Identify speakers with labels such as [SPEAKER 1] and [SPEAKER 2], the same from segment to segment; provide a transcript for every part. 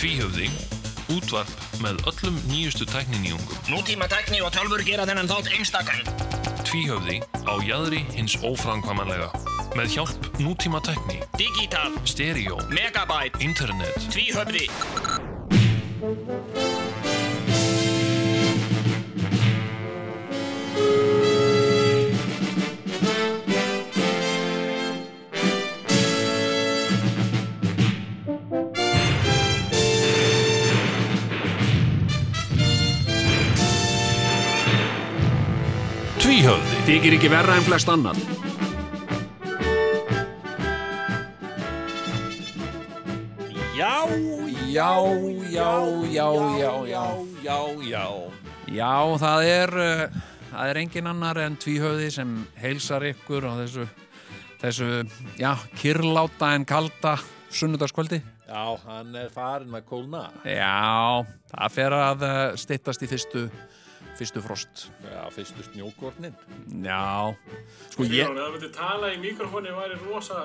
[SPEAKER 1] Tvíhöfði, útvarp með öllum nýjustu tækninýjungum.
[SPEAKER 2] Nútíma tækni og tölfur gera þennan þátt einstakann.
[SPEAKER 1] Tvíhöfði á jaðri hins óframkvæmanlega. Með hjálp nútíma tækni,
[SPEAKER 2] Digital,
[SPEAKER 1] stereo,
[SPEAKER 2] megabyte,
[SPEAKER 1] internet.
[SPEAKER 2] tvíhöfði.
[SPEAKER 1] Tvíhöfði
[SPEAKER 3] Þykir ekki verra en flest annar.
[SPEAKER 4] Já, já, já, já, já, já, já, já.
[SPEAKER 5] Já, það er, uh, það er engin annar en tvíhöfði sem heilsar ykkur á þessu, þessu já, kyrláta en kalda sunnudagskvöldi.
[SPEAKER 4] Já, hann er farin að kólna.
[SPEAKER 5] Já, það fer að uh, styttast í fyrstu, fyrstu frost.
[SPEAKER 4] Já, fyrstu snjókornin.
[SPEAKER 5] Já, sko ég,
[SPEAKER 6] Jón, ef það myndi tala í mikrofónu væri rosa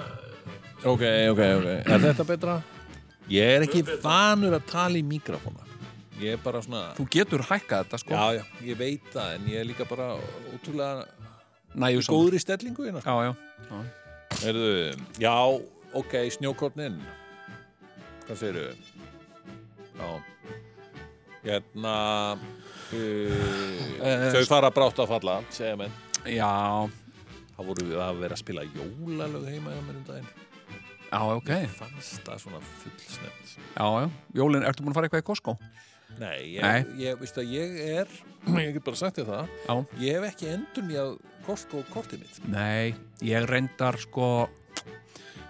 [SPEAKER 4] Ok, ok, ok. Er þetta betra? Ég er ekki vanur að tala í mikrofóna. Ég er bara svona...
[SPEAKER 5] þú getur hækkað þetta sko.
[SPEAKER 4] Já, já, ég veit það, en ég er líka bara ótrúlega
[SPEAKER 5] Næju saman.
[SPEAKER 4] góður í stellingu hérna.
[SPEAKER 5] Já, já.
[SPEAKER 4] Erðu, já, ok, snjókornin. Hvað segirðu? Já. Hérna, uh, þau fara brátt að falla, segja menn.
[SPEAKER 5] Já,
[SPEAKER 4] Það voru við að vera að spila jólalög heima hjá mér um daginn.
[SPEAKER 5] já, ok.
[SPEAKER 4] Fannst það svona fullsnefnt.
[SPEAKER 5] Já, já. Jólin, ertu búin að fara eitthvað í Costco?
[SPEAKER 4] Nei, ég,
[SPEAKER 5] Nei.
[SPEAKER 4] ég veist að ég er, ég get bara sagt þér það,
[SPEAKER 5] Já.
[SPEAKER 4] ég hef ekki endur nýjað Costco kortið mitt.
[SPEAKER 5] Nei, ég reyndar sko,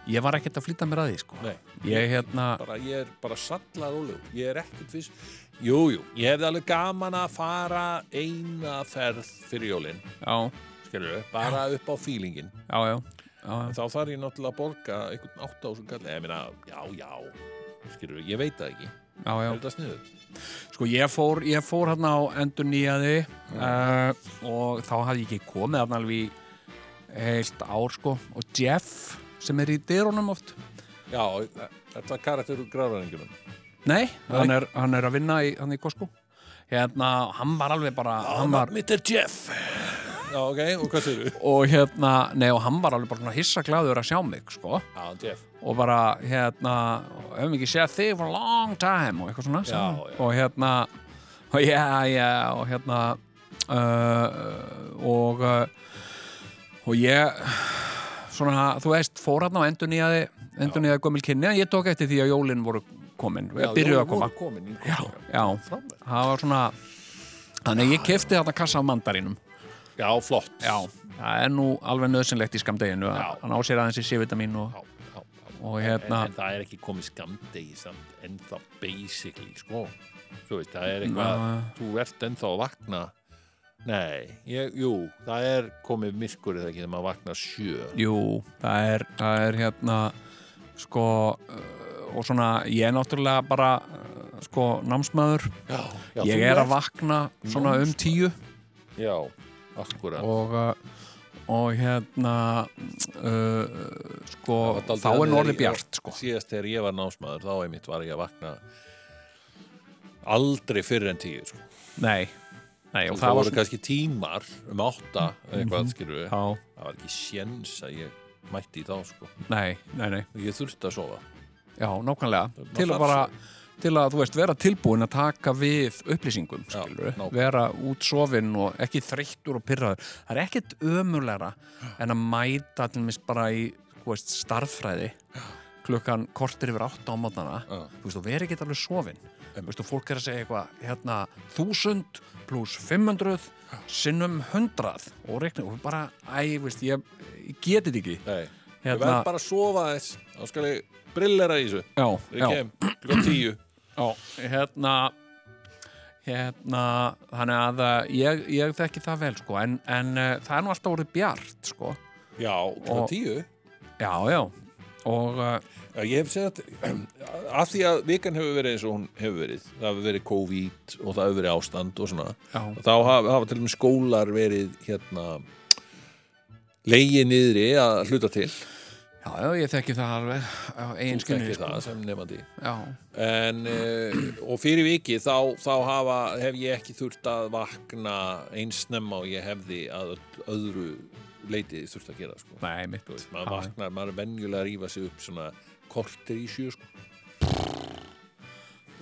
[SPEAKER 5] ég var ekkert að flýta mér að því sko.
[SPEAKER 4] Nei.
[SPEAKER 5] Ég hérna,
[SPEAKER 4] bara, ég er bara sallað ólegur ég er ekkert fyrst jú, jú, ég hefði alveg gaman að fara eina ferð fyrir jólin
[SPEAKER 5] já,
[SPEAKER 4] skilur bara upp á fílingin
[SPEAKER 5] já, já, já, já.
[SPEAKER 4] þá þarf ég náttúrulega að borga einhvern átt á sem kalli, ég meina, já, já skilur ég veit það ekki,
[SPEAKER 5] já, já.
[SPEAKER 4] held að sniður
[SPEAKER 5] Sko ég fór, ég fór hérna á endur nýjaði og þá hafði ég ekki komið hérna alveg í heilt ár sko og Jeff sem er í dyrunum oft
[SPEAKER 4] já, e, þetta er karakter úr gráðræningunum
[SPEAKER 5] Nei, Hann, er, hann er að vinna í, hann í Costco Hérna, hann var alveg bara hann var,
[SPEAKER 4] mitt er Jeff já, ok, og hvað sér þú?
[SPEAKER 5] og hérna, nei og hann var alveg bara svona hissaglaður að sjá mig sko
[SPEAKER 4] já, Jeff
[SPEAKER 5] og bara hérna höfum ekki séð þig for a long time og eitthvað svona
[SPEAKER 4] Já,
[SPEAKER 5] sagði hann.
[SPEAKER 4] já.
[SPEAKER 5] og hérna og já, já, og hérna uh, og uh, og ég svona, þú veist, fór hérna og endur nýjaði endur nýjaði gömul kynni en ég tók eftir því að jólin voru komin byrjuðu að koma
[SPEAKER 4] komin,
[SPEAKER 5] já, já,
[SPEAKER 4] Frábært.
[SPEAKER 5] það var svona þannig ég kefti þarna kassa af mandarínum
[SPEAKER 4] já, flott
[SPEAKER 5] já, það er nú alveg nöðsynlegt í skamdeginu
[SPEAKER 4] Já.
[SPEAKER 5] að hann á sér aðeins í C-vitamin og,
[SPEAKER 4] já, já, já.
[SPEAKER 5] og
[SPEAKER 4] en,
[SPEAKER 5] hérna
[SPEAKER 4] en það er ekki komið skamdegi samt ennþá basically sko þú veist, það er eitthvað
[SPEAKER 5] Ná.
[SPEAKER 4] þú ert ennþá að vakna nei, ég, jú, það er komið myrkur eða ekki þegar maður vakna sjö
[SPEAKER 5] Jú, það er, það er hérna sko uh, og svona ég er náttúrulega bara uh, sko námsmaður
[SPEAKER 4] já, já,
[SPEAKER 5] ég
[SPEAKER 4] þú
[SPEAKER 5] er
[SPEAKER 4] ert-
[SPEAKER 5] að vakna svona um tíu
[SPEAKER 4] já, akkurat
[SPEAKER 5] og, uh, og hérna uh, sko
[SPEAKER 4] Það var dálítið
[SPEAKER 5] þá er
[SPEAKER 4] þannig
[SPEAKER 5] norði
[SPEAKER 4] þegar ég-
[SPEAKER 5] bjart sko
[SPEAKER 4] síðast þegar ég var námsmaður, þá einmitt var ég að vakna aldrei fyrir en tíu sko.
[SPEAKER 5] Nei, nei og
[SPEAKER 4] það,
[SPEAKER 5] það
[SPEAKER 4] voru
[SPEAKER 5] var svona Mhm.
[SPEAKER 4] kannski tímar um átta eða eitthvað, mm
[SPEAKER 5] Já,
[SPEAKER 4] við það var ekki sjens að ég mætti í þá sko.
[SPEAKER 5] nei, nei, nei,
[SPEAKER 4] ég þurfti að sofa
[SPEAKER 5] já, nákvæmlega til
[SPEAKER 4] þarf
[SPEAKER 5] að bara, til að þú veist, vera tilbúin að taka við upplýsingum,
[SPEAKER 4] Já,
[SPEAKER 5] skilur
[SPEAKER 4] nákvæmlega.
[SPEAKER 5] vera útsofinn og ekki þreyttur og pyrraður, það er ekkert ömurlegra en að mæta til mér bara í þú veist, starffræði klukkan kortir yfir átta á mótnana
[SPEAKER 4] Já.
[SPEAKER 5] þú veist, þú veri ekki alveg sofinn þú veist, og fólk er að segja eitthvað, hérna 1000 pluss 500 sinnum 100 og reikna og bara, æ, veist, ég, ég geti þetta ekki
[SPEAKER 4] Nei,
[SPEAKER 5] Hérna-
[SPEAKER 4] ég verð bara að sofa þess Þá skal ég brillera í þessu
[SPEAKER 5] já,
[SPEAKER 4] Ég kem, klokk tíu
[SPEAKER 5] Já, hérna hérna, þannig að eh, ég, ég þekki það vel sko, en, en eh, það er nú alltaf orðið bjart sko,
[SPEAKER 4] Já, klokk
[SPEAKER 5] Og-
[SPEAKER 4] tíu
[SPEAKER 5] já, já og eh,
[SPEAKER 4] Já, ég hef segjað að því að vikan hefur verið eins og hún hefur verið Það hefur verið COVID og það hefur verið ástand og svona
[SPEAKER 5] já,
[SPEAKER 4] Þá hafa, hafa til og með skólar verið hérna Legið niðri að hluta til
[SPEAKER 5] já, já, ég þekki það alveg á eigin
[SPEAKER 4] Þú
[SPEAKER 5] skinni
[SPEAKER 4] þekkir
[SPEAKER 5] sko.
[SPEAKER 4] það sem nefandi
[SPEAKER 5] já,
[SPEAKER 4] en, uh, og fyrir vikið þá, þá hafa, hef ég ekki þurft að vakna eins snemma og ég hefði að öll- öðru leiti þurft að gera sko.
[SPEAKER 5] nei, mitt
[SPEAKER 4] Þú veist, maður vaknar, maður er venjulega að rífa sig upp svona kortir í sjö sko.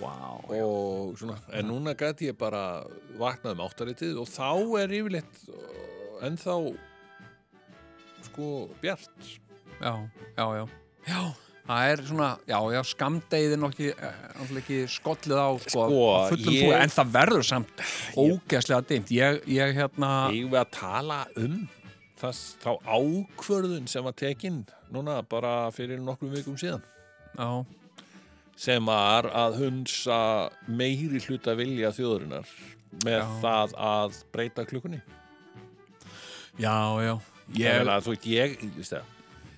[SPEAKER 5] wow,
[SPEAKER 4] og svona, en núna gæti ég bara vaknað um áttaritið og þá er yfirleitt uh, ennþá sko bjart
[SPEAKER 5] já, já, já, já það er svona, já, já, skamdeiðin og ekki, eh, náttúrulega ekki skollið á sko,
[SPEAKER 4] Sko,
[SPEAKER 5] á fullum
[SPEAKER 4] ég-
[SPEAKER 5] ég... en það verður samt ógeðslega dimt ég, ég hérna
[SPEAKER 4] eigum við að tala um þess, þá ákvörðun sem var tekinn núna bara fyrir nokkrum vikum síðan
[SPEAKER 5] já,
[SPEAKER 4] sem var að hunsa meiri hluta vilja þjóðurinnar með
[SPEAKER 5] Já.
[SPEAKER 4] það að breyta klukkunni
[SPEAKER 5] já, já
[SPEAKER 4] ég,
[SPEAKER 5] ég,
[SPEAKER 4] að, þú veit, ég, ég, veist það,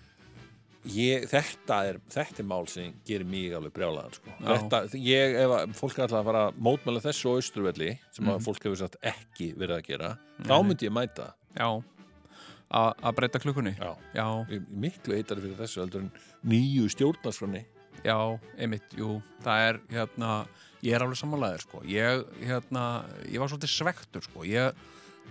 [SPEAKER 4] ég þetta, er, þetta er mál sem gerir mig alveg brjálaðan sko.
[SPEAKER 5] Já.
[SPEAKER 4] þetta, ég, ef að fólk ætla að fara að mótmæla þessu á Austurvelli sem að fólk hefur satt ekki verið að gera þá myndi ég mæta
[SPEAKER 5] já a- að breyta klukkunni
[SPEAKER 4] Já.
[SPEAKER 5] já,
[SPEAKER 4] Ég er miklu heitar fyrir þessu heldur en nýju stjórnarskronni
[SPEAKER 5] já, einmitt, jú það er hérna, ég er alveg sammálaðir sko, ég, hérna ég var svolítið svektur sko, ég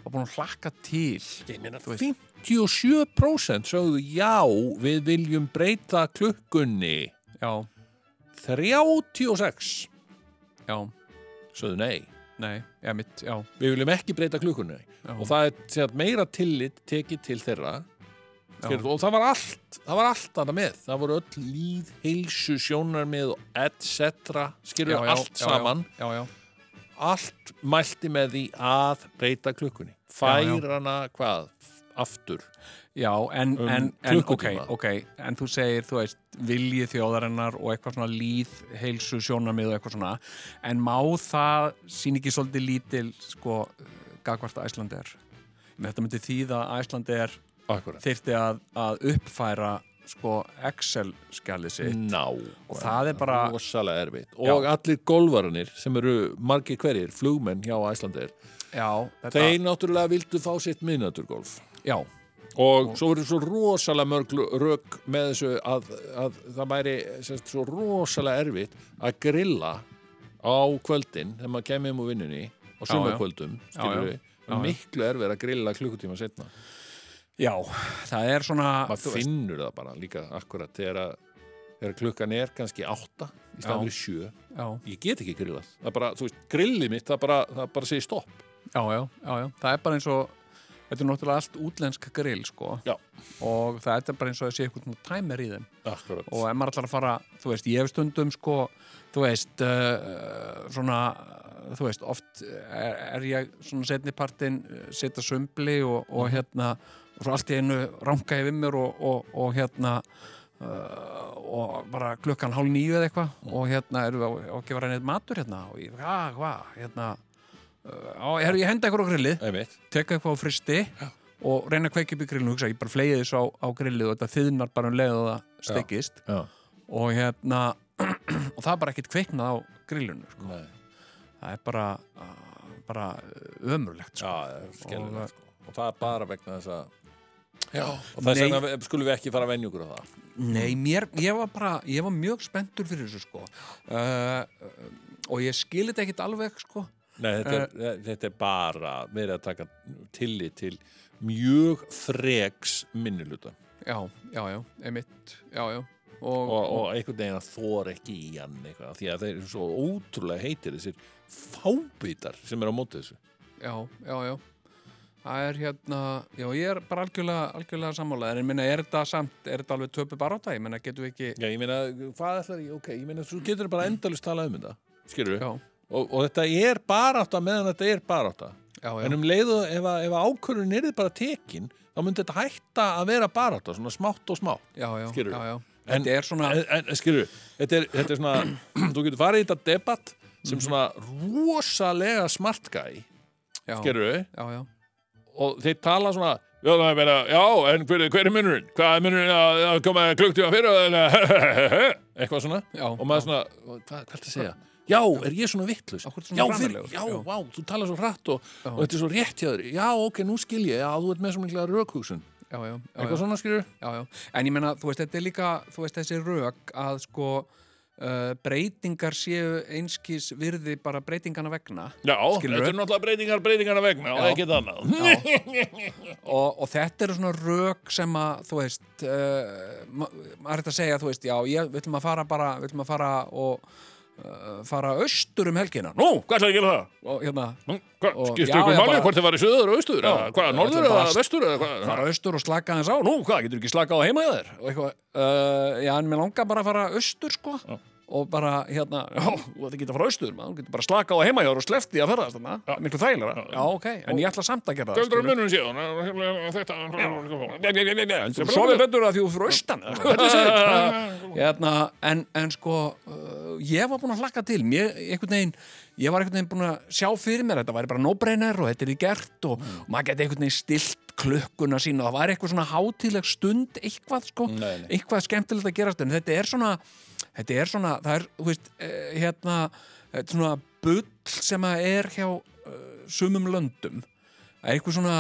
[SPEAKER 5] var búin að hlakka til
[SPEAKER 4] Ég meina
[SPEAKER 5] Þú veist-
[SPEAKER 4] 57% sögðu já, við viljum breyta klukkunni
[SPEAKER 5] já,
[SPEAKER 4] 36
[SPEAKER 5] já,
[SPEAKER 4] sögðu nei
[SPEAKER 5] nei, já, mitt, já
[SPEAKER 4] við viljum ekki breyta klukkunni
[SPEAKER 5] Já.
[SPEAKER 4] og það er sér, meira tillit tekið til þeirra Skilur, og það var allt það var allt annað með, það voru öll líð heilsu sjónarmið og etc skilur
[SPEAKER 5] já, já,
[SPEAKER 4] allt
[SPEAKER 5] já,
[SPEAKER 4] saman
[SPEAKER 5] já, já, já,
[SPEAKER 4] allt mælti með því að breyta klukkunni
[SPEAKER 5] Já,
[SPEAKER 4] fær hana hvað, aftur
[SPEAKER 5] já en,
[SPEAKER 4] Um
[SPEAKER 5] en, en ok,
[SPEAKER 4] klukkutíma.
[SPEAKER 5] ok en þú segir, þú veist, vilji þjóðarinnar og eitthvað svona líð, heilsu, sjónarmið og eitthvað svona, en má það sín ekki svolítið lítil sko, gagvart Æslandi er þetta myndi þýða að Æslandi er
[SPEAKER 4] akkurat,
[SPEAKER 5] þyrfti að, að uppfæra sko Excel-skjalið sitt
[SPEAKER 4] ná
[SPEAKER 5] og það er bara,
[SPEAKER 4] rosalega erfitt og allir golvarnir sem eru margir hverjir, flugmenn hjá Æslandir
[SPEAKER 5] já þetta,
[SPEAKER 4] þeir náttúrulega vildu fá sitt miðnætturgolf
[SPEAKER 5] já,
[SPEAKER 4] og svo verður svo rosalega mörg rök með þessu að, að það væri sérst, svo rosalega erfitt að grilla á kvöldin þegar maður kemur um úr vinnunni á
[SPEAKER 5] já.
[SPEAKER 4] sumarkvöldum
[SPEAKER 5] Já, já.
[SPEAKER 4] skilur við
[SPEAKER 5] Já, já.
[SPEAKER 4] miklu erfið að grilla klukkutíma setna
[SPEAKER 5] já, það er svona þú
[SPEAKER 4] maður
[SPEAKER 5] veist,
[SPEAKER 4] finnur það bara líka akkurat þegar, að, þegar klukkan er kannski átta í
[SPEAKER 5] Já.
[SPEAKER 4] staðan fyrir sjö
[SPEAKER 5] já,
[SPEAKER 4] ég get ekki grillað það er bara, þú veist, grillið mitt það bara, það bara segir stopp
[SPEAKER 5] já, já, já, já, það er bara eins og þetta er náttúrulega allt útlensk grill sko
[SPEAKER 4] já,
[SPEAKER 5] og það er bara eins og það sé eitthvað svona tæmer í þeim
[SPEAKER 4] akkurat
[SPEAKER 5] og ef maður ætlar að fara, þú veist, ég hef stundum sko, þú veist uh, svona, þú veist, oft er, er ég svona setnipartin setja sömbli og, og hérna og svo allt í einu ranga yfir mér og, og, og hérna uh, og bara klukkan hálf nýju eða eitthvað og hérna erum við á- á að gefa reynið matur hérna og ég, hvað, hvað, hérna uh, á, ég henda ykkur á grillið
[SPEAKER 4] einmitt
[SPEAKER 5] teka eitthvað á fristi og reyna að kveikja upp í grillinu og hugsa, ég bara fleiði þessu á, á grillið og þetta þiðnar bara um leið og það stekist
[SPEAKER 4] já,
[SPEAKER 5] og hérna og það er bara ekkert kveiknað á grillinu sko.
[SPEAKER 4] Nei.
[SPEAKER 5] það er bara, uh, bara ömurlegt
[SPEAKER 4] Já,
[SPEAKER 5] sko.
[SPEAKER 4] það er skelfilegt
[SPEAKER 5] Og-
[SPEAKER 4] sko. og það er bara vegna þess að Já, og þess
[SPEAKER 5] Nei.
[SPEAKER 4] vegna við- skulum við ekki fara að venja okkur á það
[SPEAKER 5] Nei, mér, ég var bara, ég var mjög spenntur fyrir þessu sko uh, uh, og ég skil þetta ekkert alveg sko
[SPEAKER 4] Nei, þetta er,
[SPEAKER 5] Eh.
[SPEAKER 4] þetta er bara verið að taka tillit til mjög freks minniluta
[SPEAKER 5] já, já, já, einmitt já, já, og,
[SPEAKER 4] og, og einhvern veginn að þóra ekki í hann eitthvað, því að þeir eru svo ótrúlega heitir þessir fábítar sem eru á móti þessu
[SPEAKER 5] já, já, já það er hérna, já ég er bara algjörlega, algjörlega sammálaður, en ég minna er þetta samt er þetta alveg töpu baráta, ég minna getum við ekki
[SPEAKER 4] Já, ég meina, hvað ætlar ég, ok, ég meina svo getur bara endalist talað um þetta, skilur við
[SPEAKER 5] já,
[SPEAKER 4] og, og þetta er barátta meðan þetta er barátta
[SPEAKER 5] já, já,
[SPEAKER 4] en um leiðu ef, að- ef ákvörðun er bara tekin þá myndi þetta hætta að vera barátta svona smátt og smátt
[SPEAKER 5] já, já,
[SPEAKER 4] skilurðu?
[SPEAKER 5] já, já.
[SPEAKER 4] En- Eh,
[SPEAKER 5] þetta er svona,
[SPEAKER 4] en, en skilur, þetta er, þetta er svona þú getur farið í þetta debatt sem
[SPEAKER 5] Mhm.
[SPEAKER 4] svona rosalega smart guy
[SPEAKER 5] já,
[SPEAKER 4] gerur,
[SPEAKER 5] já, já,
[SPEAKER 4] og þeir tala svona já, það er meina, já, en hver, hver er munurinn hvað er munurinn að, að koma klukktíma fyrir og þeirna, eitthvað svona
[SPEAKER 5] Já,
[SPEAKER 4] og maður svona, hvað, hvað er að segja Já, er ég svona vittlust?
[SPEAKER 5] Af hverju ertu
[SPEAKER 4] já,
[SPEAKER 5] svona
[SPEAKER 4] fyrir,
[SPEAKER 5] frammilegur?
[SPEAKER 4] já,
[SPEAKER 5] Já.
[SPEAKER 4] vá, þú talar svo hrætt og, og þetta er svo rétt hjá þér. Já, ok, nú skil ég, já, þú ert með svo mikla rökhugsun.
[SPEAKER 5] já, já, já,
[SPEAKER 4] eitthvað
[SPEAKER 5] já,
[SPEAKER 4] svona skilur
[SPEAKER 5] já, já. En ég meina, þú veist, þetta er líka, þú veist, þessi rök að sko uh, breytingar séu einskis virði bara breytingana vegna
[SPEAKER 4] Já,
[SPEAKER 5] Skilurðu?
[SPEAKER 4] þetta er náttúrulega breytingar breytingarna vegna og
[SPEAKER 5] Já.
[SPEAKER 4] ekkert annað
[SPEAKER 5] og, og þetta eru svona rök sem að, þú veist, uh, ma- maður er þetta að segja, þú veist, já, ég, við ætlum að fara bara, við ætlum að fara og uh, fara austur um helgina. Nú,
[SPEAKER 4] Nú, hvað ætlaði að gera það?
[SPEAKER 5] og hérna,
[SPEAKER 4] Nú, Hvað,
[SPEAKER 5] Og-
[SPEAKER 4] skiptu
[SPEAKER 5] já,
[SPEAKER 4] ykkur
[SPEAKER 5] já,
[SPEAKER 4] máli
[SPEAKER 5] bara-
[SPEAKER 4] hvort þið var í söður og austur eða hvað,
[SPEAKER 5] ætlum
[SPEAKER 4] norður
[SPEAKER 5] bara
[SPEAKER 4] eða
[SPEAKER 5] að-
[SPEAKER 4] vestur eða hvað
[SPEAKER 5] fara austur og slaka aðeins á.
[SPEAKER 4] Nú, hvað, getur ekki slakað á heima hjá þér?
[SPEAKER 5] og eitthvað, uh, já, en mér langar bara að fara austur, sko, og bara, hérna,
[SPEAKER 4] Já, þú ætti ekki að fara austur, maður, þú getur bara slakað á heima hjá þér og sleppt því að ferðast þarna Það er Miklu þægilega
[SPEAKER 5] já, ok, en ég ætla samt að gera það,
[SPEAKER 1] Göldur um
[SPEAKER 5] skilur.
[SPEAKER 1] munum síðan eh, Þetta
[SPEAKER 4] Þú
[SPEAKER 5] Þú
[SPEAKER 4] sofir
[SPEAKER 5] sofið betur að því þú fyrir austan. hérna, en, en sko, uh, ég var búin að hlakka til, mér, einhvern veginn, ég var einhvern veginn búin að sjá fyrir mér, að þetta væri bara nóbreynir og þetta er í gert og maður geti einhvern veginn stilt klukkuna sína og það væri eitthvað svona hátíðleg stund, eitthvað, sko,
[SPEAKER 4] Nei, nei.
[SPEAKER 5] eitthvað skemmtilegt að gerast, en þetta er svona, þetta er svona, það er, þú veist, eh, hérna, þetta er svona bull sem að er hjá uh, sumum löndum, Það er einhver svona,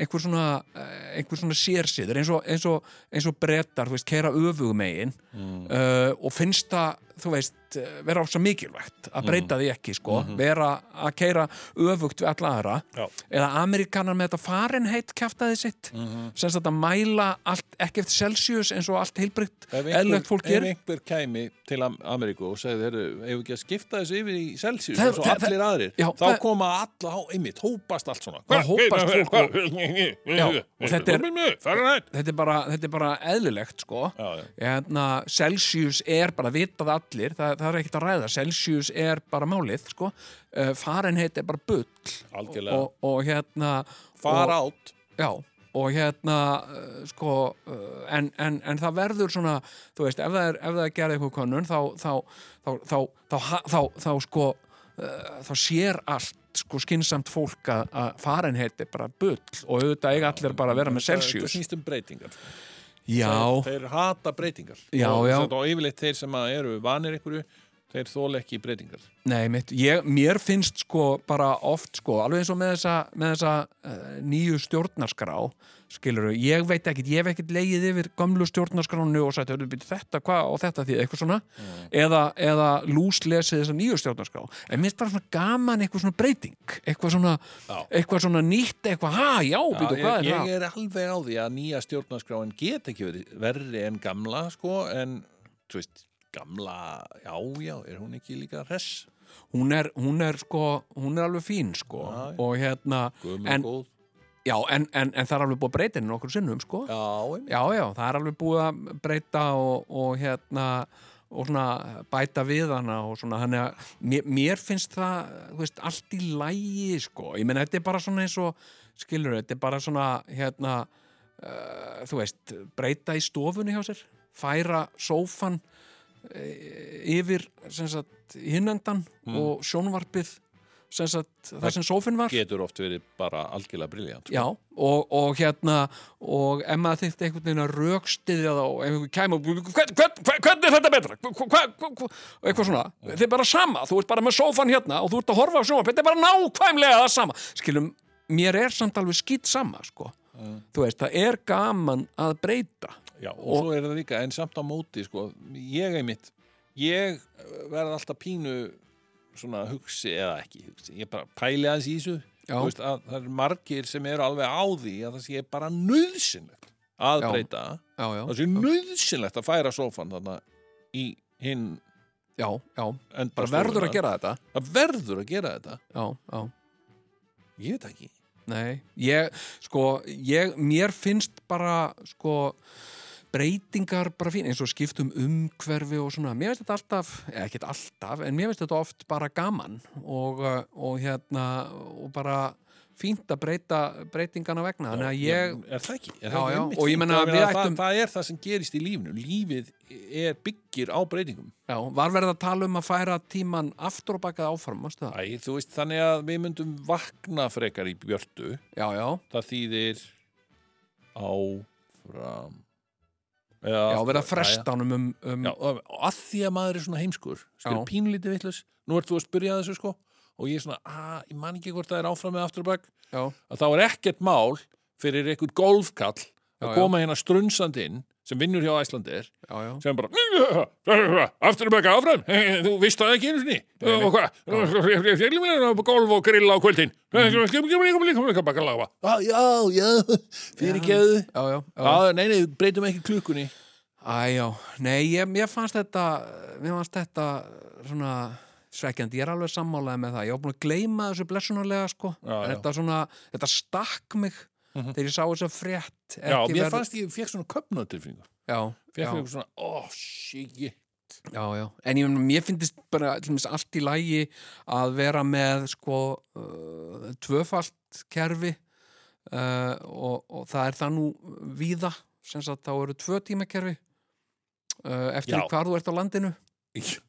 [SPEAKER 5] einhver svona, eh, einhver svona sérsýður eins og, eins og, eins og brettar, þú veist, kera öfugmegin mm. og finnst það, þú veist, eh, vera á svo mikilvægt
[SPEAKER 4] Mm.
[SPEAKER 5] að breyta því ekki, sko, vera að keira öfugt við alla aðra
[SPEAKER 4] Mhm. Já.
[SPEAKER 5] eða Amerikanar með þetta Fahrenheit kjaftaði sitt, mm
[SPEAKER 4] Mhm.
[SPEAKER 5] -hmm. sem sagt að mæla allt, ekki eftir Celsius eins og allt heilbrygt,
[SPEAKER 4] Ef
[SPEAKER 5] eðlögt fólk
[SPEAKER 4] einhver,
[SPEAKER 5] gerir.
[SPEAKER 4] ef einhver kæmi til Am- Ameríku og segði, heyrðu, hefur ekki að skipta þessu yfir í Celsius
[SPEAKER 5] Það-
[SPEAKER 4] eins og
[SPEAKER 5] það-
[SPEAKER 4] allir aðrir,
[SPEAKER 5] já,
[SPEAKER 4] þá
[SPEAKER 5] það-
[SPEAKER 4] koma alla á einmitt, hópast allt svona.
[SPEAKER 5] Það hópast fólk og Já,
[SPEAKER 1] og
[SPEAKER 5] og þetta er-
[SPEAKER 1] Fahrenheit
[SPEAKER 5] þetta er bara, þetta er bara eðlilegt sko
[SPEAKER 4] Já, já.
[SPEAKER 5] Hérna, Celsius er bara vitað allir, það, það er ekkert að ræða Celsius er bara málið sko uh, Fahrenheit er bara bull
[SPEAKER 4] Algjörlega.
[SPEAKER 5] og, og hérna
[SPEAKER 4] Far
[SPEAKER 5] og,
[SPEAKER 4] átt.
[SPEAKER 5] já, og hérna uh, sko, uh, en, en, en það verður svona, þú veist, ef það er, ef það er gerði eitthvað könnun, þá þá, þá, þá, þá, þá, þá, þá sko uh, þá sér allt sko skinsamt fólk að, að Fahrenheit er bara bull og auðvitað eiga allir bara að vera með
[SPEAKER 4] Þetta
[SPEAKER 5] Celsius
[SPEAKER 4] snýst um breytingar. sko.
[SPEAKER 5] Já,
[SPEAKER 4] Þeir, þeir hata breytingar.
[SPEAKER 5] Já,
[SPEAKER 4] og,
[SPEAKER 5] já.
[SPEAKER 4] Og yfirleitt þeir sem að eru vanir einhverju, þeir þóla ekki breytingar.
[SPEAKER 5] nei mitt, ég, mér finnst sko bara oft sko, alveg eins og með þessa, með þessa uh, nýju stjórnarskrá skilur ég veit ekkit, ég hef ekkit legið yfir gömlu stjórnarskránu og sagt, "Heyrðu, bíddu, þetta, hvað og þetta því, eitthvað svona
[SPEAKER 4] Mm.
[SPEAKER 5] eða, eða lúslesið þessa nýju stjórnarskrá en mér finnst bara svona gaman eitthvað svona breyting eitthvað svona, eitthvað svona nýtt eitthvað, ha, já, býtu,
[SPEAKER 4] ég,
[SPEAKER 5] hvað er
[SPEAKER 4] ég
[SPEAKER 5] það?
[SPEAKER 4] er alveg á því að nýja stjórnarskráin get ekki verið verri en gamla, sko, en, þú veist, gamla, já, já, er hún ekki líka hress?
[SPEAKER 5] Hún er, hún er sko, hún er alveg fín sko og hérna,
[SPEAKER 4] Gömul
[SPEAKER 5] en,
[SPEAKER 4] góð.
[SPEAKER 5] já, en, en, en það er alveg búið að breyta henni nokkur sinnum sko
[SPEAKER 4] Já, einmitt.
[SPEAKER 5] Já, já, það er alveg búið að breyta og, og hérna og svona bæta við hana og svona hann er að, mér, mér finnst það þú veist, allt í lægi sko ég meina, þetta er bara svona eins og skilur, þetta er bara svona hérna uh, þú veist, breyta í stofunni hjá sér, færa sófan uh, yfir sem sagt, hinnendan og sjónvarpið sem sagt, þar sem sófinn var
[SPEAKER 4] getur oft verið bara algjörlega sko. briljant
[SPEAKER 5] Já, og, og hérna og ef maður þyrfti einhvern veginn að rökstiðja þá og ef einhvern kæm og hvern, hvern, hvern, hvernig er þetta betra? Hva, hva, hva, hva, og eitthvað svona, þetta er bara sama þú ert bara með sófan hérna og þú ert að horfa á sjónvarp þetta er bara nákvæmlega það sama skilum, mér er samt alveg skýt sama sko. þú veist, það er gaman að breyta
[SPEAKER 4] Já, og, svo er það líka, en samt á móti sko, ég einmitt ég verð alltaf pínu svona hugsi eða ekki hugsi ég bara pæli aðeins í þessu
[SPEAKER 5] Já.
[SPEAKER 4] Þú veist, að það eru margir sem eru alveg á því að það sé bara nöðsynlegt að
[SPEAKER 5] Já.
[SPEAKER 4] breyta,
[SPEAKER 5] já, já,
[SPEAKER 4] það sé nöðsynlegt að færa sófan þarna í hinn
[SPEAKER 5] já, já
[SPEAKER 4] enda
[SPEAKER 5] bara verður
[SPEAKER 4] stofunnar.
[SPEAKER 5] að gera þetta
[SPEAKER 4] það verður að gera þetta,
[SPEAKER 5] já, já
[SPEAKER 4] ég veit ekki
[SPEAKER 5] Nei, ég, sko, ég, mér finnst bara, sko, breytingar bara fín, eins og skiptum umhverfi og svona, mér finnst þetta alltaf, eða ekkert alltaf, en mér finnst þetta oft bara gaman og, uh, og hérna, og bara fínt að breyta breytingana vegna, þannig að ég,
[SPEAKER 4] er það ekki, er
[SPEAKER 5] Já,
[SPEAKER 4] það
[SPEAKER 5] já, og
[SPEAKER 4] einmitt
[SPEAKER 5] ég
[SPEAKER 4] fínt?
[SPEAKER 5] meina
[SPEAKER 4] Það-
[SPEAKER 5] við
[SPEAKER 4] það,
[SPEAKER 5] ættum-
[SPEAKER 4] það er það sem gerist í lífinu lífið er byggir á breytingum
[SPEAKER 5] já, var verið að tala um að færa tíman aftur og bakað áfram, mástu það?
[SPEAKER 4] Æ, þú veist, þannig að við myndum vakna frekar í björtu
[SPEAKER 5] Já, já,
[SPEAKER 4] það þýðir áfram eða,
[SPEAKER 5] já, verið að fresta honum um, um
[SPEAKER 4] já, og að því að maður er svona heimskur skilur
[SPEAKER 5] Já.
[SPEAKER 4] pínlítið vitlaus, nú ert þú að spyrja að þessu sko og ég er svona, að, ég man ekki hvort það er áfram með afturbæk
[SPEAKER 5] já,
[SPEAKER 4] að þá er ekkert mál fyrir einhvern golfkall
[SPEAKER 5] Já,
[SPEAKER 4] að
[SPEAKER 5] já.
[SPEAKER 4] koma hérna strunsandi inn sem vinnur hjá Æslandir
[SPEAKER 5] já, já.
[SPEAKER 4] sem bara aftur um ekki áfram þú vist það ekki einu sinni og hvað fjallum við erum golf og grilla á kvöldin já, já, já fyrir geðu
[SPEAKER 5] Já, já, já.
[SPEAKER 4] Já, nei, nei, breytum ekki klukkunni
[SPEAKER 5] Æ, já, nei, ég, ég fannst þetta mér fannst þetta svona svekkjandi, ég er alveg sammálaði með það ég var búin að gleyma þessu blessunarlega sko.
[SPEAKER 4] Já,
[SPEAKER 5] En
[SPEAKER 4] já.
[SPEAKER 5] þetta svona, þetta stakk mig þegar ég sá þess að frétt
[SPEAKER 4] Já,
[SPEAKER 5] ekki
[SPEAKER 4] mér
[SPEAKER 5] verið-
[SPEAKER 4] fannst ég fekk svona köpnatilfingu
[SPEAKER 5] já,
[SPEAKER 4] Fekk
[SPEAKER 5] já,
[SPEAKER 4] ég svona, ó, shit
[SPEAKER 5] já, já. en ég, meina, mér finnst bara til dæmis, allt í lagi að vera með sko uh, tvöfalt kerfi uh, og, og það er það nú víða, sem sagt þá eru tvö tímakerfi uh, eftir
[SPEAKER 4] Já.
[SPEAKER 5] já. hvar þú ert á landinu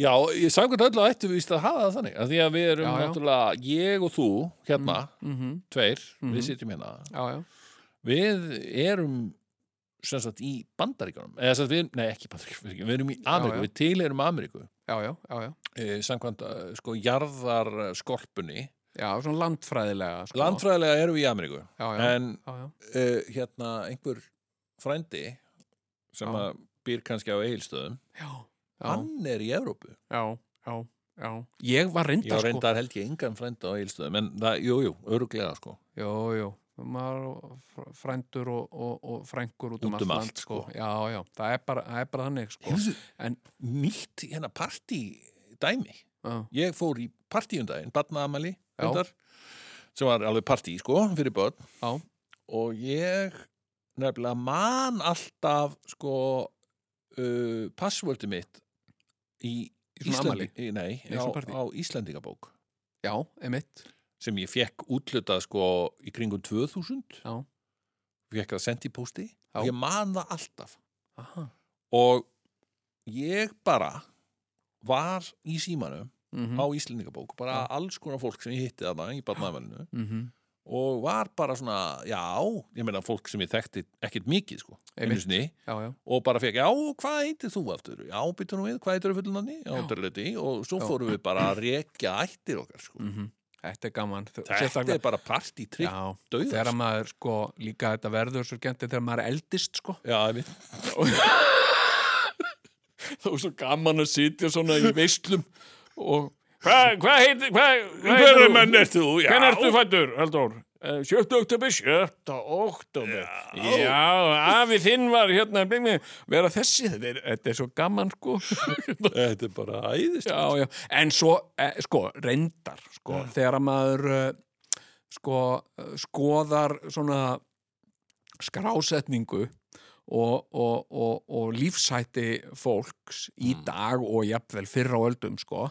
[SPEAKER 4] Já, ég samkvæmt öllu að ættu við víst að hafa það þannig að Því að við erum
[SPEAKER 5] Já, já.
[SPEAKER 4] náttúrulega, ég og þú hérna,
[SPEAKER 5] mm
[SPEAKER 4] tveir,
[SPEAKER 5] Mhm.
[SPEAKER 4] við sitjum hérna
[SPEAKER 5] já, já.
[SPEAKER 4] Við erum sem sagt í Bandaríkjunum eða sem sagt við, nei ekki Bandaríkjunum, við erum í Ameríku
[SPEAKER 5] já.
[SPEAKER 4] við tilherum Ameríku
[SPEAKER 5] já, já, já, já.
[SPEAKER 4] eh, samkvæmt eh, sko jarðarskorpunni
[SPEAKER 5] Já, svona landfræðilega sko.
[SPEAKER 4] Landfræðilega erum við í Ameríku
[SPEAKER 5] já, já,
[SPEAKER 4] en
[SPEAKER 5] já, já.
[SPEAKER 4] uh, hérna einhver frændi sem
[SPEAKER 5] Já.
[SPEAKER 4] að býr kannski á eigilstöðum
[SPEAKER 5] Já, já,
[SPEAKER 4] hann er í Evrópu
[SPEAKER 5] já, já, já. Ég var
[SPEAKER 4] ég
[SPEAKER 5] reyndar sko
[SPEAKER 4] reyndar held ég engan frænda á eigilstöðum en það, jú, jú, öruglega sko
[SPEAKER 5] Jó, jó, maður og fr- frændur og, og, og frængur út um, allt land sko. Já, já, það er bara, það er bara þannig sko.
[SPEAKER 4] Hefðu,
[SPEAKER 5] En-
[SPEAKER 4] nýtt hérna partí dæmi
[SPEAKER 5] Já,
[SPEAKER 4] ég fór í partíundaginn, barnaamali
[SPEAKER 5] Já.
[SPEAKER 4] reyndar, sem var alveg partí sko, fyrir börn
[SPEAKER 5] já,
[SPEAKER 4] og ég nefnilega man alltaf sko uh, passvöldi mitt í
[SPEAKER 5] Í svona
[SPEAKER 4] Íslandi,
[SPEAKER 5] afmæli?
[SPEAKER 4] í, nei,
[SPEAKER 5] Nei,
[SPEAKER 4] á,
[SPEAKER 5] svona partí?
[SPEAKER 4] á Íslandingabók
[SPEAKER 5] já, emitt
[SPEAKER 4] sem ég fekk útlutað sko í kringum 2000
[SPEAKER 5] Já.
[SPEAKER 4] fekk það sendt í pósti
[SPEAKER 5] Já.
[SPEAKER 4] og ég man það alltaf
[SPEAKER 5] Aha.
[SPEAKER 4] og ég bara var í símanum
[SPEAKER 5] Mm
[SPEAKER 4] á Íslendingabók bara alls konar fólk sem ég hitti þarna í barnaðmælinu
[SPEAKER 5] -hmm.
[SPEAKER 4] og var bara svona, já, ég meina fólk sem ég þekkti ekkert mikið sko einu
[SPEAKER 5] Einmitt.
[SPEAKER 4] sinni
[SPEAKER 5] Já, já,
[SPEAKER 4] og bara fekk, já, hvað heitir þú aftur? Já, byttur nú við, hvað heitir þú fullunanni? Já,
[SPEAKER 5] Já.
[SPEAKER 4] dörleiti, og svo
[SPEAKER 5] Já.
[SPEAKER 4] fórum við bara að rekja ættir okkar sko
[SPEAKER 5] mm þetta er gaman Þú-
[SPEAKER 4] Þetta
[SPEAKER 5] sérstaklega-
[SPEAKER 4] er bara partítrygg
[SPEAKER 5] Já,
[SPEAKER 4] dauðans.
[SPEAKER 5] þegar maður sko líka þetta verður svo genti þegar maður er eldist sko
[SPEAKER 4] Já, ég veit
[SPEAKER 5] Það var svo gaman að sitja svona í veislum og
[SPEAKER 6] Hvað hva heitir, hvað hva
[SPEAKER 4] Hvernig menn ert þú? Já,
[SPEAKER 6] Hvernig ertu fættur, Halldór? Eh, 7. oktober, 7. oktober. Já, afi þinn var hérna, blinni,
[SPEAKER 5] vera þessi, þetta er, þetta er svo gaman sko
[SPEAKER 4] Þetta er bara æðist
[SPEAKER 5] já, já. en svo, eh, sko, reyndar sko, þegar að maður eh, sko, eh, skoðar svona skrásetningu og, og, og, og lífshætti fólks í dag og jafnvel fyrr á öldum sko,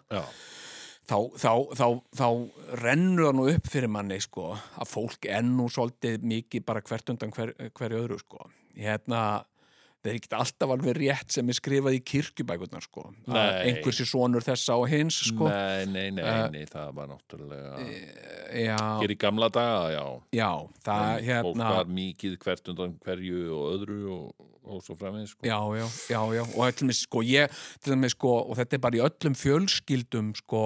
[SPEAKER 4] Mm. Já,
[SPEAKER 5] þá, þá, þá, þá rennur það nú upp fyrir manni sko, að fólk er nú svolítið mikið bara hvert undan hver, hverju öðru sko. hérna það er ekkert alltaf alveg rétt sem er skrifað í kirkjubækurnar sko. að
[SPEAKER 4] Nei.
[SPEAKER 5] einhver sé sonur þessa og hins sko.
[SPEAKER 4] nei, nei, nei,
[SPEAKER 5] Eh,
[SPEAKER 4] nei, það var náttúrulega
[SPEAKER 5] já,
[SPEAKER 4] Hér í gamla daga, já
[SPEAKER 5] já, það
[SPEAKER 4] Fólk
[SPEAKER 5] hérna
[SPEAKER 4] var mikið hvert undan hverju og öðru og, og svo framvegis sko.
[SPEAKER 5] já, já, já, já, og öllum sko, ég, til dæmis sko, og þetta er bara í öllum fjölskyldum sko,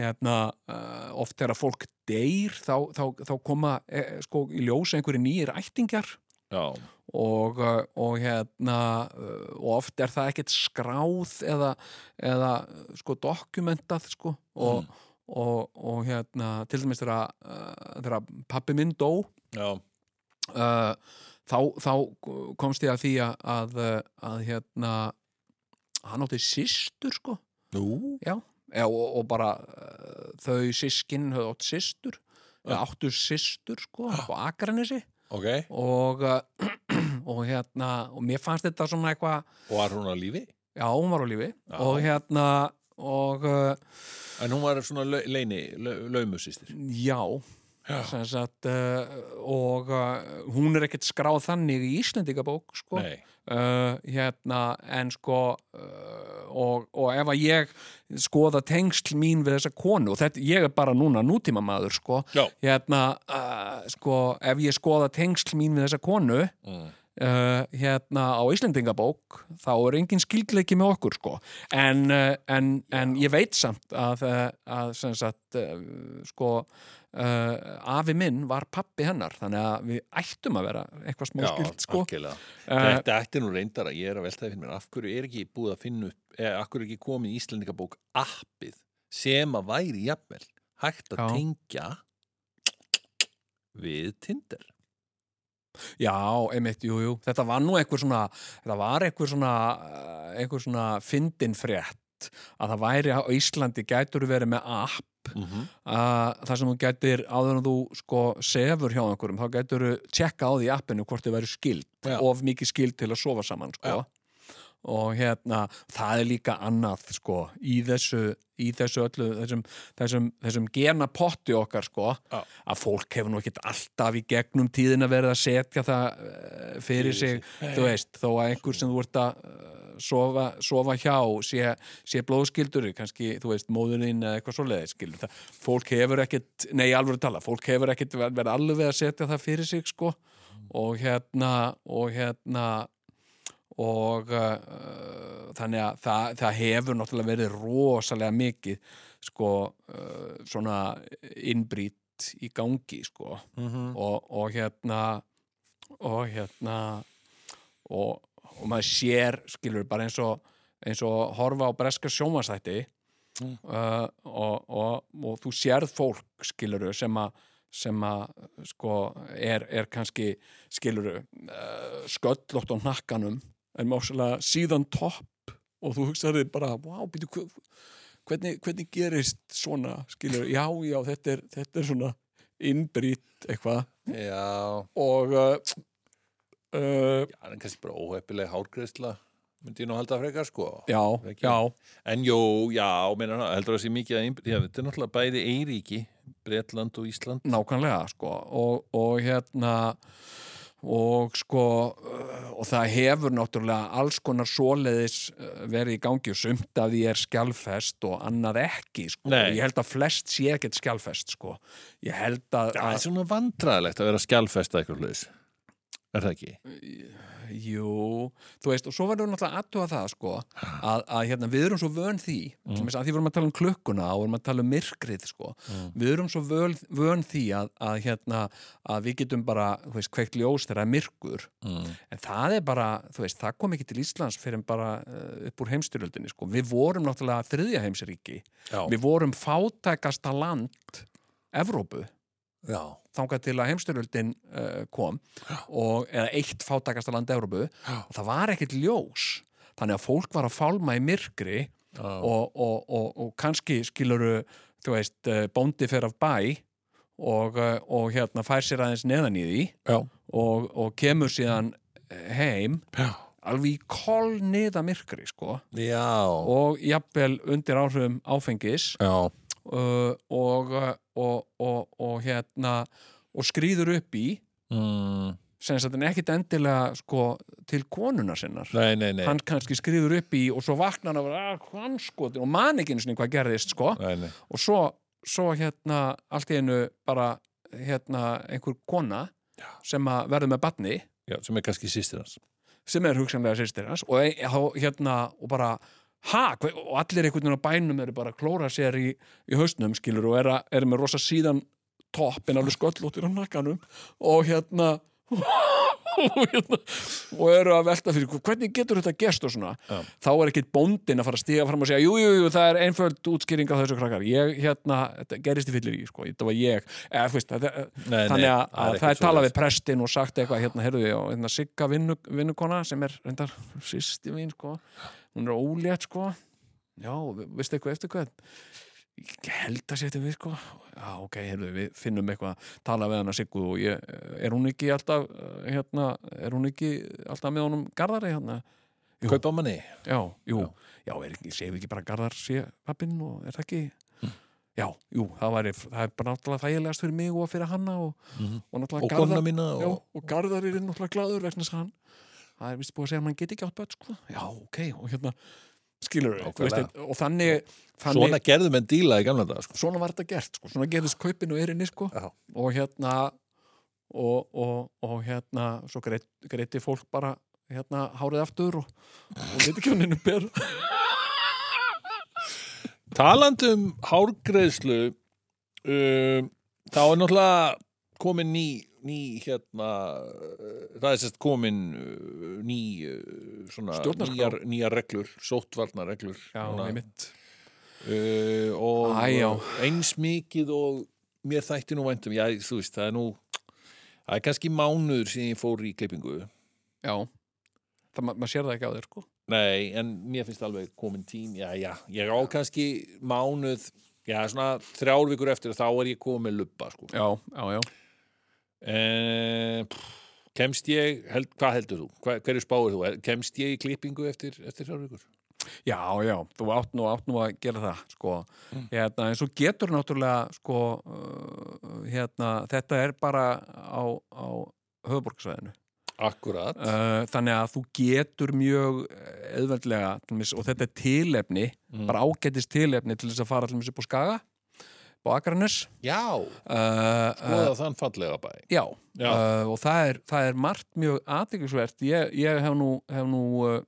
[SPEAKER 5] hérna, uh, oft þegar fólk deyr, þá, þá, þá koma eh, sko, í ljós einhverju nýjir ættingjar
[SPEAKER 4] Já,
[SPEAKER 5] og, uh, og hérna uh, og oft er það ekkert skráð eða, eða uh, sko dokumentað sko og, og, og hérna til dæmis þegar að, uh, þegar að pappi minn dó
[SPEAKER 4] já,
[SPEAKER 5] uh, þá, þá komst ég að því að, að, uh, að hérna hann átti systur sko
[SPEAKER 4] nú
[SPEAKER 5] já, e, og, og bara uh, þau sískinn höfðu átt systur eða áttu systur sko á Akranesi
[SPEAKER 4] Ok,
[SPEAKER 5] og, uh, og hérna og mér fannst þetta svona eitthvað
[SPEAKER 4] og var hún á lífi?
[SPEAKER 5] já, hún var á lífi
[SPEAKER 4] Já.
[SPEAKER 5] og hérna og uh,
[SPEAKER 4] En hún var svona lau- leini, lau- laumusýstir
[SPEAKER 5] já,
[SPEAKER 4] Já.
[SPEAKER 5] sem sagt uh, og uh, hún er ekkert skráð þannig í Íslendingabók sko
[SPEAKER 4] Nei,
[SPEAKER 5] uh, hérna en sko uh, og, og ef að ég skoða tengsl mín við þessa konu og þetta, ég er bara núna nútíma maður sko eh,
[SPEAKER 4] Já.
[SPEAKER 5] hérna uh, sko ef ég skoða tengsl mín við þessa konu
[SPEAKER 4] Mm.
[SPEAKER 5] uh, hérna á Íslendingabók þá er engin skilgleiki með okkur sko. en, uh, en, en ég veit samt að, uh, að sem sagt uh, sko uh, afi minn var pappi hennar þannig að við ættum að vera eitthvað smá skilt sko.
[SPEAKER 4] algjörlega.
[SPEAKER 5] uh,
[SPEAKER 4] Þetta ætti nú reyndar að ég er að velta því fyrir mér af hverju er ekki búið að finna upp eða af hverju er ekki komin í Íslandingabók appið sem að væri jafnvel hægt að
[SPEAKER 5] Já.
[SPEAKER 4] tengja við Tinder
[SPEAKER 5] já, einmitt, jú, jú þetta var nú einhver svona þetta var einhver svona, uh, einhver svona fyndin frétt að það væri á Íslandi gætur verið með app
[SPEAKER 4] mm -hmm.
[SPEAKER 5] að það sem þú gætir áður en þú sko sefur hjá einhverjum þá gætur þú tjekka á því í appinu hvort þau væri skild
[SPEAKER 4] Já.
[SPEAKER 5] of mikið skild til að sofa saman sko. og hérna það er líka annað sko í þessu, í þessu öllu þessum, þessum, þessum gena potti okkar sko
[SPEAKER 4] Já.
[SPEAKER 5] að fólk hefur nú ekkert alltaf í gegnum tíðin að verið að setja það eh, fyrir sig, þú veist, þó að einhver sem þú ert að eh, sofa, sofa hjá sé, sé blóðskildur kannski, þú veist, móðurinn eða eitthvað svoleiðis skilur það, fólk hefur ekkert nei, í alvöru tala, fólk hefur ekkert ver- verið alveg að setja það fyrir sig, sko og hérna, og hérna og uh, þannig að það, það hefur náttúrulega verið rosalega mikið sko uh, svona innbrýtt í gangi sko og, og hérna og hérna og, og maður sér skilur bara eins og, eins og horfa á breska sjónvarsætti uh, og, og, og þú sérð fólk skiluru sem að sem að sko er, er kannski skiluru uh, sköllótt á nakkanum en másalega síðan topp og þú hugsaði bara, wow, býtu hva- hvernig, hvernig gerist svona skilur, já, já, þetta er, þetta er svona innbrýtt eitthvað
[SPEAKER 4] Já,
[SPEAKER 5] og uh, uh,
[SPEAKER 4] já, en kannski bara óheppileg hárgreðsla myndi ég nú halda frekar sko
[SPEAKER 5] já,
[SPEAKER 4] Ekki.
[SPEAKER 5] já,
[SPEAKER 4] En jú, já, meina, heldur það sé mikið að einbyrja, þetta er náttúrulega bæði Eiríki, Bretland og Ísland
[SPEAKER 5] nákvæmlega sko og, og hérna og sko uh, og það hefur náttúrulega alls konar svoleiðis uh, verið í gangi og sumt að því er skjálfest og annað ekki sko,
[SPEAKER 4] Nei.
[SPEAKER 5] ég held að flest sé ekkert skjálfest sko, ég held að,
[SPEAKER 4] Það er svona vandræðilegt að vera skjálfesta eitthvað hlutis Er það ekki?
[SPEAKER 5] að jú, þú veist og svo verður náttúrulega aðtuga það sko að, að hérna, við erum svo vön því mm. að því vorum að tala um klukkuna og vorum að tala um myrkrið sko.
[SPEAKER 4] Mm.
[SPEAKER 5] við erum svo völ, vön því að, að, hérna, að við getum bara þú veist, kveikt ljós þegar það er myrkur
[SPEAKER 4] Mm.
[SPEAKER 5] en það er bara, þú veist, það kom ekki til Íslands fyrir en bara uh, upp úr heimstyrjöldinni sko. við vorum náttúrulega þriðja heimsríki
[SPEAKER 4] Já.
[SPEAKER 5] við vorum fátækasta land Evrópu
[SPEAKER 4] Já,
[SPEAKER 5] þangað til að heimstyrjöldin uh, kom og, eða eitt fátækasta land Evrópu og það var ekkert ljós þannig að fólk var að fálma í myrkri og, og, og, og kannski skiluru, þú veist, eh, bóndi fer af bæ og, eh, og hérna fær sér aðeins neðan í því
[SPEAKER 4] já,
[SPEAKER 5] og, og kemur síðan eh, heim
[SPEAKER 4] já,
[SPEAKER 5] alveg í koll niða myrkri sko
[SPEAKER 4] já.
[SPEAKER 5] og jafnvel undir áhrifum áfengis
[SPEAKER 4] já.
[SPEAKER 5] uh, og, uh, og, og, og hérna og skrýður upp í
[SPEAKER 4] Mm.
[SPEAKER 5] sem sagt en ekkit endilega sko til konuna sinnar
[SPEAKER 4] Nei, nei, nei.
[SPEAKER 5] hann kannski skrýður upp í og svo vaknar hann að vera hann skotin og man ekki einu sinni hvað gerðist sko
[SPEAKER 4] nei, nei.
[SPEAKER 5] og svo, svo hérna allt í einu bara hérna einhver kona sem að verður með batni
[SPEAKER 4] Já, sem er kannski sýstir hans.
[SPEAKER 5] sem er hugsanlega sýstir hans og, ein- þá, hérna, og bara ha, hver, og allir einhvern veginn á bænum eru bara að klóra sér í, í hausnum skilur og eru er með rosa síðan toppin alveg sköllóttir á nakkanum og hérna og hérna og eru að velta fyrir hvernig getur þetta gest og svona
[SPEAKER 4] Já.
[SPEAKER 5] þá er ekkit bóndin að fara að stiga fram og segja jú, jú, jú, það er einföld útskýring á þessu krakkar ég, hérna, þetta gerist í fyllir í sko, þetta var ég, eða, þú veist, þetta, eh,
[SPEAKER 4] Nei,
[SPEAKER 5] þannig
[SPEAKER 4] nei,
[SPEAKER 5] að,
[SPEAKER 4] það er
[SPEAKER 5] að
[SPEAKER 4] ekkert
[SPEAKER 5] það er talað
[SPEAKER 4] svoleiðis.
[SPEAKER 5] við prestinn og sagt eitthvað hérna, heyrðu ég, hérna Sigga vinnu, vinnukona sem er reyndar sýsti mín sko hún er ólétt sko já, vi- veistu eitthvað eftir hvað ég held að sé eftir við sko já, ok, heyrðu, við finnum eitthvað tala við hana Siggu og ég, er hún ekki alltaf, eh, hérna, er hún ekki alltaf með honum garðari hérna Jú.
[SPEAKER 4] Kaupa manni.
[SPEAKER 5] já, jú, já, er ekki, séu ekki bara garðar sé pappinn og er það ekki já, jú, það væri það er bara náttúrulega þægilegast fyrir mig og fyrir hanna og, og náttúrulega
[SPEAKER 4] Og konna mína.
[SPEAKER 5] Já,
[SPEAKER 4] Og...
[SPEAKER 5] og Garðar er náttúrulega gladur vegna þess að hann það er vist búið að segja að hann geti ekki átt börn sko. já, ok, og hérna skilur
[SPEAKER 4] Nákvæmlega.
[SPEAKER 5] við, og þannig, þannig
[SPEAKER 4] Svona gerðu menn díla í gamla dag, sko.
[SPEAKER 5] svona var þetta gert, sko. svona gerðist kaupin og erinni sko.
[SPEAKER 4] Já.
[SPEAKER 5] og hérna og, og, og hérna svo greit, greiti fólk bara hérna hárið aftur og, og liti kjóninu ber
[SPEAKER 4] Talandi um hárgreðslu um, þá er náttúrulega komin ný, ný hérna uh, það er sérst komin uh, ný uh, svona
[SPEAKER 5] Stjórnarskrá.
[SPEAKER 4] nýjar, nýjar reglur, sóttvarnarreglur
[SPEAKER 5] já,
[SPEAKER 4] Núna.
[SPEAKER 5] einmitt
[SPEAKER 4] uh, og
[SPEAKER 5] Æ, já.
[SPEAKER 4] eins mikið og mér þætti nú væntum já, þú veist, það er nú það er kannski mánuður síðan ég fór í klippingu
[SPEAKER 5] já, það ma- maður sér það ekki á þér sko
[SPEAKER 4] Nei, en mér finnst alveg komin tím, já, já, ég á kannski mánuð, já, svona þrjár vikur eftir þá er ég komin með lubba, sko.
[SPEAKER 5] já, já, já
[SPEAKER 4] E, kemst ég, held, hvað heldur þú? Hva, hverju spáir þú? Kemst ég í klippingu eftir, eftir þrjár vikur?
[SPEAKER 5] Já, já, þú átt nú, átt nú að gera það, sko. Hérna, en svo getur náttúrulega, sko, uh, hérna, þetta er bara á, á höfuborgsvæðinu.
[SPEAKER 4] Akkurat.
[SPEAKER 5] Uh, þannig að þú getur mjög eh, auðveldlega, tlumis, og þetta er tilefni, bara ágættis tilefni til þess að fara tlumis, upp á Skaga, á Akranes.
[SPEAKER 4] já,
[SPEAKER 5] Uh, uh,
[SPEAKER 4] skoða þann fallega bæ.
[SPEAKER 5] já,
[SPEAKER 4] Já.
[SPEAKER 5] Uh, og það er, það er margt mjög aðdyggisvert. Ég, ég hef nú, hef nú uh,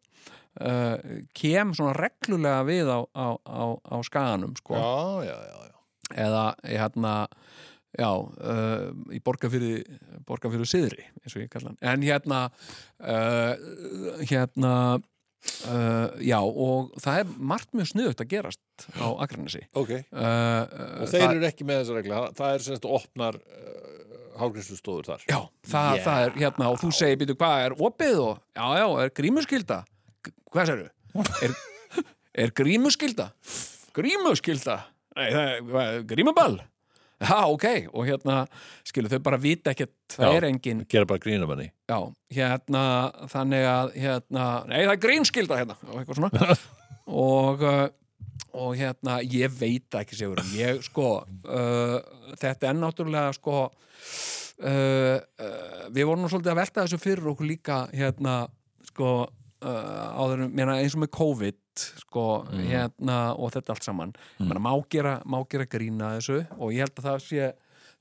[SPEAKER 5] uh, kem svona reglulega við á, á, á, á skaganum, sko.
[SPEAKER 4] Já, já, já, já.
[SPEAKER 5] Eða, ég hérna, já, uh, í borga fyrir, borga fyrir siðri, eins og ég kalla hann. En hérna, uh, hérna, uh, já, og það er margt mjög sniðugt að gerast á Akranesi.
[SPEAKER 4] Ok.
[SPEAKER 5] Uh,
[SPEAKER 4] Og þeir eru ekki með þessa regla, það er semst opnar uh, hálgriðslustóður þar.
[SPEAKER 5] Já, það,
[SPEAKER 4] Já.
[SPEAKER 5] það er hérna og þú segir, býtu, hvað er opið og já, já, er grímuskylda G- hvað sér er, er grímuskylda grímuskylda Nei, það er, hvað, er grímuball já, ok, og hérna skilu, þau bara vita ekkert, það
[SPEAKER 4] Já.
[SPEAKER 5] er engin
[SPEAKER 4] Gera bara grínum henni.
[SPEAKER 5] já, hérna, þannig að hérna, nei, það er grínskylda hérna og eitthvað svona og, uh, og hérna, ég veit það ekki sigur, ég sko uh, þetta er náttúrulega sko uh, uh, við vorum nú svolítið að velta þessu fyrir okkur líka hérna, sko uh, áður, en- meina, eins og með COVID sko, hérna, og þetta allt saman mm. meina, má, gera, má gera grína þessu og ég held að það sé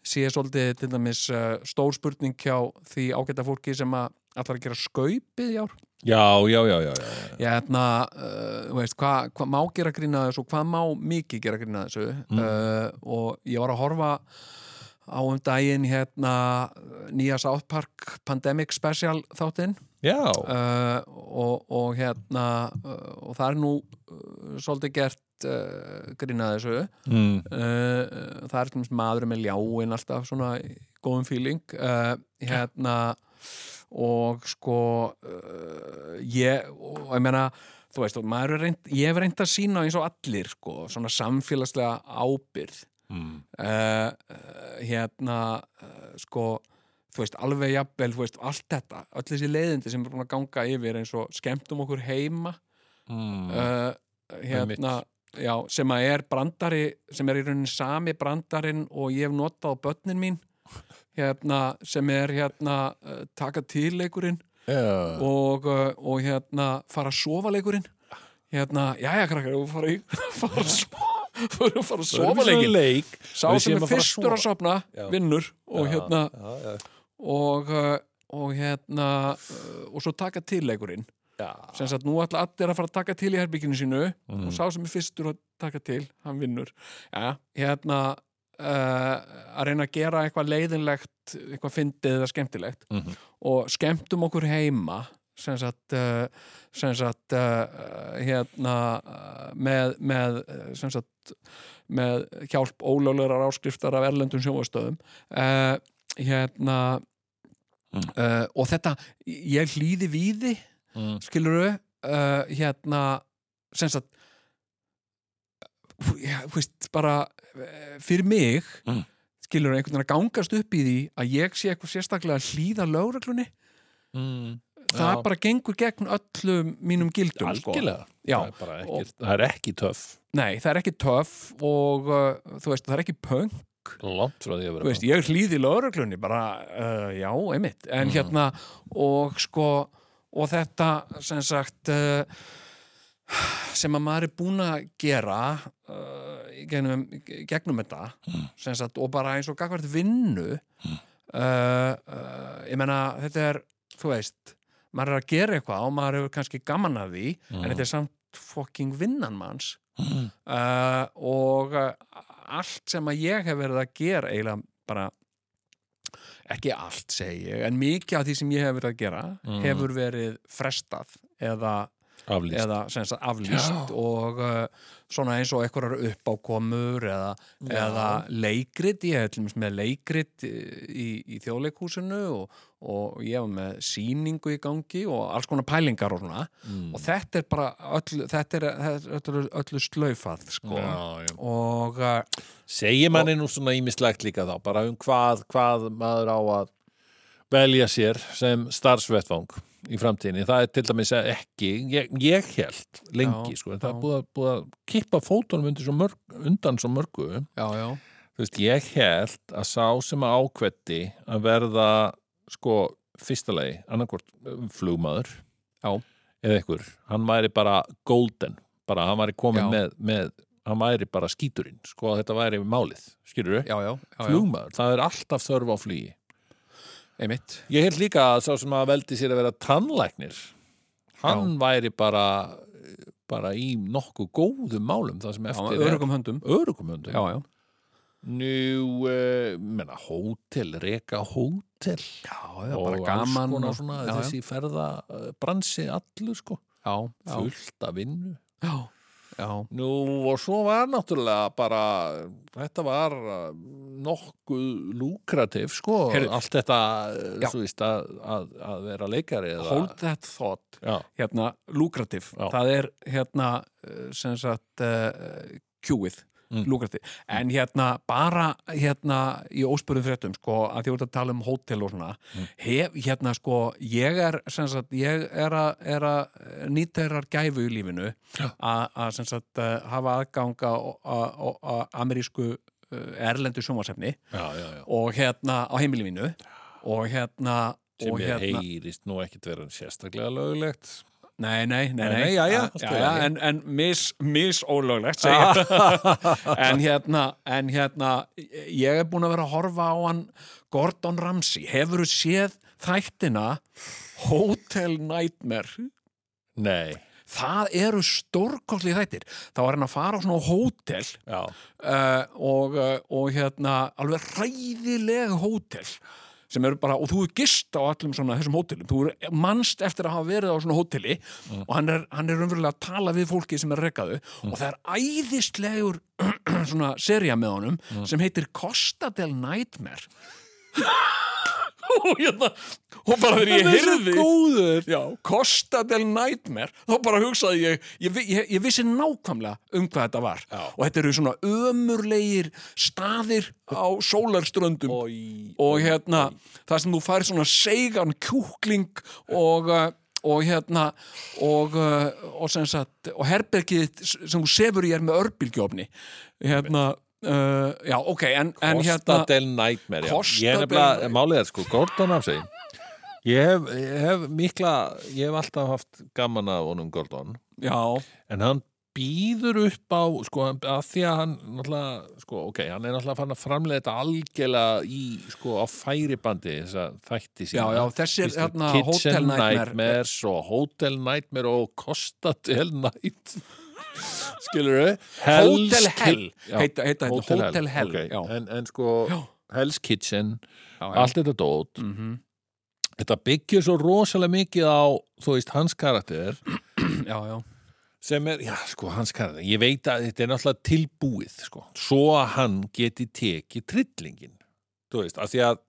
[SPEAKER 5] sé svolítið til dæmis uh, stór spurning hjá því ágæta fólki sem að allar að gera skaupið í ár
[SPEAKER 4] Já, já, já, já, já. já.
[SPEAKER 5] ég hefna, uh, þú veist, hvað hva má gera grína þessu og hvað má mikið gera grína þessu uh, og ég var að horfa á um daginn hérna nýja South Park Pandemic Special þáttinn
[SPEAKER 4] Já,
[SPEAKER 5] uh, og, og hérna uh, og það er nú uh, svolítið gert uh, grínað þessu
[SPEAKER 4] Mm.
[SPEAKER 5] uh, það er til dæmis maður með ljáin alltaf svona í góðum feeling uh, hérna og sko uh, ég, og, ég meina þú veist, og maður er reynd, ég hef reynd að sína eins og allir, sko, svona samfélagslega ábyrð
[SPEAKER 4] Mm.
[SPEAKER 5] uh, hérna uh, sko þú veist, alveg jafnvel, þú veist, allt þetta öll þessi leiðindi sem er búin að ganga yfir eins og skemmtum okkur heima
[SPEAKER 4] Mm.
[SPEAKER 5] uh, hérna
[SPEAKER 4] Einmitt.
[SPEAKER 5] já, sem að er brandari sem er í rauninni sami brandarinn og ég hef notað á börnin mín hérna, sem er hérna uh, taka til leikurinn
[SPEAKER 4] Eh, já.
[SPEAKER 5] og, uh, og hérna fara að sofa leikurinn hérna, jæja krakkar, við fara, í, fara að sofa við erum að fara að sofa leikin
[SPEAKER 4] leik
[SPEAKER 5] sá
[SPEAKER 4] Við
[SPEAKER 5] sem
[SPEAKER 4] séum
[SPEAKER 5] er
[SPEAKER 4] að fara að
[SPEAKER 5] fyrstur að
[SPEAKER 4] sofa.
[SPEAKER 5] sofna
[SPEAKER 4] Já.
[SPEAKER 5] vinnur og hérna
[SPEAKER 4] já, já.
[SPEAKER 5] og, uh, og hérna uh, og svo taka til leikurinn
[SPEAKER 4] Já. Mhm.
[SPEAKER 5] sem sagt nú ætla allir að fara að taka til í herbygginu sínu og sá sem er fyrstur að taka til hann vinnur ja, hérna uh, að reyna að gera eitthvað leiðinlegt eitthvað fyndið eða skemmtilegt
[SPEAKER 4] Mhm.
[SPEAKER 5] og skemmtum okkur heima sem sagt, uh, sem sagt uh, hérna uh, með, með uh, sem sagt með hjálp ólöglegar áskriftar af erlendum sjónvastöðum uh, hérna uh, og þetta, ég hlýði víði
[SPEAKER 4] Mm.
[SPEAKER 5] skilurðu uh, hérna sem sagt fú- já, þú veist, bara eh, fyrir mig
[SPEAKER 4] Mm.
[SPEAKER 5] skilurðu einhvern veginn að gangast upp í því að ég sé eitthvað sérstaklega að hlýða lögreglunni
[SPEAKER 4] Mm.
[SPEAKER 5] það
[SPEAKER 4] Já.
[SPEAKER 5] bara gengur gegn öllum mínum gildum sko.
[SPEAKER 4] Algjörlega.
[SPEAKER 5] Já,
[SPEAKER 4] Það er bara ekkert- það er ekki töff.
[SPEAKER 5] nei, það er ekki töff og uh, þú veist, það er ekki punk
[SPEAKER 4] Langt frá því að
[SPEAKER 5] Þú
[SPEAKER 4] vera
[SPEAKER 5] veist, ég hlýði lögreglunni bara, uh, já, einmitt en hérna, og sko og þetta, sem sagt uh, sem að maður er búin að gera uh, í gegnum, í gegnum þetta sem sagt, og bara eins og gagvart vinnu uh, uh, ég menna þetta er, þú veist maður er að gera eitthvað og maður hefur kannski gaman af því en þetta er samt fucking vinnan manns uh, og uh, allt sem að ég hef verið að gera eiginlega bara ekki allt segi ég, en mikið af því sem ég hef verið að gera hefur verið frestað eða
[SPEAKER 4] aflýst
[SPEAKER 5] eða sem sagt aflýst og uh, svona eins og einhverjar uppákomur eða, eða leikrit, ég hef til dæmis með leikrit eh, í, í þjóðleikúsinu og, og ég var með sýningu í gangi og alls konar pælingar og svona og þetta er bara öll, þetta er, þetta er öllu slaufað sko
[SPEAKER 4] Já, já.
[SPEAKER 5] og uh,
[SPEAKER 4] segir manni nú svona ímislegt líka þá bara um hvað, hvað maður á að velja sér sem starfsvettvang í framtíðinni það er til dæmis að ekki ég, ég held lengi
[SPEAKER 5] Já,
[SPEAKER 4] sko, en það
[SPEAKER 5] já.
[SPEAKER 4] er búið að, búið að kippa fótunum undir svo mörg, undan svo mörgu
[SPEAKER 5] já, já,
[SPEAKER 4] þú veist, ég held að sá sem að ákvetti að verða sko fyrsta lei, annarkvort flugmaður
[SPEAKER 5] Já.
[SPEAKER 4] eða einhver, hann væri bara golden, bara hann væri
[SPEAKER 5] Já.
[SPEAKER 4] komin með, með, hann væri bara skíturinn sko að þetta væri málið, skilur
[SPEAKER 5] já, já, já, já.
[SPEAKER 4] flugmaður, það er alltaf þörf á flugi
[SPEAKER 5] einmitt
[SPEAKER 4] ég held líka að sá sem að veldi sér að vera tannlæknir hann væri bara bara í nokkuð góðum málum það sem
[SPEAKER 5] á
[SPEAKER 4] eftir
[SPEAKER 5] örugum höndum
[SPEAKER 4] er örugumöndum
[SPEAKER 5] já, já,
[SPEAKER 4] Nú, uh, menna, hótel, reka hótel
[SPEAKER 5] já, já,
[SPEAKER 4] og
[SPEAKER 5] bara
[SPEAKER 4] alls
[SPEAKER 5] gaman
[SPEAKER 4] konar
[SPEAKER 5] og-
[SPEAKER 4] svona,
[SPEAKER 5] já, já,
[SPEAKER 4] þessi ferðabransi allur sko,
[SPEAKER 5] já, já,
[SPEAKER 4] fullt af vinnu
[SPEAKER 5] já, já.
[SPEAKER 4] Nú, og svo var náttúrulega bara, þetta var uh, nokkuð lúkratif sko,
[SPEAKER 5] Heyrðu,
[SPEAKER 4] allt þetta
[SPEAKER 5] já.
[SPEAKER 4] uh, svo víst að, að, að vera leikari eða,
[SPEAKER 5] Hold that thought
[SPEAKER 4] já,
[SPEAKER 5] hérna, lukrativ
[SPEAKER 4] Já.
[SPEAKER 5] það er hérna eh, sem sagt uh, kjúið
[SPEAKER 4] Mm.
[SPEAKER 5] lukrativ, en hérna bara hérna í óspurðum fréttum sko, að því voru að tala um hótel og svona hef, hérna sko, ég er sem sagt, ég er að, er að nýta þeirrar gæfu í lífinu a- að sem sagt uh, hafa aðganga að amerísku eh, erlendu sjónvarsefni
[SPEAKER 4] já, já, já
[SPEAKER 5] og hérna á heimili mínu og hérna
[SPEAKER 4] sem
[SPEAKER 5] og
[SPEAKER 4] ég
[SPEAKER 5] hérna,
[SPEAKER 4] heyrist nú ekkit vera sérstaklega lögulegt
[SPEAKER 5] Nei, nei, nei,
[SPEAKER 4] Nei,
[SPEAKER 5] nei,
[SPEAKER 4] nei, jæja, allt í
[SPEAKER 5] já,
[SPEAKER 4] lagi.
[SPEAKER 5] en, en mis, mis ólöglegt
[SPEAKER 4] Ah.
[SPEAKER 5] segja. en hérna, en hérna ég er búin að vera að horfa á hann Gordon Ramsay, hefur þú séð þættina Hotel Nightmare
[SPEAKER 4] Nei,
[SPEAKER 5] það eru stórkostlið þættir þá er hann að fara á svona hótel
[SPEAKER 4] já,
[SPEAKER 5] uh, og, uh, og hérna alveg ræðileg hótel sem eru bara, og þú er gist á allum svona þessum hótelum, þú er mannst eftir að hafa verið á svona hóteli og hann er, hann er umverulega að tala við fólki sem er rekaðu og það er æðislegur svona seria með honum sem heitir Costadel Nightmare og hérna og bara þegar ég heyrði
[SPEAKER 4] góður
[SPEAKER 5] Já, Costadel Nightmare þá bara hugsaði ég ég, vi- ég, ég vissi nákvæmlega um hvað þetta var Já. og þetta eru svona ömurlegir staðir á sólarströndum og, hérna það sem þú fær svona seigan kjúkling og uh, og hérna og, uh, og, sem sagt, og herbergið þitt sem þú sefur í er með örbylgjófni hérna uh, já ok en, en hérna
[SPEAKER 4] Costa del Nightmare já.
[SPEAKER 5] Costa
[SPEAKER 4] Ég er
[SPEAKER 5] del
[SPEAKER 4] nefnilega,
[SPEAKER 5] Nightmare.
[SPEAKER 4] málið er sko, Gordon Ramsay ég hef, ég hef mikla ég hef alltaf haft gaman af honum Gordon
[SPEAKER 5] já,
[SPEAKER 4] en hann býður upp á sko, að því að hann náttúrulega, sko, ok, hann er náttúrulega fann að framlega þetta algjörlega í, sko, á færibandi þess að
[SPEAKER 5] já,
[SPEAKER 4] þætti sína
[SPEAKER 5] já, þessi er
[SPEAKER 4] Fyrstu
[SPEAKER 5] hérna
[SPEAKER 4] Kitchen
[SPEAKER 5] Hotel Nightmare
[SPEAKER 4] Nightmares og Hotel Nightmare og Costa del Night skilur þau
[SPEAKER 5] Hotel Hell heita, heita, heita
[SPEAKER 4] Hotel,
[SPEAKER 5] Hotel Hell,
[SPEAKER 4] ok.
[SPEAKER 5] já.
[SPEAKER 4] en, en sko
[SPEAKER 5] Já.
[SPEAKER 4] Hell's Kitchen
[SPEAKER 5] já, Mhm. já.
[SPEAKER 4] allt þetta dót þetta byggir svo rosalega mikið á þú veist hans karakter
[SPEAKER 5] já, já,
[SPEAKER 4] sem er, já sko hans karakter ég veit að þetta er náttúrulega tilbúið sko, svo að hann geti tekið trillingin, þú veist af því að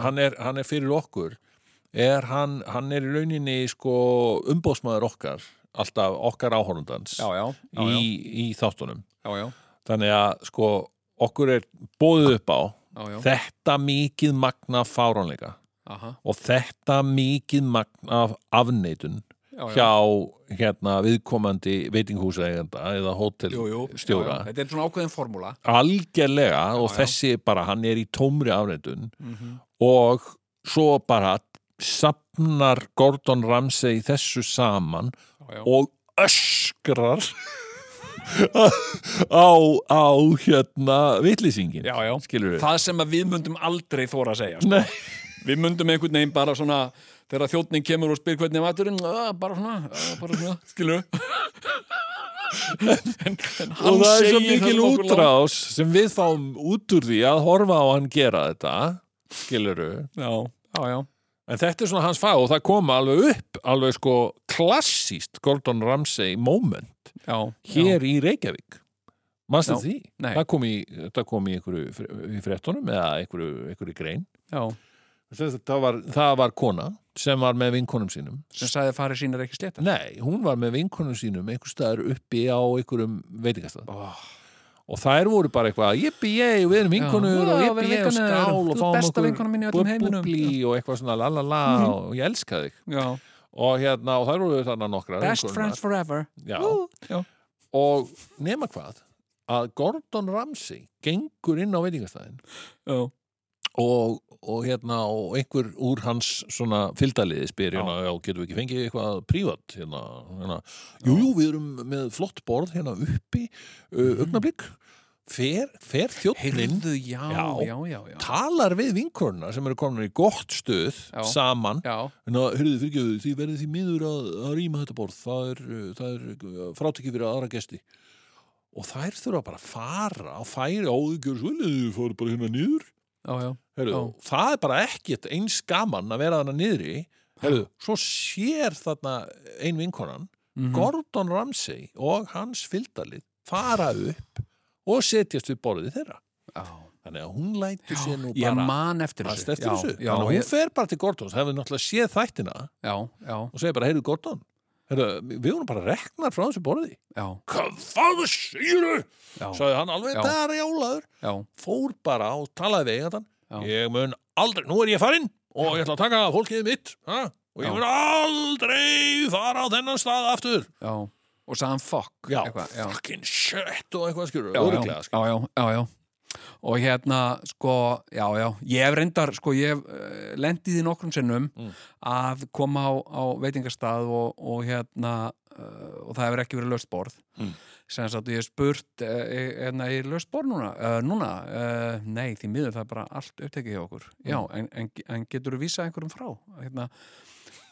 [SPEAKER 4] hann er, hann er fyrir okkur er hann, hann er í rauninni sko umbóðsmaður okkar alltaf okkar áhorundans
[SPEAKER 5] já, já, já, já,
[SPEAKER 4] í, í þáttunum
[SPEAKER 5] já, já,
[SPEAKER 4] þannig að sko okkur er bóðið upp á
[SPEAKER 5] já, já.
[SPEAKER 4] þetta mikið magna fáránleika
[SPEAKER 5] Aha,
[SPEAKER 4] og þetta mikið magna af afneitun
[SPEAKER 5] já, já.
[SPEAKER 4] hjá hérna viðkomandi veitinghúsægenda eða
[SPEAKER 5] Jú, jú, já,
[SPEAKER 4] hótelstjóra
[SPEAKER 5] já. þetta er svona ákveðin formúla
[SPEAKER 4] algjörlega og
[SPEAKER 5] já. Mhm.
[SPEAKER 4] þessi bara hann er í tómri afneitun og svo bara sapnar Gordon Ramsay þessu saman
[SPEAKER 5] já, já.
[SPEAKER 4] og öskrar á, á hérna vitlýsingin
[SPEAKER 5] Já, já.
[SPEAKER 4] skilur við
[SPEAKER 5] það sem að við myndum aldrei þóra að segja sko.
[SPEAKER 4] Nei,
[SPEAKER 5] við myndum einhvern veginn bara svona þegar þjóttning kemur og spyr hvernig er maturinn "Ah, bara svona, ah, bara svona, skilu en, en hann
[SPEAKER 4] og það er svo
[SPEAKER 5] segir
[SPEAKER 4] mikil
[SPEAKER 5] sem okkur lang-
[SPEAKER 4] útrás sem við fáum út úr því að horfa á hann gera þetta skilur við
[SPEAKER 5] já, já, já,
[SPEAKER 4] en þetta er svona hans fag og það koma alveg upp alveg sko klassíst Gordon Ramsay moment
[SPEAKER 5] já, já.
[SPEAKER 4] hér í Reykjavík mannstu
[SPEAKER 5] Já.
[SPEAKER 4] því?
[SPEAKER 5] Nei.
[SPEAKER 4] Það kom í, það kom í einhverju fr- í fréttunum eða einhverju, einhverju grein
[SPEAKER 5] já,
[SPEAKER 4] Sem sagt, það var, það var kona sem var með vinkonum sínum
[SPEAKER 5] sem sagði að farið sínar ekki sleta
[SPEAKER 4] Nei, hún var með vinkonum sínum einhver staðar uppi á einhverjum veitingastað
[SPEAKER 5] Oh.
[SPEAKER 4] og þær voru bara eitthvað jippi ég, við erum vinkonur
[SPEAKER 5] Já,
[SPEAKER 4] og
[SPEAKER 5] við
[SPEAKER 4] jippi
[SPEAKER 5] erum
[SPEAKER 4] ég og
[SPEAKER 5] vinkonur. Þú
[SPEAKER 4] skál og
[SPEAKER 5] ert
[SPEAKER 4] fáum
[SPEAKER 5] besta vinkonan mín í öllum heiminum. Mhm.
[SPEAKER 4] búbli og eitthvað svona la la la og ég elska þig
[SPEAKER 5] já,
[SPEAKER 4] og hérna, og þær voru þarna nokkra
[SPEAKER 5] best friends forever
[SPEAKER 4] Já.
[SPEAKER 5] já,
[SPEAKER 4] og nema hvað að Gordon Ramsay gengur inn á veitingastæðin
[SPEAKER 5] já,
[SPEAKER 4] og, og hérna og einhver úr hans svona fylgdaliði spyr hérna, já, getum við ekki fengið eitthvað prívat hérna, hérna, jú, jú, við erum með flott borð hérna uppi uh, augnablík fer, fer þjóttnin
[SPEAKER 5] Mhm. heyrðu, já, já,
[SPEAKER 4] Já.
[SPEAKER 5] já, já, já.
[SPEAKER 4] talar við vinkorna sem eru komin í gott stuð
[SPEAKER 5] Já.
[SPEAKER 4] saman
[SPEAKER 5] já.
[SPEAKER 4] hérna, hörðu fyrirgjöðu, því verði því miður að, að rýma þetta borð, það er, uh, það er frátekki fyrir aðra gesti og þær þurfa bara að fara og færi áðugjör svolítið, þau fóru bara hérna niður
[SPEAKER 5] já, já.
[SPEAKER 4] Heyrðu, það er bara ekkert eins gaman að vera þarna niðri Heyrðu, svo sér þarna ein vinkonan
[SPEAKER 5] Mhm.
[SPEAKER 4] Gordon Ramsay og hans fylgdalið fara upp og setjast við borðið þeirra
[SPEAKER 5] já.
[SPEAKER 4] þannig að hún lætur sér nú
[SPEAKER 5] ég
[SPEAKER 4] bara
[SPEAKER 5] man eftir
[SPEAKER 4] að
[SPEAKER 5] þessu
[SPEAKER 4] stættir þessu
[SPEAKER 5] já,
[SPEAKER 4] þannig að hún
[SPEAKER 5] ég-
[SPEAKER 4] fer bara til Gordons hefur náttúrulega séð þættina
[SPEAKER 5] já, já,
[SPEAKER 4] og segir bara, heyrðu Gordon heyrðu, við vorum bara reknar frá þessu borði
[SPEAKER 5] já,
[SPEAKER 4] hvað það séru
[SPEAKER 5] já,
[SPEAKER 4] sagði hann alveg,
[SPEAKER 5] Já.
[SPEAKER 4] það er jálaður
[SPEAKER 5] já,
[SPEAKER 4] fór bara og talaði við eigandann
[SPEAKER 5] Já.
[SPEAKER 4] ég mun aldrei, nú er ég farinn og ég ætla að taka fólkið mitt ha? og ég
[SPEAKER 5] Já.
[SPEAKER 4] mun aldrei fara á þennan stað aftur
[SPEAKER 5] já og sagðan fuck
[SPEAKER 4] já, sko.
[SPEAKER 5] eitthvað, já.
[SPEAKER 4] fucking shit og eitthvað skjur
[SPEAKER 5] já, já,
[SPEAKER 4] öruglega skjur
[SPEAKER 5] já, já, já, já og hérna, sko, já, já ég hef reyndar, sko, ég hef uh, lendið í því nokkrum sinnum
[SPEAKER 4] Mm.
[SPEAKER 5] að koma á, á veitingastað og, og hérna uh, og það hefur ekki verið löst borð
[SPEAKER 4] Mm.
[SPEAKER 5] sem sagt, og ég hef spurt uh, hérna, er löst borð núna? Uh, núna? Uh, nei, því miður það er bara allt upptekið hjá okkur
[SPEAKER 4] Mm.
[SPEAKER 5] já, en, en, en getur þú vísað einhverjum frá? hérna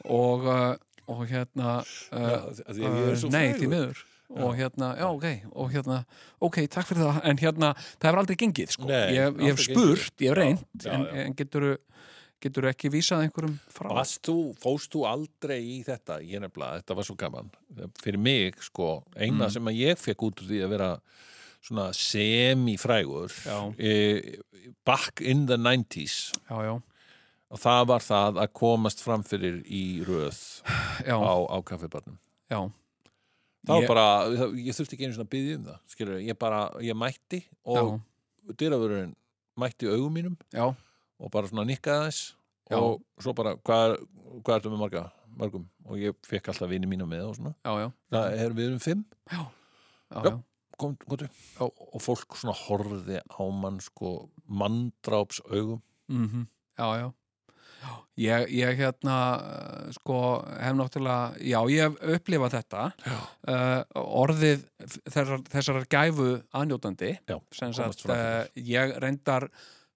[SPEAKER 5] og, uh, og hérna uh, Uh, Nei, því miður og hérna, já, ok, og hérna ok, takk fyrir það, en hérna það hefur aldrei gengið, sko,
[SPEAKER 4] Nei,
[SPEAKER 5] ég, ég hef
[SPEAKER 4] aldrei
[SPEAKER 5] spurt ég hef reynt,
[SPEAKER 4] Já, já,
[SPEAKER 5] en,
[SPEAKER 4] já.
[SPEAKER 5] en getur getur ekki vísað einhverjum frá
[SPEAKER 4] Varst þú, fóst þú aldrei í þetta? Ég nefnilega, þetta var svo gaman. Fyrir mig, sko, eina
[SPEAKER 5] Mm.
[SPEAKER 4] sem að ég fekk út úr því að vera svona semifrægur
[SPEAKER 5] Já.
[SPEAKER 4] e, back in the 90s
[SPEAKER 5] já, já,
[SPEAKER 4] og það var það að komast fram fyrir í röð
[SPEAKER 5] já,
[SPEAKER 4] á, á kaffibarnum.
[SPEAKER 5] já
[SPEAKER 4] Það var
[SPEAKER 5] Ég-
[SPEAKER 4] bara, það, ég þurfti ekki einu svona að byggja um það, skilur, ég bara, ég mætti og
[SPEAKER 5] já,
[SPEAKER 4] dyravörurinn mætti augum mínum
[SPEAKER 5] já,
[SPEAKER 4] og bara svona nikkaði þess
[SPEAKER 5] Já.
[SPEAKER 4] og svo bara, hvað, er- hvað ertu með marga? Margum. Og ég fekk alltaf vini mína með og svona.
[SPEAKER 5] já, já,
[SPEAKER 4] Það er við um fimm,
[SPEAKER 5] já,
[SPEAKER 4] Já.
[SPEAKER 5] já.
[SPEAKER 4] kom, komdu. Og, og fólk svona horfði á mann sko manndráps augum.
[SPEAKER 5] Mm já, já Ég, ég hérna eh, sko hef náttúrulega, já ég hef upplifað þetta uh, orðið þessar, þessarar gæfu aðnjótandi
[SPEAKER 4] Já,
[SPEAKER 5] sem sagt,
[SPEAKER 4] komast fram fyrir.
[SPEAKER 5] uh, ég reyndar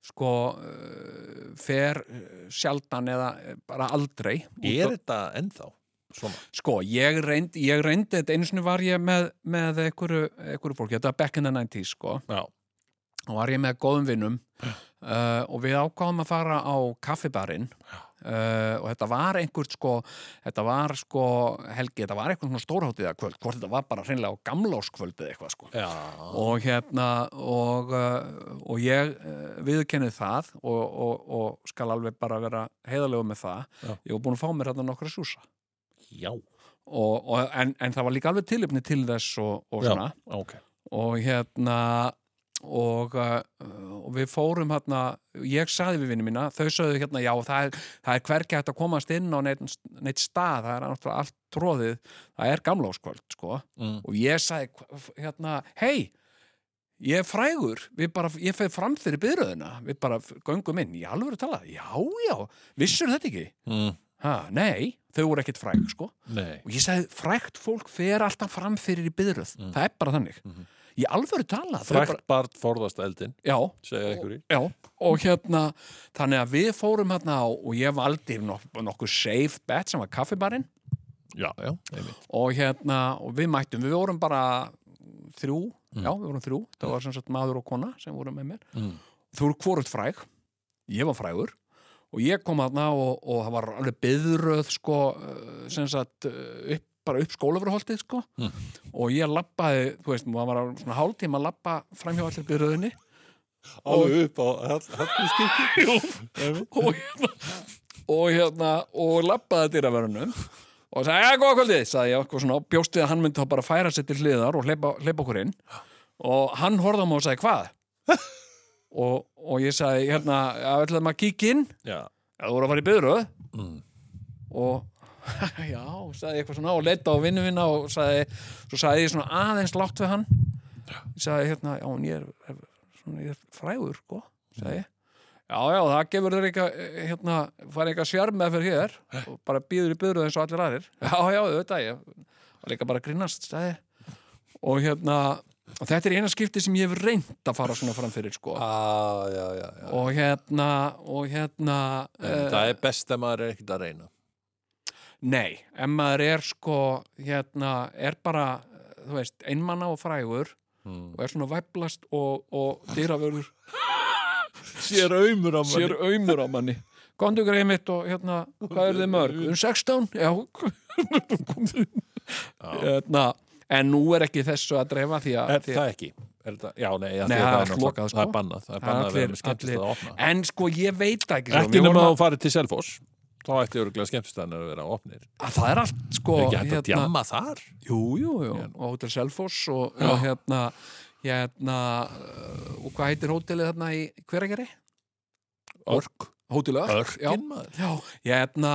[SPEAKER 5] sko uh, fer eh, sjaldan eða eh, bara aldrei út á-
[SPEAKER 4] Er þetta ennþá svona?
[SPEAKER 5] Sko, ég reyndi, ég reyndi þetta einu sinni var ég með, með einhverju, einhverju fólki, þetta var back in the 90s sko
[SPEAKER 4] Já.
[SPEAKER 5] og var ég með góðum vinnum uh, og við ákváðum að fara á kaffibarinn uh, og þetta var einhvert sko þetta var sko, Helgi, þetta var eitthvað svona stórháttiða kvöld, hvort þetta var bara hreinlega á gamláskvöld eða eitthvað sko
[SPEAKER 4] Já.
[SPEAKER 5] og hérna og, uh, og ég uh, viðkennið það og, og, og skal alveg bara vera heiðalegu með það
[SPEAKER 4] Já.
[SPEAKER 5] ég var búin að fá mér hérna nokkra súsa
[SPEAKER 4] Já.
[SPEAKER 5] og, og, en, en það var líka alveg tilöfni til þess og, og svona
[SPEAKER 4] Ok.
[SPEAKER 5] og hérna og, uh, og við fórum hérna, ég saði við vinni mína þau saðu hérna, já það er, það er hvergi hægt að komast inn á neitt, neitt stað það er náttúrulega allt tróðið það er gamláskvöld sko
[SPEAKER 4] Mm.
[SPEAKER 5] og ég saði hva- hérna, hei ég er frægur, við bara, ég feð fram fyrir byrðuna, við bara göngum inn, í alvöru talað, já, já vissur þetta ekki
[SPEAKER 4] Mm.
[SPEAKER 5] ha, nei, þau voru ekkert fræg sko.
[SPEAKER 4] Nei.
[SPEAKER 5] og ég sagði, frægt fólk fer alltaf fram fyrir í byðröð, það er bara þannig í alvöru tala þau bara,
[SPEAKER 4] Frækt barn forðast eldin,
[SPEAKER 5] já,
[SPEAKER 4] segja ykkur í.
[SPEAKER 5] Já, og hérna, þannig að við fórum hérna á, og ég valdi nok nokkuð safe bet sem var kaffibarinn
[SPEAKER 4] Já, já, einmitt.
[SPEAKER 5] og hérna, og við mættum, við vorum bara þrjú, já, við vorum þrjú, það var sem sagt maður og kona sem voru með mér.
[SPEAKER 4] Mm.
[SPEAKER 5] Þú voru hvorugt fræg, ég var frægur og ég kom hérna og, og það var alveg byðröð, sko, eh, sem sagt, eh, upp bara upp skólaverholtið sko og ég labbaði, þú veist, maður var svona hálftíma að labba framhjá allir byrðuðinni
[SPEAKER 4] Alveg upp á hallskipti.
[SPEAKER 5] og hérna og hérna, og lappaði dýravörunum og sagði, já, góða kvöldið sagði ég okkur svona, og bjóst við að hann myndi þá bara færa sér til hliðar og hleypa, hleypa okkur inn og hann horfði á mig og sagði, hvað? og, og ég sagði, hérna að ætlaðum að kíkja inn
[SPEAKER 4] Já,
[SPEAKER 5] að þú voru að fara í byrðröð
[SPEAKER 4] Mm.
[SPEAKER 5] og já, sagði ég eitthvað svona og leita á vinnu minna og sagði svo sagði ég svona aðeins látt við hann ég sagði hérna, já, en ég er, er, svona, ég er frægur, sko sagði ég
[SPEAKER 4] Mm.
[SPEAKER 5] Já, já, það gefur þér eitthvað, eh, hérna, fara eitthvað sjarm með fyrir hér og bara býður í byrðu eins og allir aðrir. Já, já, þetta ég var líka bara að grínast, sagði. ég. Og hérna, og þetta er eina skipti sem ég hef reynd að fara svona fram fyrir, sko.
[SPEAKER 4] ah, já, já, já.
[SPEAKER 5] Og hérna, og hérna... eh,
[SPEAKER 4] Það er best að maður er ekkert að reyna.
[SPEAKER 5] Nei, ef maður er sko hérna, er bara þú veist, einmanna og frægur
[SPEAKER 4] Hmm.
[SPEAKER 5] og er svona væplast og, og dýravörður
[SPEAKER 4] Sér aumur á
[SPEAKER 5] sér aumur á manni komdu greið mitt og hérna, hvað er þið mörg? Um 16? Já, komdu inn. hérna, en nú er ekki þessu að dreifa því að
[SPEAKER 4] Er
[SPEAKER 5] því að-
[SPEAKER 4] það ekki? Er það, já, nei,
[SPEAKER 5] Nei, það er allt lokað, sko.
[SPEAKER 4] Það er bannað, það er bannað að vera með skemmtist að opna.
[SPEAKER 5] en sko ég veit það ekki sko,
[SPEAKER 4] Ekki
[SPEAKER 5] við vorum
[SPEAKER 4] nema
[SPEAKER 5] að,
[SPEAKER 4] þú farið til Selfoss þá ætti örgulega skemmtistæðan að vera opnir
[SPEAKER 5] að það er allt sko
[SPEAKER 4] er ekki hægt að djamma þar
[SPEAKER 5] Jú, jú, jú, og Hotel Selfoss og, og hérna, hérna uh, og hvað heitir hótelið þarna í Hveragerði?
[SPEAKER 4] Örk,
[SPEAKER 5] Hótel Örk,
[SPEAKER 4] örkin maður
[SPEAKER 5] já, já, hérna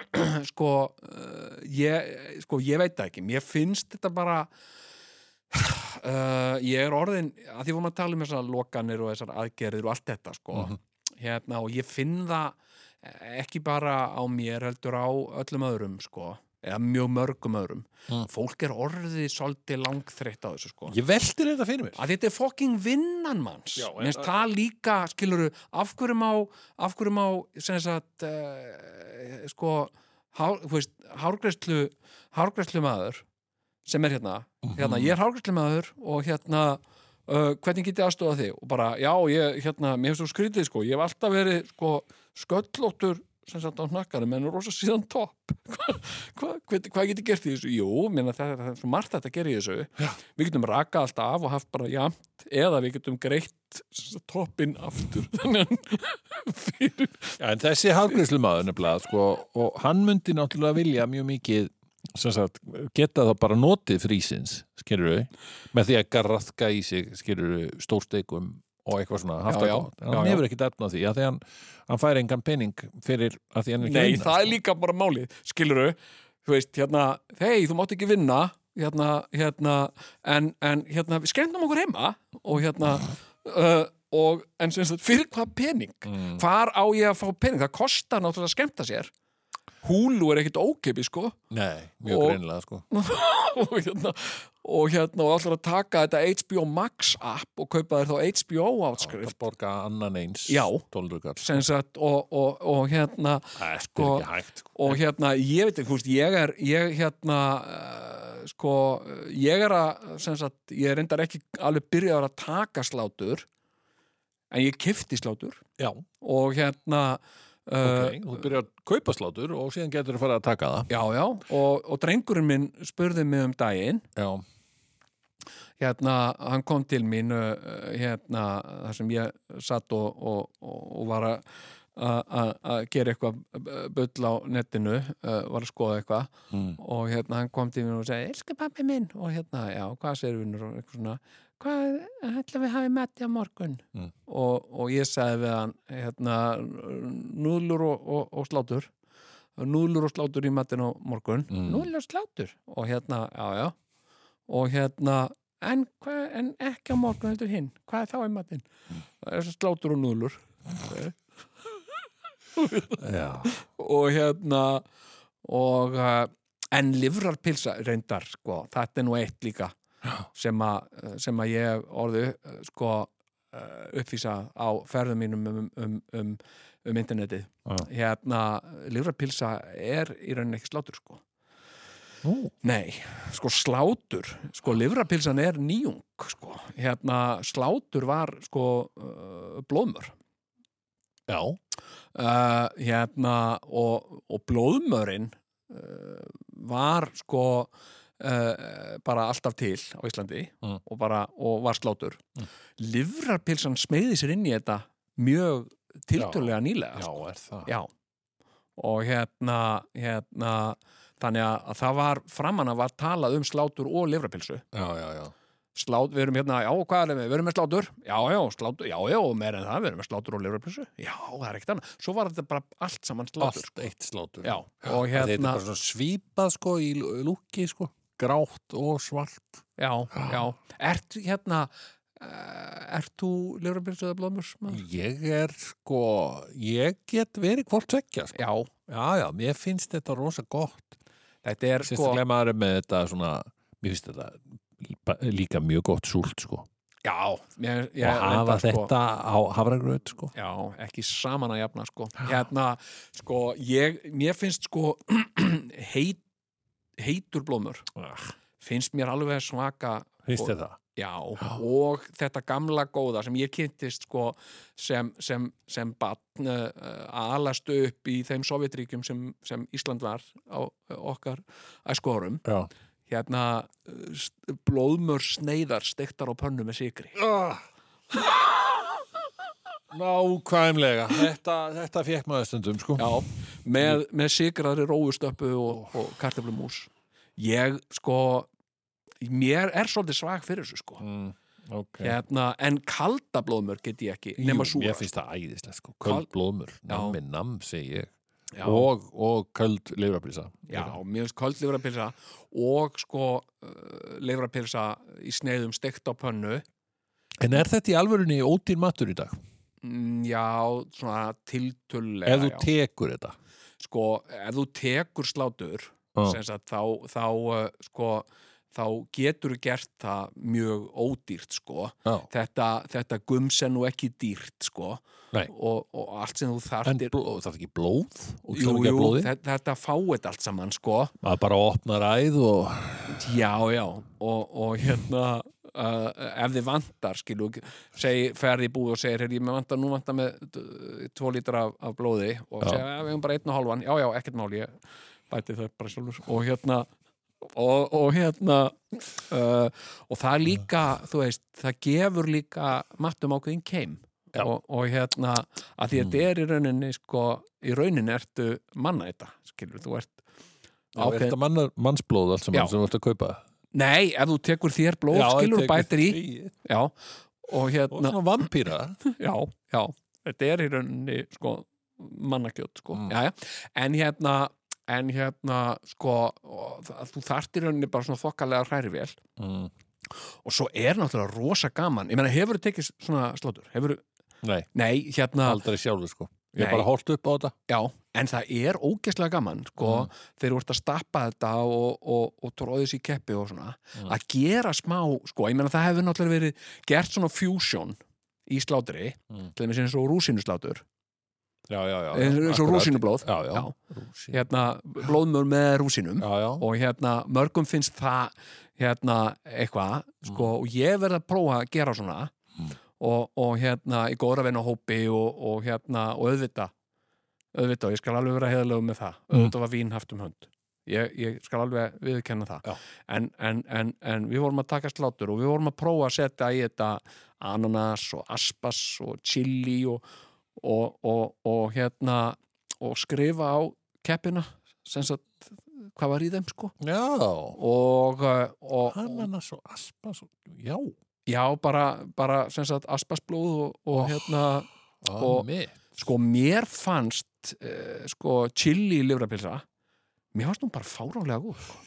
[SPEAKER 5] sko, uh, ég sko, ég veit það ekki, mér finnst þetta bara uh, ég er orðin, að því vorum að tala um þessar lokanir og þessar aðgerðir og allt þetta sko, hérna, og ég finn það ekki bara á mér heldur á öllum öðrum sko eða mjög mörgum öðrum fólk er orðið svolítið langþreytt á þessu sko
[SPEAKER 4] Ég veltir þetta fyrir mér
[SPEAKER 5] að þetta er fokking vinnan manns
[SPEAKER 4] Já, en-
[SPEAKER 5] minnst það líka, skiluru af hverju má, af hverju má sem sagt uh, sko, hár, þú veist, hárgreislu hárgreislu maður sem er hérna,
[SPEAKER 4] Mhm.
[SPEAKER 5] hérna, ég er hárgreislu maður og hérna uh, hvernig get ég aðstofa þig og bara, já, ég, hérna, mér hefst þú skrítið, sko, ég hef alltaf verið sko, sköllóttur sem sagt á hnakkarum, en er rosa síðan topp hvað hva, hva, hva get ég gert í þessu? Jú, minna, það, það er svo margt þetta að gera í þessu við getum raka allt af og haft bara jamt eða við getum greitt toppin aftur þannig að fyrir
[SPEAKER 4] já, En þessi hálfgrislu maður nefnilega sko, og hann myndi náttúrulega vilja mjög mikið sem sagt, geta þá bara notið frísins, skilur með því að garraðka í sig, skilur stórsteikum og eitthvað svona haft
[SPEAKER 5] Já,
[SPEAKER 4] það
[SPEAKER 5] já,
[SPEAKER 4] gott. En
[SPEAKER 5] já,
[SPEAKER 4] hann
[SPEAKER 5] já.
[SPEAKER 4] hefur ekkert efna því, að því hann, hann fær engan pening fyrir að því hann er ekki að
[SPEAKER 5] Nei,
[SPEAKER 4] vinna,
[SPEAKER 5] það er
[SPEAKER 4] sko.
[SPEAKER 5] líka bara málið, skilurðu þú veist, hérna, hei, þú mátt ekki vinna hérna, hérna en, en hérna, við skemmtum okkur heima og hérna uh, og, en sem sagt, fyrir hvað pening hvar á ég að fá pening, það kostar náttúrulega að skemmta sér húlu er ekkit ókepi, sko
[SPEAKER 4] Nei, mjög
[SPEAKER 5] Og-
[SPEAKER 4] greinilega sko.
[SPEAKER 5] og hérna og hérna og allar að taka þetta HBO Max app og kaupa þér þá HBO
[SPEAKER 4] Það
[SPEAKER 5] áskrift
[SPEAKER 4] borga annan eins
[SPEAKER 5] Já.
[SPEAKER 4] tólrugar
[SPEAKER 5] sem sagt og, og, og hérna
[SPEAKER 4] Það er
[SPEAKER 5] sko-
[SPEAKER 4] ekki hægt sko.
[SPEAKER 5] og hérna ég veit ekki, þú veist, ég er ég hérna uh, sko, eh, ég er að sem sagt, ég er reyndar ekki alveg byrjaður að taka slátur en ég kifti slátur
[SPEAKER 4] Já,
[SPEAKER 5] og hérna uh,
[SPEAKER 4] ok, þú byrjar að kaupa slátur og síðan getur þú fara að taka það
[SPEAKER 5] já, já, og, og drengurinn minn spurði mig um daginn
[SPEAKER 4] Já,
[SPEAKER 5] hérna, hann kom til mín uh, hérna, þar sem ég satt og, og, og, og var að- að að- að gera eitthvað uh, bull á netinu, uh, var að skoða eitthvað
[SPEAKER 4] Mm.
[SPEAKER 5] og hérna hann kom til mín og segi, elsku pappi minn og hérna, já, hvað segir vinnur og eitthvað svona hvað ætla við hafi mati á morgun
[SPEAKER 4] Mm.
[SPEAKER 5] og, og ég sagði við hann hérna, núðlur og, og, og slátur núðlur og slátur í matin á morgun
[SPEAKER 4] Mm.
[SPEAKER 5] núðlur og slátur og hérna, já, já og hérna en, hva, en ekki á morgun heldur hinn hvað er þá í matinn? það er svo slátur og núðlur Já. og hérna og uh, en livrarpilsa reyndar sko, þetta er nú eitt líka sem að, sem að ég hef orðið uh, sko uh, uppvísa á ferðum mínum um, um, um, um internetið hérna, livrarpilsa er í rauninni ekki slátur sko
[SPEAKER 4] Nú.
[SPEAKER 5] Nei, sko slátur sko livrapilsan er nýjung sko, hérna slátur var sko uh, blóðmör
[SPEAKER 4] Já.
[SPEAKER 5] uh, hérna og, og blóðmörin uh, var sko uh, bara alltaf til á Íslandi
[SPEAKER 4] Mm.
[SPEAKER 5] og, bara, og var slátur Livrarpilsan smeiði sér inn í þetta mjög tiltölulega nýlega
[SPEAKER 4] Já, er það.
[SPEAKER 5] Já. Og hérna, hérna þannig að að það var framan að var talað um slátur og livrapilsu.
[SPEAKER 4] Já, já, já.
[SPEAKER 5] Slát, við erum hérna, já, hvað erum við? Við erum með slátur? Já, já, slátur, já, já, og meira en það, við erum með slátur og livrapilsu. Já, það er ekkert annað. Svo var þetta bara allt saman slátur.
[SPEAKER 4] Allt eitt slátur.
[SPEAKER 5] sko. Já, og
[SPEAKER 4] Þetta er
[SPEAKER 5] hérna,
[SPEAKER 4] bara svona svipað sko í lú- lúki sko. Grátt og svart.
[SPEAKER 5] já, já, ert hérna, eh, ert þú livrapilsu eða blóðmurs? maður?
[SPEAKER 4] Ég er sko, ég get verið hvort tvekja sko.
[SPEAKER 5] Já,
[SPEAKER 4] Já, já, mér finnst þetta rosa gott.
[SPEAKER 5] þetta er sko,
[SPEAKER 4] Sérstaklega maður er með þetta svona, mér finnst þetta ba- líka mjög gott súlt sko.
[SPEAKER 5] já, mér, ég,
[SPEAKER 4] og hafa
[SPEAKER 5] reyndar, sko-
[SPEAKER 4] þetta á hafragröð sko.
[SPEAKER 5] Já, ekki saman að jafna sko.
[SPEAKER 4] Ah.
[SPEAKER 5] Hérna, sko, ég mér finnst sko heit, heitur blómur finnst mér alveg svaka Ah,
[SPEAKER 4] Finnst
[SPEAKER 5] og-
[SPEAKER 4] þér það?
[SPEAKER 5] Já, og þetta gamla góða sem ég kynntist sko sem, sem, sem batn uh, að alast upp í þeim sovjetríkjum sem, sem Ísland var á uh, okkar æskorum
[SPEAKER 4] Já.
[SPEAKER 5] hérna uh, st- blóðmör sneiðar steiktar á pönnu með sigri Ah.
[SPEAKER 4] Nákvæmlega, þetta, þetta fekk maður stundum sko.
[SPEAKER 5] Já, með, með sigraðri róustöppu og, og kartöflumús. Ég, sko, mér er svolítið svag fyrir þessu, sko.
[SPEAKER 4] Mm, ok.
[SPEAKER 5] Hérna, en kalda blóðmör get ég ekki,
[SPEAKER 4] Jú,
[SPEAKER 5] nema súra.
[SPEAKER 4] mér finnst það æðislega sko. Köld
[SPEAKER 5] Kal-
[SPEAKER 4] blóðmur,
[SPEAKER 5] Já.
[SPEAKER 4] nammi namm segi ég
[SPEAKER 5] Já.
[SPEAKER 4] og, og köld Hérna. leifraplýsa
[SPEAKER 5] Já, mér finnst köld livrapilsa og, sko, uh, livrapilsa í sneiðum steikt á pönnu.
[SPEAKER 4] En er þetta í alvörunni ódýr matur í dag?
[SPEAKER 5] Mm, Já, svona tiltölulega,
[SPEAKER 4] Ef þú
[SPEAKER 5] já.
[SPEAKER 4] tekur þetta
[SPEAKER 5] sko, ef þú tekur slátur
[SPEAKER 4] Já.
[SPEAKER 5] sem sagt, þá, þá uh, sko, þá getur gert það mjög ódýrt sko.
[SPEAKER 4] Já.
[SPEAKER 5] þetta, þetta gums er nú ekki dýrt sko.
[SPEAKER 4] Nei.
[SPEAKER 5] og, og allt sem þú
[SPEAKER 4] En
[SPEAKER 5] þarft er
[SPEAKER 4] bló, það er ekki blóð og
[SPEAKER 5] Jú,
[SPEAKER 4] kjóðingja
[SPEAKER 5] jú,
[SPEAKER 4] blóði
[SPEAKER 5] þetta, þetta fáið allt saman sko.
[SPEAKER 4] maður bara opnar æð og
[SPEAKER 5] já, já og, og hérna uh, ef þið vantar skilu, segi, fer í búð og segir "Heyrðu, ég með vantar, nú vantar með uh, tvo lítra af, af blóði og
[SPEAKER 4] Já.
[SPEAKER 5] segja, "Ja, við höfum bara einn og hálfan já, já, ekkert mál, ég bæti það bara sjálfur og hérna og, og hérna uh, og það líka, þú veist það gefur líka mattum ákveðin keim
[SPEAKER 4] Já. Mm.
[SPEAKER 5] og, og hérna að því að þetta er í rauninni sko, í rauninni ertu manna þetta skilur, þú ert
[SPEAKER 4] Já, er þetta mannar, mannsblóð allt saman
[SPEAKER 5] Já.
[SPEAKER 4] sem þú ert að kaupa
[SPEAKER 5] Nei, ef þú tekur þér blóð,
[SPEAKER 4] Já,
[SPEAKER 5] skilur
[SPEAKER 4] ég
[SPEAKER 5] og
[SPEAKER 4] tek-
[SPEAKER 5] bætir í Já, og
[SPEAKER 4] Og
[SPEAKER 5] hérna,
[SPEAKER 4] svona vampýra
[SPEAKER 5] já, já Þetta er í rauninni, sko, mannakjöt, sko
[SPEAKER 4] Mm.
[SPEAKER 5] Jæja, en hérna en hérna, sko og það- þú þarft í rauninni bara svona þokkalega hræri vel
[SPEAKER 4] mm.
[SPEAKER 5] og svo er náttúrulega rosa gaman ég meina, hefur þú tekið svona sláttur? Hefur,
[SPEAKER 4] Nei,
[SPEAKER 5] nei, hérna
[SPEAKER 4] aldrei sjálfur sko Ég
[SPEAKER 5] Nei.
[SPEAKER 4] er bara hórt upp á þetta
[SPEAKER 5] Já, en það er ógeðslega gaman sko,
[SPEAKER 4] Mm.
[SPEAKER 5] þegar þú ert að stappa þetta og, og, og tróðis í keppi og svona
[SPEAKER 4] Mm.
[SPEAKER 5] að gera smá, sko, ég meina það hefur náttúrulega verið gert svona fusion í slátri,
[SPEAKER 4] Mm.
[SPEAKER 5] til dæmis eins og rúsinuslátur,
[SPEAKER 4] Já, já, já, já,
[SPEAKER 5] eins og
[SPEAKER 4] akkurat.
[SPEAKER 5] rúsinublóð
[SPEAKER 4] Já, já,
[SPEAKER 5] Já.
[SPEAKER 4] Rúsín-
[SPEAKER 5] hérna, blóðmör með rúsinum
[SPEAKER 4] já, já.
[SPEAKER 5] og hérna, mörgum finnst það hérna, eitthvað sko, og ég verð að prófa að gera svona og, og hérna, í góðra vinna hópi og, og hérna, og auðvita auðvita, og ég skal alveg vera heiðalögum með það auðvita var vín haft um hönd ég, ég skal alveg viðurkenna það
[SPEAKER 4] Já.
[SPEAKER 5] en, en, en, en við vorum að taka slátur og við vorum að prófa að setja í þetta ananas og aspas og chili og, og, og, og hérna og skrifa á keppina sem sagt hvað var í þeim sko
[SPEAKER 4] já.
[SPEAKER 5] og, uh, og
[SPEAKER 4] Ananas og aspa svo, Já,
[SPEAKER 5] já bara, bara sem sagt aspasblóð og, og hérna Og-
[SPEAKER 4] og, ah, mitt
[SPEAKER 5] sko mér fannst uh, sko chili livrapilsa mér fannst hún bara fáránlega góð sko.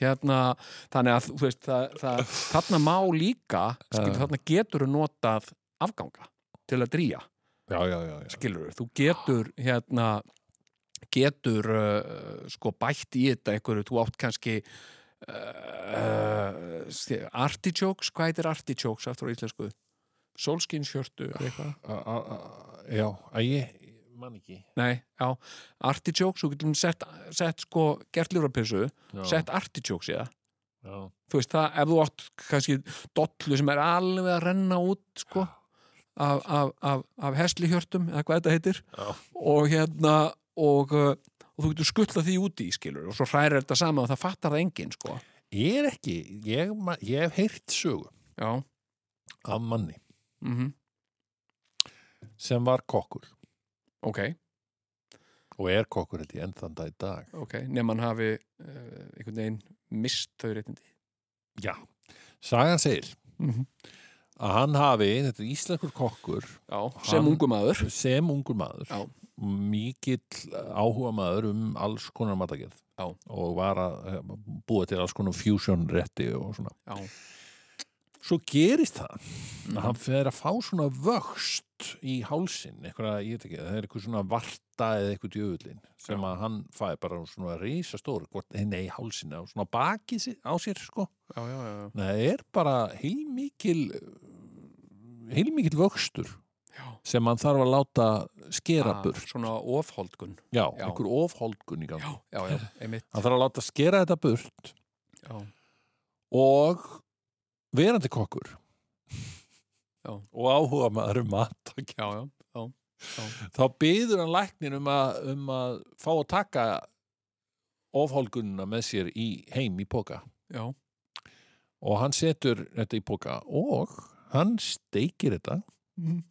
[SPEAKER 5] hérna þannig að þú veist það, það, þarna má líka skil, þarna getur þú notað afganga til að drýja
[SPEAKER 4] já, já, já, já.
[SPEAKER 5] skilur þú getur hérna getur uh, sko bætt í þetta einhverju, þú átt kannski uh, uh, artichokes, hvað heitir artichokes aftur á íslensku? Solskinskjörtu eða eitthvað?
[SPEAKER 4] A, a, a, já, að ég man ekki
[SPEAKER 5] Nei, já, artichokes, þú getur sett, sett sko gert ljórapissu,
[SPEAKER 4] já,
[SPEAKER 5] sett artichokes í það
[SPEAKER 4] já,
[SPEAKER 5] þú veist það, ef þú átt kannski dollu sem er alveg að renna út sko, af, af, af, af heslihjörtum, eða hvað þetta heitir
[SPEAKER 4] Já.
[SPEAKER 5] og hérna og, uh, og þú getur skutlað því úti í skilur og svo hrærir þetta saman og það fattar það enginn sko.
[SPEAKER 4] ég er ekki ég, ma- ég hef heyrt sögu
[SPEAKER 5] já,
[SPEAKER 4] af manni
[SPEAKER 5] mhm,
[SPEAKER 4] sem var kokkur
[SPEAKER 5] ok
[SPEAKER 4] og er kokkur held ég enn þann dag í dag
[SPEAKER 5] ok, nema hann hafi uh, einhvern veginn mist þau reytindi
[SPEAKER 4] já, sagan segir
[SPEAKER 5] Mhm.
[SPEAKER 4] að hann hafi, þetta er íslenskur kokkur
[SPEAKER 5] já, sem
[SPEAKER 4] Hann-
[SPEAKER 5] ungu maður
[SPEAKER 4] sem ungur maður
[SPEAKER 5] Já.
[SPEAKER 4] mikill áhuga maður um alls konar matagerð
[SPEAKER 5] Já.
[SPEAKER 4] og var að eh, búa til alls konar fusion rétti og svona
[SPEAKER 5] já,
[SPEAKER 4] svo gerist það að hann fer að fá svona vöxt í hálsin, eitthvað, ég veit ekki það er eitthvað svona varta eða eitthvað djöfullin sem að hann fæði bara svona risastór, hvort, nei, hálsin á svona baki sér- á sér, sko
[SPEAKER 5] já, já, já, já.
[SPEAKER 4] Nei, það er bara heilmikil heilmikil vöxtur
[SPEAKER 5] Já.
[SPEAKER 4] sem hann þarf að láta skera
[SPEAKER 5] Ah,
[SPEAKER 4] burt
[SPEAKER 5] svona ofholdgun
[SPEAKER 4] Já,
[SPEAKER 5] Já.
[SPEAKER 4] einhver ofholdgun í gangi.
[SPEAKER 5] já, já, einmitt
[SPEAKER 4] Hann þarf að láta skera þetta burt
[SPEAKER 5] já,
[SPEAKER 4] og verandi kokkur
[SPEAKER 5] Já.
[SPEAKER 4] og áhuga maður um mat
[SPEAKER 5] já, já,
[SPEAKER 4] þá byður hann læknin um að, um að fá að taka ofholdgununa með sér í heim í póka
[SPEAKER 5] já,
[SPEAKER 4] og hann setur þetta í póka og hann steikir þetta
[SPEAKER 5] Mhm.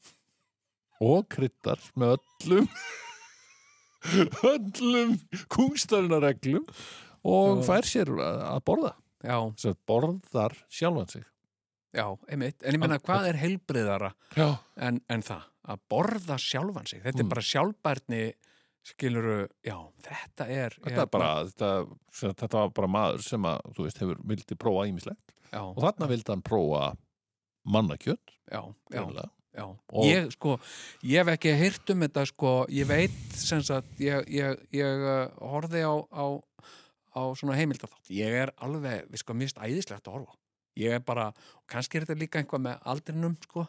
[SPEAKER 4] og kryddar með öllum öllum kungstörunarreglum og
[SPEAKER 5] Já.
[SPEAKER 4] fær sér að að borða
[SPEAKER 5] já.
[SPEAKER 4] sem borðar sjálfan sig
[SPEAKER 5] Já, einmitt, en ég meina hvað er heilbriðara
[SPEAKER 4] Já,
[SPEAKER 5] en, en það, að borða sjálfan sig þetta
[SPEAKER 4] Mm.
[SPEAKER 5] er bara sjálfbærni skiluru, já, þetta er
[SPEAKER 4] þetta er bara þetta, sem sagt, þetta var bara maður sem að, þú veist, hefur vildi prófa ímislegt
[SPEAKER 5] já,
[SPEAKER 4] og þarna vildi hann prófa mannakjöt
[SPEAKER 5] já, já,
[SPEAKER 4] greinilega.
[SPEAKER 5] já.
[SPEAKER 4] Og-
[SPEAKER 5] ég sko, ég hef ekki heyrt um þetta sko, ég veit sem sagt, ég, ég, ég uh, horfði á, á, á svona heimildarþátt ég er alveg, við sko, mist æðislegt að horfa á. ég er bara, og kannski er þetta líka einhvað með aldrinum sko,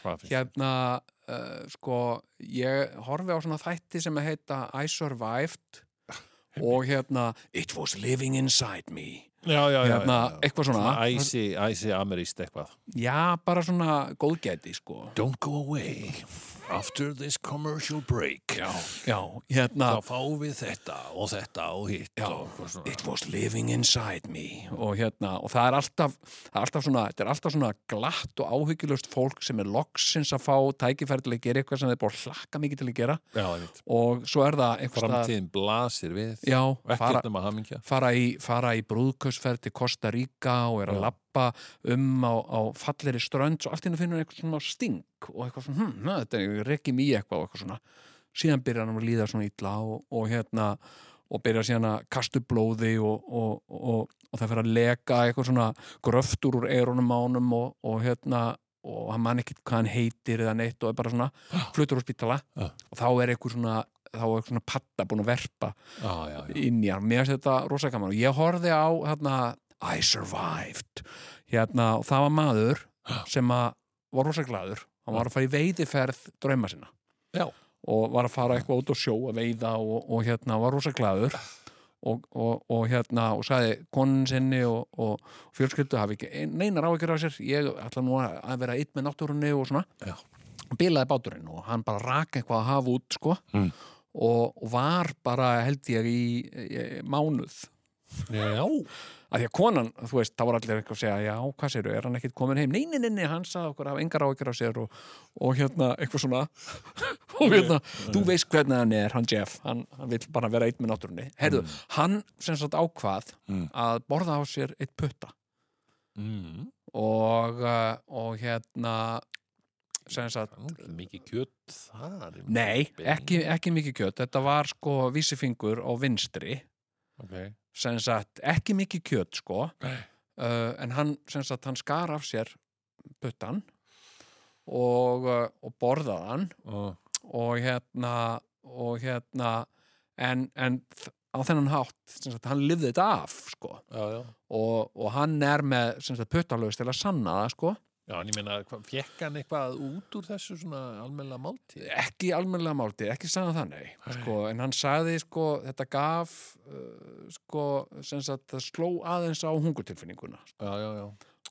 [SPEAKER 4] Hvað finnst þér?
[SPEAKER 5] hérna uh, sko, ég horfi á svona þætti sem að heita I Survived og hérna It was living inside me
[SPEAKER 4] Já, já, já,
[SPEAKER 5] hérna,
[SPEAKER 4] já, já.
[SPEAKER 5] eitthvað svona,
[SPEAKER 4] Svona æsi, æsi ameríst eitthvað
[SPEAKER 5] já, bara svona góðgæti, sko
[SPEAKER 4] Don't go away after this commercial break Já,
[SPEAKER 5] já, hérna
[SPEAKER 4] þá fáum við þetta og þetta og hitt
[SPEAKER 5] Já,
[SPEAKER 4] og eitthvað svona.
[SPEAKER 5] it was living inside me og hérna, og það er alltaf, það er alltaf svona, þetta er alltaf svona glatt og áhyggjulust fólk sem er loksins að fá tækifæri til að gera eitthvað sem þeir búið að hlakka mikið til að gera
[SPEAKER 4] Já, einmitt.
[SPEAKER 5] og svo er það einhvers staðar-
[SPEAKER 4] Framtíðin blasir við
[SPEAKER 5] já, fara,
[SPEAKER 4] ekkert nema hamingja
[SPEAKER 5] fara í, fara í brúðkausferð til Costa Rica og er að
[SPEAKER 4] Já.
[SPEAKER 5] lappa um á, á falleri strönd og allt innan finnur hann eitthvað svona sting og eitthvað svona, hm, na, þetta er rekkið mjög eitthvað og eitthvað svona, síðan byrjar hann að líða svona illa og, og hérna og byrjar síðan að kastu blóði og, og, og, og það fer að leka eitthvað svona gröftur úr eyrunum ánum og, og hérna og hann man ekki hvað hann heitir eða neitt og er bara svona fluttur á spítala
[SPEAKER 4] Já.
[SPEAKER 5] og þá er eitthvað svona þá er eitthvað svona patta búin að verpa
[SPEAKER 4] Já, já, já
[SPEAKER 5] inn í hann, mér finnst þetta rosa gaman og ég horfði á hérna I survived hérna og það var maður sem að var rosa glæður, hann var að fara í veiðiferð drauma sinna
[SPEAKER 4] Já.
[SPEAKER 5] og var að fara eitthvað út og sjó að veiða og, og hérna var rosa glæður og, og, og hérna og sagði konun sinni og, og fjölskyldu hafi ekki ein- neinar áhyggjur af sér ég ætla nú að að vera eitt með náttúrunni og svona
[SPEAKER 4] Já.
[SPEAKER 5] bilaði báturinn og hann bara rak eitthvað að hafa út sko
[SPEAKER 4] Mm.
[SPEAKER 5] og, og var bara held ég í, í mánuð
[SPEAKER 4] Já,
[SPEAKER 5] að því að konan, þú veist, þá var allir eitthvað að segja já, hvað segir er hann ekkit komin heim nei, nei, nei, nei, hann sagði okkur af engar áhyggjur á sér og, og hérna, eitthvað svona og hérna, þú veist hvernig hann er hann Jeff, hann, hann vill bara vera eitt með náttúrunni herðu, hann sem sagt ákvað
[SPEAKER 4] Mm.
[SPEAKER 5] að borða á sér eitt putta
[SPEAKER 4] mm.
[SPEAKER 5] og, uh, og hérna sem sagt
[SPEAKER 4] Nú, ekki mikið kjöt þar ég meina.
[SPEAKER 5] nei,
[SPEAKER 4] Bein.
[SPEAKER 5] ekki, ekki mikið kjöt þetta var sko vísifingur á vinstri
[SPEAKER 4] okay.
[SPEAKER 5] sem sagt, ekki mikið kjöt sko uh,
[SPEAKER 4] Nei.
[SPEAKER 5] en hann, sem sagt, hann skar af sér puttan og, uh, og borðað hann
[SPEAKER 4] og,
[SPEAKER 5] og hérna og hérna en, en þ- á þennan hátt sem sagt, hann lifði þetta af sko.
[SPEAKER 4] já, já.
[SPEAKER 5] og, og hann er með sem sagt, puttalögst til að sanna það sko.
[SPEAKER 4] Já, en ég meina, hvað- fékk hann eitthvað út úr þessu svona almennlega máltíð?
[SPEAKER 5] ekki almennilega máltið, ekki sagði það nei sko, en hann sagði sko, þetta gaf uh, sko, sem sagt, það sló aðeins á hungutilfinninguna
[SPEAKER 4] Já, já, já.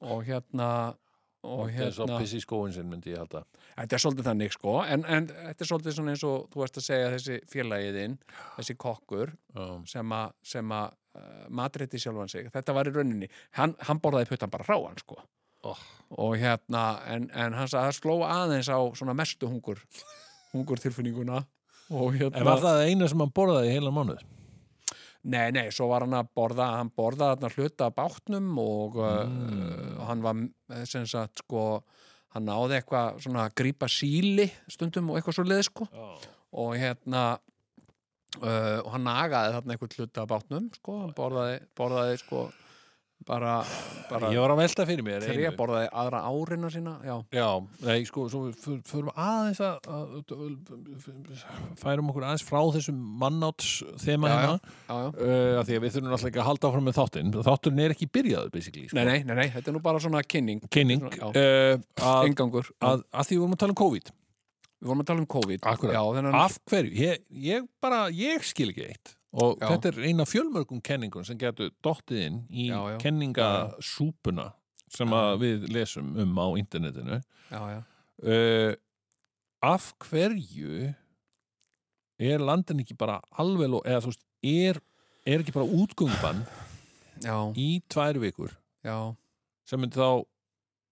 [SPEAKER 5] og hérna og
[SPEAKER 4] Þetta er svo
[SPEAKER 5] hérna,
[SPEAKER 4] piss í skóin sinn, myndi ég halda.
[SPEAKER 5] þetta er svolítið þannig sko en, en þetta er svolítið svona eins og þú varst að segja þessi félagiðinn, þessi kokkur
[SPEAKER 4] Já,
[SPEAKER 5] sem að, sem að uh, matreiti sjálfan sig, þetta var í rauninni hann, hann borðaði puttan bara ráan sko
[SPEAKER 4] Oh.
[SPEAKER 5] og hérna en, en hann sagði að það sló aðeins á svona mestu hungur hungur tilfinninguna og hérna
[SPEAKER 4] En var það eina sem hann borðaði í heila mánuð?
[SPEAKER 5] Nei, nei, svo var hann að borða, hann borðaði hann hluta af bátnum og mm. hann var eh, sem sagt sko, hann náði eitthvað svona að grípa síli stundum og eitthvað svo leið sko og hérna uh, og hann nagaði þarna eitthvað hluta af bátnum sko, hann borðaði, borðaði sko bara, bara
[SPEAKER 4] Ég var að velta fyrir mér
[SPEAKER 5] þegar ég borðaði aðra árina sína, já
[SPEAKER 4] Já, nei, sko, svo við fyr- förum aðeins að, að færum okkur aðeins frá þessum mannáts
[SPEAKER 5] Já,
[SPEAKER 4] þema hérna
[SPEAKER 5] já, já.
[SPEAKER 4] uh, af því að við þurfum alltaf ekki að halda áfram með þáttinn þátturinn er ekki byrjaður, basically sko.
[SPEAKER 5] Nei, nei, nei, nei, þetta er nú bara svona kynning
[SPEAKER 4] kynning
[SPEAKER 5] Já.
[SPEAKER 4] uh, að,
[SPEAKER 5] engangur,
[SPEAKER 4] að, að því við vorum að tala um COVID
[SPEAKER 5] við vorum að tala um COVID
[SPEAKER 4] Akkúrat.
[SPEAKER 5] já, þennan,
[SPEAKER 4] af hverju, ég, ég bara ég skil ekki eitt og
[SPEAKER 5] Já.
[SPEAKER 4] þetta er eina fjölmörgum kenningun sem getur dottið inn í
[SPEAKER 5] Já, já.
[SPEAKER 4] kenningasúpuna sem að við lesum um á internetinu
[SPEAKER 5] já, já,
[SPEAKER 4] uh, af hverju er landin ekki bara alveg lo- eða þú veist, er, er ekki bara útgöngubann
[SPEAKER 5] já,
[SPEAKER 4] í tvær vikur
[SPEAKER 5] já.
[SPEAKER 4] sem myndi þá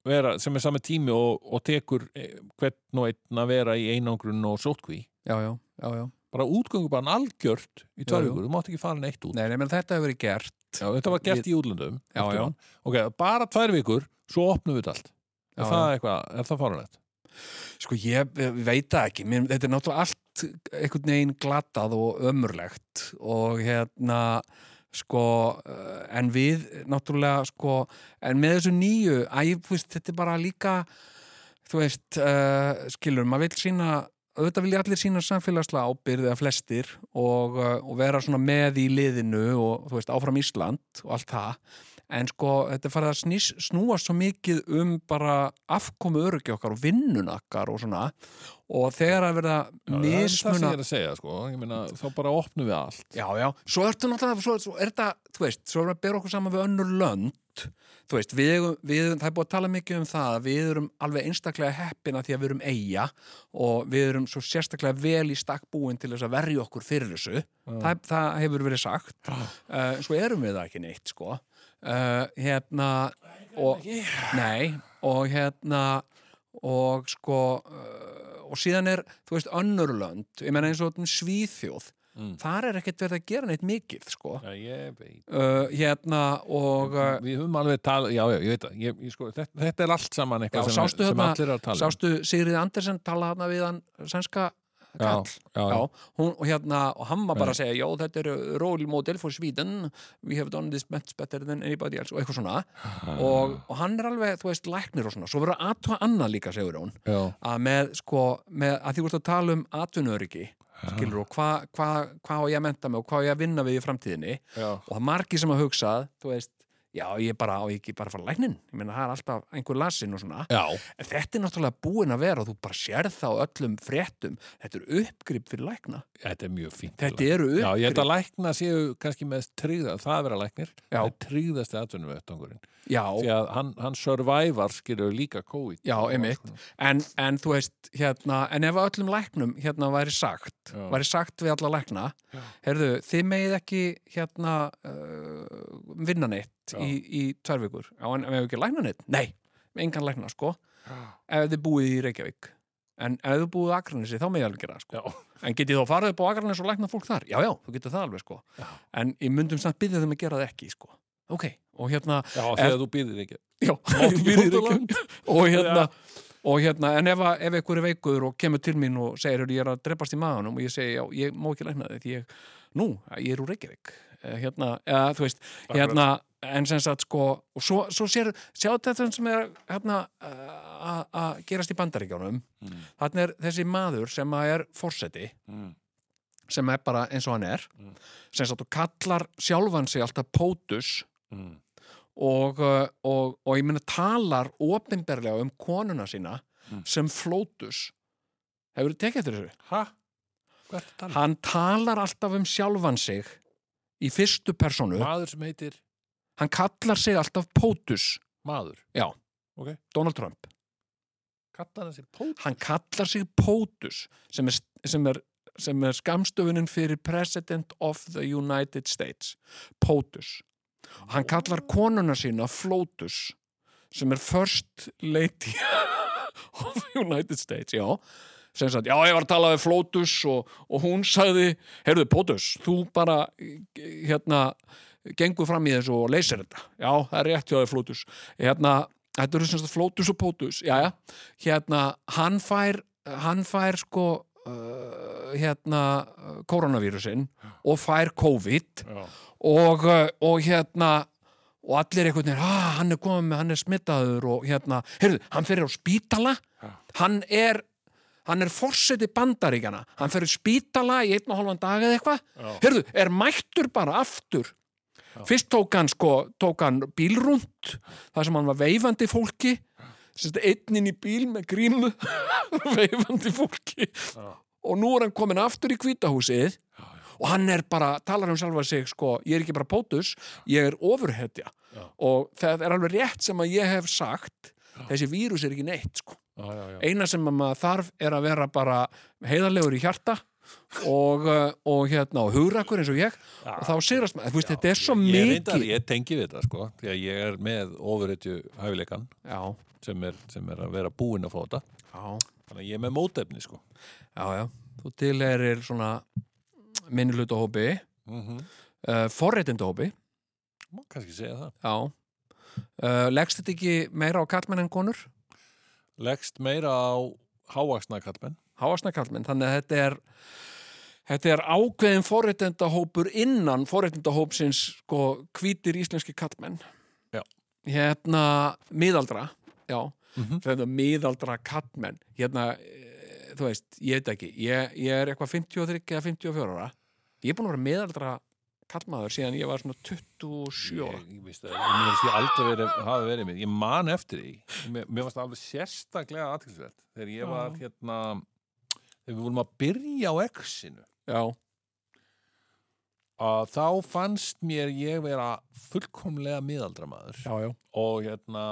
[SPEAKER 4] vera, sem er sami tími og, og tekur eh, hvern og einn að vera í einangrun og sótkví
[SPEAKER 5] já, já, já, já.
[SPEAKER 4] bara útgöngubann algjört í tvær
[SPEAKER 5] Já, já.
[SPEAKER 4] vikur, þú mátt ekki fara neitt út
[SPEAKER 5] Nei, nei, menn þetta hefur verið gert
[SPEAKER 4] já, þetta var gert í útlöndum
[SPEAKER 5] Já,
[SPEAKER 4] eftir
[SPEAKER 5] já.
[SPEAKER 4] hann. ok, bara tvær vikur, svo opnum við þetta allt
[SPEAKER 5] Já,
[SPEAKER 4] er það eitthvað, er það faranlegt?
[SPEAKER 5] Sko, ég eh, veit það ekki Mér, Þetta er náttúrulega allt einhvern veginn glatað og ömurlegt og hérna sko, eh, en við náttúrulega, sko, en með þessu nýju að ég, þú veist, þetta er bara líka þú veist, uh, skilur maður vil sína, auðvitað vil ég allir sína samfélagslega ábyrð eða flestir og, uh, og vera svona með í liðinu og þú veist, áfram Ísland og allt það, en sko, þetta er farið að snýs, snúa svo mikið um bara afkomu öryggi okkar og vinnun okkar og svona og þegar að verða
[SPEAKER 4] Já, það er það sem
[SPEAKER 5] mismuna
[SPEAKER 4] ég er að segja, sko Ég meina, þá bara opnum við allt
[SPEAKER 5] Já, já, svo ertu náttúrulega, svo, svo er þetta, þú veist, svo erum við að bera okkur saman við önnur lönd, þú veist, við, eigum- við, það er búið að tala mikið um það, að við erum alveg einstaklega heppina því að við erum eiga og við erum svo sérstaklega vel í stakk búin til þess að verja okkur fyrir þessu, það, það hefur verið sagt, uh, svo erum við það ekki neitt, sko, uh, hérna, og, nei, og hérna, og sko, uh, og síðan er, þú veist, önnur lönd, ég meina eins og svíþjóð, þar er ekkert verið að gera neitt mikið sko.
[SPEAKER 4] Já, ég veit
[SPEAKER 5] uh, hérna og uh,
[SPEAKER 4] Við höfum alveg tala, já, já, ég veit það ég, ég, sko, þetta, þetta er allt saman
[SPEAKER 5] já,
[SPEAKER 4] eitthvað sem,
[SPEAKER 5] sástu,
[SPEAKER 4] sem
[SPEAKER 5] hérna,
[SPEAKER 4] allir er að tala um.
[SPEAKER 5] sástu Sigrið Andersen tala hérna við hann sænska kall
[SPEAKER 4] já, já,
[SPEAKER 5] Já, hún, og hérna, og hann var bara að segja já, þetta er role model for Sweden we have done this much better than anybody else og eitthvað svona
[SPEAKER 4] Ah.
[SPEAKER 5] og, og hann er alveg, þú veist, læknir og svona svo verður að aðtúa annað líka, segur hún
[SPEAKER 4] já,
[SPEAKER 5] að með, sko, með að því voru að tala um atvinnuröryggi, skilur og hvað hva, hva á ég að menta mig og hvað á ég að vinna við í framtíðinni
[SPEAKER 4] já.
[SPEAKER 5] og það er margi sem að hugsað, þú veist já, ég bara á ég ekki bara að fara læknin ég meina, það er alltaf einhver lasin og svona
[SPEAKER 4] já.
[SPEAKER 5] en þetta er náttúrulega búin að vera og þú bara sérð það á öllum fréttum þetta eru uppgrip fyrir lækna
[SPEAKER 4] þetta er mjög fínt
[SPEAKER 5] þetta eru
[SPEAKER 4] Já, ég held
[SPEAKER 5] uppgrip,
[SPEAKER 4] að lækna séu kannski með tryggða, það að vera læknir
[SPEAKER 5] Já.
[SPEAKER 4] er tryggðasti atvinnum vettangurinn
[SPEAKER 5] já,
[SPEAKER 4] því
[SPEAKER 5] já,
[SPEAKER 4] að hann, hann survivor skilur líka COVID
[SPEAKER 5] einmitt en, en þú veist, hérna, en ef að öllum læknum hérna væri sagt,
[SPEAKER 4] Já.
[SPEAKER 5] væri sagt við alla lækna, heyrðu, þið megið ekki hérna uh, vinna neitt í, í tvær vikur já, en ef ekki lækna neitt, nei engan lækna, sko, ef þið búið í Reykjavík en ef þið búið á Akranesi, þá megið alveg gera, það, sko
[SPEAKER 4] Já,
[SPEAKER 5] En getið þá farið upp á Akranes og læknað fólk þar? Já, já, þú getur það alveg, sko. En ég myndum samt byggja þeim að gera það ekki, sko. Ok, og hérna...
[SPEAKER 4] já þegar þú býðir ekki
[SPEAKER 5] Já,
[SPEAKER 4] Máttu býrð í Reykjavík?
[SPEAKER 5] og hérna... Og hérna, en ef, að- ef einhver er veikur og kemur til mín og segir, "Heyrðu, ég er að dreipast í maðanum og ég segi, já, ég má ekki lækna þig, því ég, nú, ég er úr Reykjavík. Eh, Hérna, eða, þú veist, hérna, en sem sagt sko og svo, svo sér, sjá þetta sem er hérna uh, að gerast í bandaríkjánum mm. þannig er þessi maður sem að er forseti
[SPEAKER 6] Mm.
[SPEAKER 5] sem er bara eins og hann er sem sagt og kallar sjálfan sig alltaf POTUS
[SPEAKER 6] Mm.
[SPEAKER 5] og, uh, og, og ég meina talar opinberlega um konuna sína sem flótus hefur þið tekið eftir þessu?
[SPEAKER 6] Hæ? Hvað er
[SPEAKER 4] um?
[SPEAKER 6] þetta?
[SPEAKER 5] Hann talar alltaf um sjálfan sig í fyrstu personu.
[SPEAKER 4] Maður sem heitir
[SPEAKER 5] Hann kallar sig alltaf POTUS.
[SPEAKER 4] maður.
[SPEAKER 5] Já.
[SPEAKER 4] Ok.
[SPEAKER 5] Donald Trump.
[SPEAKER 4] Kallar hann sér pót?
[SPEAKER 5] Hann kallar sig POTUS sem er, sem er, sem er skamstöfunin fyrir President of the United States. POTUS. Hann kallar konuna sína FLOTUS sem er First Lady of the United States. Já. Sem sagt, já, ég var að tala við FLOTUS og, og hún sagði, heyrðu POTUS, þú bara, eh, hérna, gengur fram í þessu og leysir þetta já, það er rétt hjá þér flótus hérna, þetta eru semst flótus og pótus já, já, hérna, hann fær hann fær sko uh, hérna, uh, koronavírusin og fær COVID
[SPEAKER 6] Já.
[SPEAKER 5] og, uh, og hérna og allir einhvern veginn, ah, hann er komið með, hann er smittaður og hérna, heyrðu, hann fyrir á spítala hann er hann er forseti bandaríkjana hann fyrir spítala í einn og hálfan dag eða eitthvað heyrðu, er mættur bara aftur fyrst tók hann sko tók hann bílrúnt þar sem hann var veifandi fólki Sist, einn inn í bíl með grímu veifandi fólki og nú er hann komin aftur í kvítahúsið og hann er bara, talar um sjálfa sig sko, ég er ekki bara pótus ég er ofurhetja og það er alveg rétt sem að ég hef sagt þessi vírus er ekki neitt sko
[SPEAKER 6] Já, já, já.
[SPEAKER 5] eina sem að maður þarf er að vera bara heiðarlegur í hjarta og, uh, og hérna og hugrakur eins og ég og þá sigrast maður, þú veist, þetta er svo
[SPEAKER 4] Ég,
[SPEAKER 5] mikið
[SPEAKER 4] reyndar, ég tengi við þetta sko, því að ég er með ofurreitju hæfileikan
[SPEAKER 5] já,
[SPEAKER 4] sem er, sem er að vera búinn að fá þetta.
[SPEAKER 5] já,
[SPEAKER 4] Þannig að ég er með mótefni sko.
[SPEAKER 5] já, já þú tilherir svona minnilutahópi
[SPEAKER 4] Mm -hmm.
[SPEAKER 5] uh, forréttindahópi,
[SPEAKER 4] Má kannski segja það.
[SPEAKER 5] já uh, leggst þetta ekki meira á kallmenn en konur?
[SPEAKER 4] Leggst meira á hávaksna kallmenn.
[SPEAKER 5] hávaksna kallmenn, þannig að þetta er þetta er ákveðin forréttindahópur innan forréttindahópsins sko hvítir íslenski kallmenn
[SPEAKER 4] Já.
[SPEAKER 5] hérna miðaldra, já þetta miðaldra kallmenn hérna, eh, þú veist, ég veit ekki ég, ég er eitthvað 53 eða 54 ára ég er búin að vera miðaldra kallmaður síðan ég var svona 27 ára
[SPEAKER 4] Ég, ég veist að, ég veist ég aldrei verið, hafa verið með. Ég man eftir því. Mér, mér varst alveg sérstaklega aðtilsvert þegar ég var hérna, þegar við vorum að byrja á exinu.
[SPEAKER 5] já,
[SPEAKER 4] Að þá fannst mér ég vera fullkomlega miðaldramaður.
[SPEAKER 5] já, já,
[SPEAKER 4] og hérna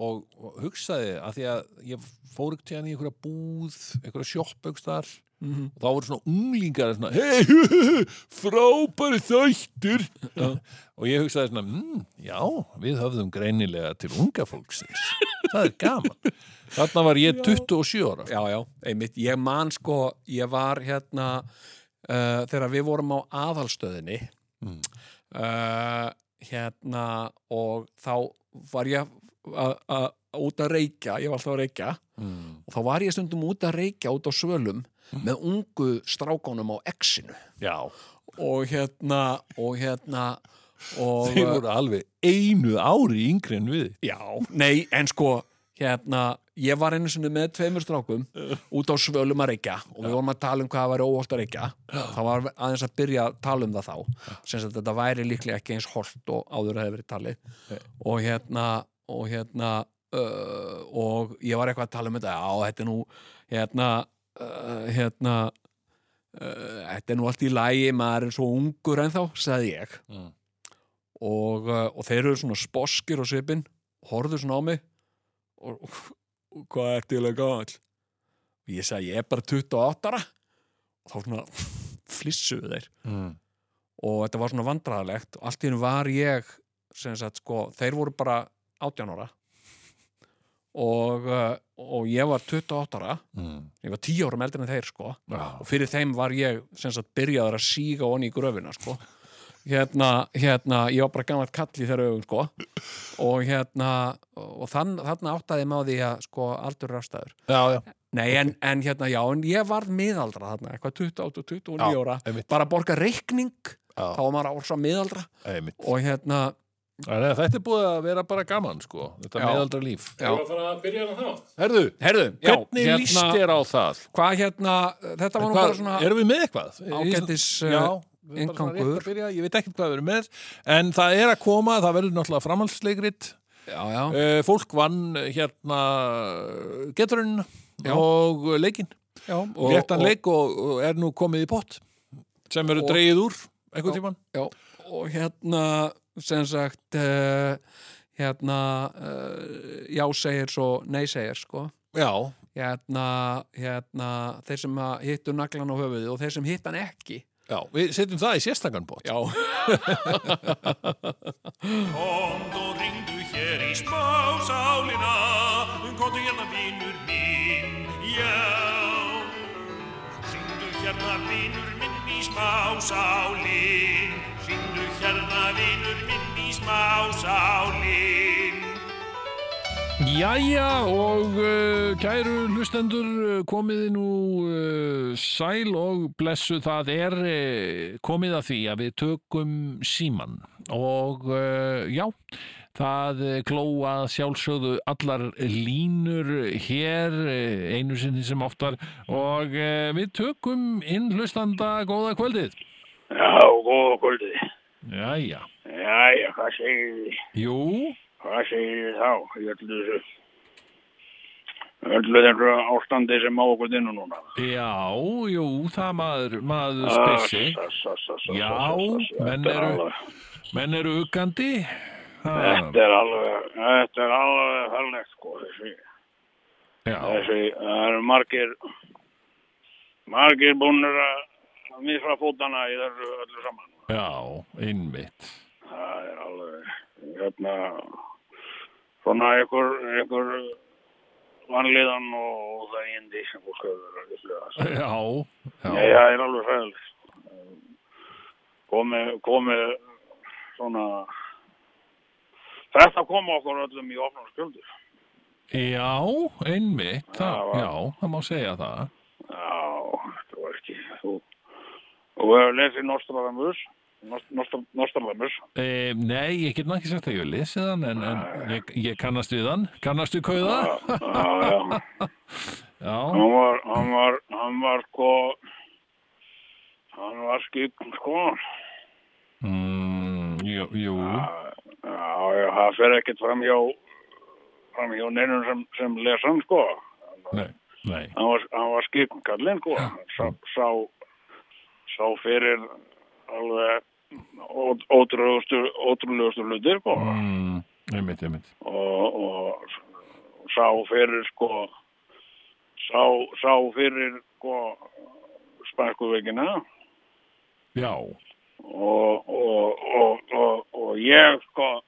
[SPEAKER 4] og, og hugsaði að því að ég fór ekki hann í einhverja búð einhverja sjopp einhvers þar
[SPEAKER 5] Mhm.
[SPEAKER 4] og þá voru svona unglingar svona, hey, frábæri þættur og ég hugsaði svona mmm, já, við höfðum greinilega til unga fólksins það er gaman þarna var ég 27 ára
[SPEAKER 5] já, já, einmitt ég man sko, ég var hérna uh, þegar við vorum á aðalstöðinni
[SPEAKER 4] Mm.
[SPEAKER 5] uh, hérna og þá var ég að- að út að reykja, ég var alltaf að reykja
[SPEAKER 4] Mm.
[SPEAKER 5] og þá var ég stundum út að reykja út á svölum með ungu strákónum á exinu
[SPEAKER 4] já,
[SPEAKER 5] og hérna og hérna og,
[SPEAKER 4] þeir voru alveg einu ári yngri en við
[SPEAKER 5] Já, nei, en sko hérna, ég var einu sinni með tveimur strákum út á svölum að reykja og við vorum að tala um hvað það væri óholt að reykja þá var aðeins að byrja að tala um það þá sem sagt þetta væri líklega ekki eins holt og áður hefði verið talið og hérna og hérna uh, og ég var eitthvað að tala um þetta já, þetta er nú hérna uh, hérna uh, þetta er nú allt í lægi, maður er svo ungur en þá, sagði ég
[SPEAKER 4] Mm.
[SPEAKER 5] og, uh, og þeir eru svona sposkir og svipin horfðu svona á mig og, og, og hvað er til að gall ég sagði ég er bara 28 ára og þá svona flissuðu þeir
[SPEAKER 4] mm.
[SPEAKER 5] og þetta var svona vandræðalegt og allt í hennu var ég sem sagt sko, þeir voru bara 18 ára og, uh, og ég var 28 ára
[SPEAKER 4] Mm.
[SPEAKER 5] ég var 10 árum eldri en þeir sko
[SPEAKER 4] Já.
[SPEAKER 5] og fyrir þeim var ég sem sagt byrjaður að síga onni í gröfina sko hérna, hérna, ég var bara gammalt kall í þeirra augum sko og hérna og þann, þarna áttaði maður því að sko aldur er rafstæður
[SPEAKER 4] já, já,
[SPEAKER 5] nei en, en hérna já, en ég varð miðaldra þarna eitthvað 28, 29
[SPEAKER 4] Já,
[SPEAKER 5] ára
[SPEAKER 4] einmitt.
[SPEAKER 5] bara borga reikning,
[SPEAKER 4] Já.
[SPEAKER 5] þá var maður ársa miðaldra
[SPEAKER 4] einmitt
[SPEAKER 5] og hérna
[SPEAKER 4] Þannig að Þetta er búið að vera bara gaman sko Þetta
[SPEAKER 5] Já.
[SPEAKER 4] meðaldra líf
[SPEAKER 5] Já.
[SPEAKER 6] Ég var að fara að byrja hana þá.
[SPEAKER 4] Herðu, Hérna-
[SPEAKER 5] Herðu, já,
[SPEAKER 4] hvernig líst þér á það?
[SPEAKER 5] Hvað hérna, þetta var nú
[SPEAKER 4] Hvað,
[SPEAKER 5] bara svona
[SPEAKER 4] Erum við með eitthvað?
[SPEAKER 5] ágætis,
[SPEAKER 4] Ég-
[SPEAKER 5] eh,
[SPEAKER 4] Já, við erum bara svona rétt
[SPEAKER 5] inngangur.
[SPEAKER 4] að byrja, Ég veit ekkert hvað við erum með En það er að koma, það verður náttúrulega framhaldsleikrit
[SPEAKER 5] Já, já,
[SPEAKER 4] uh, Fólk vann eh, hérna geturinn og leikinn
[SPEAKER 5] já og,
[SPEAKER 4] Léttan
[SPEAKER 5] og-
[SPEAKER 4] leik og, og er nú komið í pott sem eru dreigið úr einhvern
[SPEAKER 5] Já.
[SPEAKER 4] tímann
[SPEAKER 5] Já, og hérna sem sagt uh, hérna uh, já segir svo nei segir sko
[SPEAKER 4] Já,
[SPEAKER 5] hérna, hérna þeir sem að hittu naglan á höfuðið og þeir sem hitt hann ekki
[SPEAKER 4] já, við setjum það í sérstakann pott
[SPEAKER 5] Já,
[SPEAKER 3] Komd og ringdu hér í spásálina Komdu hérna vinur minn, já Ringdu hérna vinur minn í spásálin Ringdu hérna vinur minn í spásálin
[SPEAKER 1] Jæja og uh, kæru hlustendur uh, komiði nú uh, sæl og blessu það er uh, komið að því að við tökum síman og uh, já, það uh, glóa að sjálfsögðu allar línur hér uh, einu sinni sem oftar og uh, við tökum inn hlustanda góða kvöldið.
[SPEAKER 7] Já, góða kvöldið.
[SPEAKER 1] Jæja,
[SPEAKER 7] Jæja, hvað segir þið?
[SPEAKER 1] jú,
[SPEAKER 7] Hvað segir þið þá í öllu þessu? Öllu þessu ástandi sem á okkur dynnu núna.
[SPEAKER 1] já, jú, það maður, maður spessi.
[SPEAKER 7] Ah, sa, sa, sa, sa,
[SPEAKER 1] Já,
[SPEAKER 7] sa, sa, sa,
[SPEAKER 1] menn
[SPEAKER 7] þetta er
[SPEAKER 1] eru-
[SPEAKER 7] alveg-
[SPEAKER 1] Menn eru uggandi. Ha,
[SPEAKER 7] Þetta er alveg, þetta er alveg hölnett sko, þessi,
[SPEAKER 1] já,
[SPEAKER 7] þessi, það eru margir, margir búnir að misra fótana í þessu öllu saman.
[SPEAKER 1] já, innmitt.
[SPEAKER 7] Það er alveg, hérna, svona einhver, einhver vanlíðan og það indi sem fólk hefur að lýslega.
[SPEAKER 1] Já,
[SPEAKER 7] Nei,
[SPEAKER 1] já,
[SPEAKER 7] það er alveg sæðilegt. Komi, komi, svona, þetta kom okkur öllum í ofnum skjöldu.
[SPEAKER 1] já, einmitt, það,
[SPEAKER 7] Já, já.
[SPEAKER 1] já, það má segja það.
[SPEAKER 7] Já, þetta var ekki, þú, þú hefur lesið Nostradamus, Nost- Nostra- Nostradamus.
[SPEAKER 1] E, nei, ég get náttúrulega ekki sagt að ég hef lesið hann, en, en ég, ég kannast við hann, kannast við kauða,
[SPEAKER 7] Já, já.
[SPEAKER 1] já,
[SPEAKER 7] hann var, hann var, hann var sko, hann var skikkum sko.
[SPEAKER 1] mm, jú, jú,
[SPEAKER 7] Já, já, það fer ekkert fram hjá, fram hjá neinum sem, sem lesa hann sko.
[SPEAKER 1] nei, nei,
[SPEAKER 7] Hann var, hann var skikkum kallinn sko. Sá, sá, sá fyrir alveg ó- ótrúlegustu, ótrúlegustu hlutir sko.
[SPEAKER 1] mm, einmitt, einmitt,
[SPEAKER 7] Og, og sá fyrir sko, sá, sá fyrir sko, spænsku veikina.
[SPEAKER 1] já,
[SPEAKER 7] og, og, og, og, og ég sko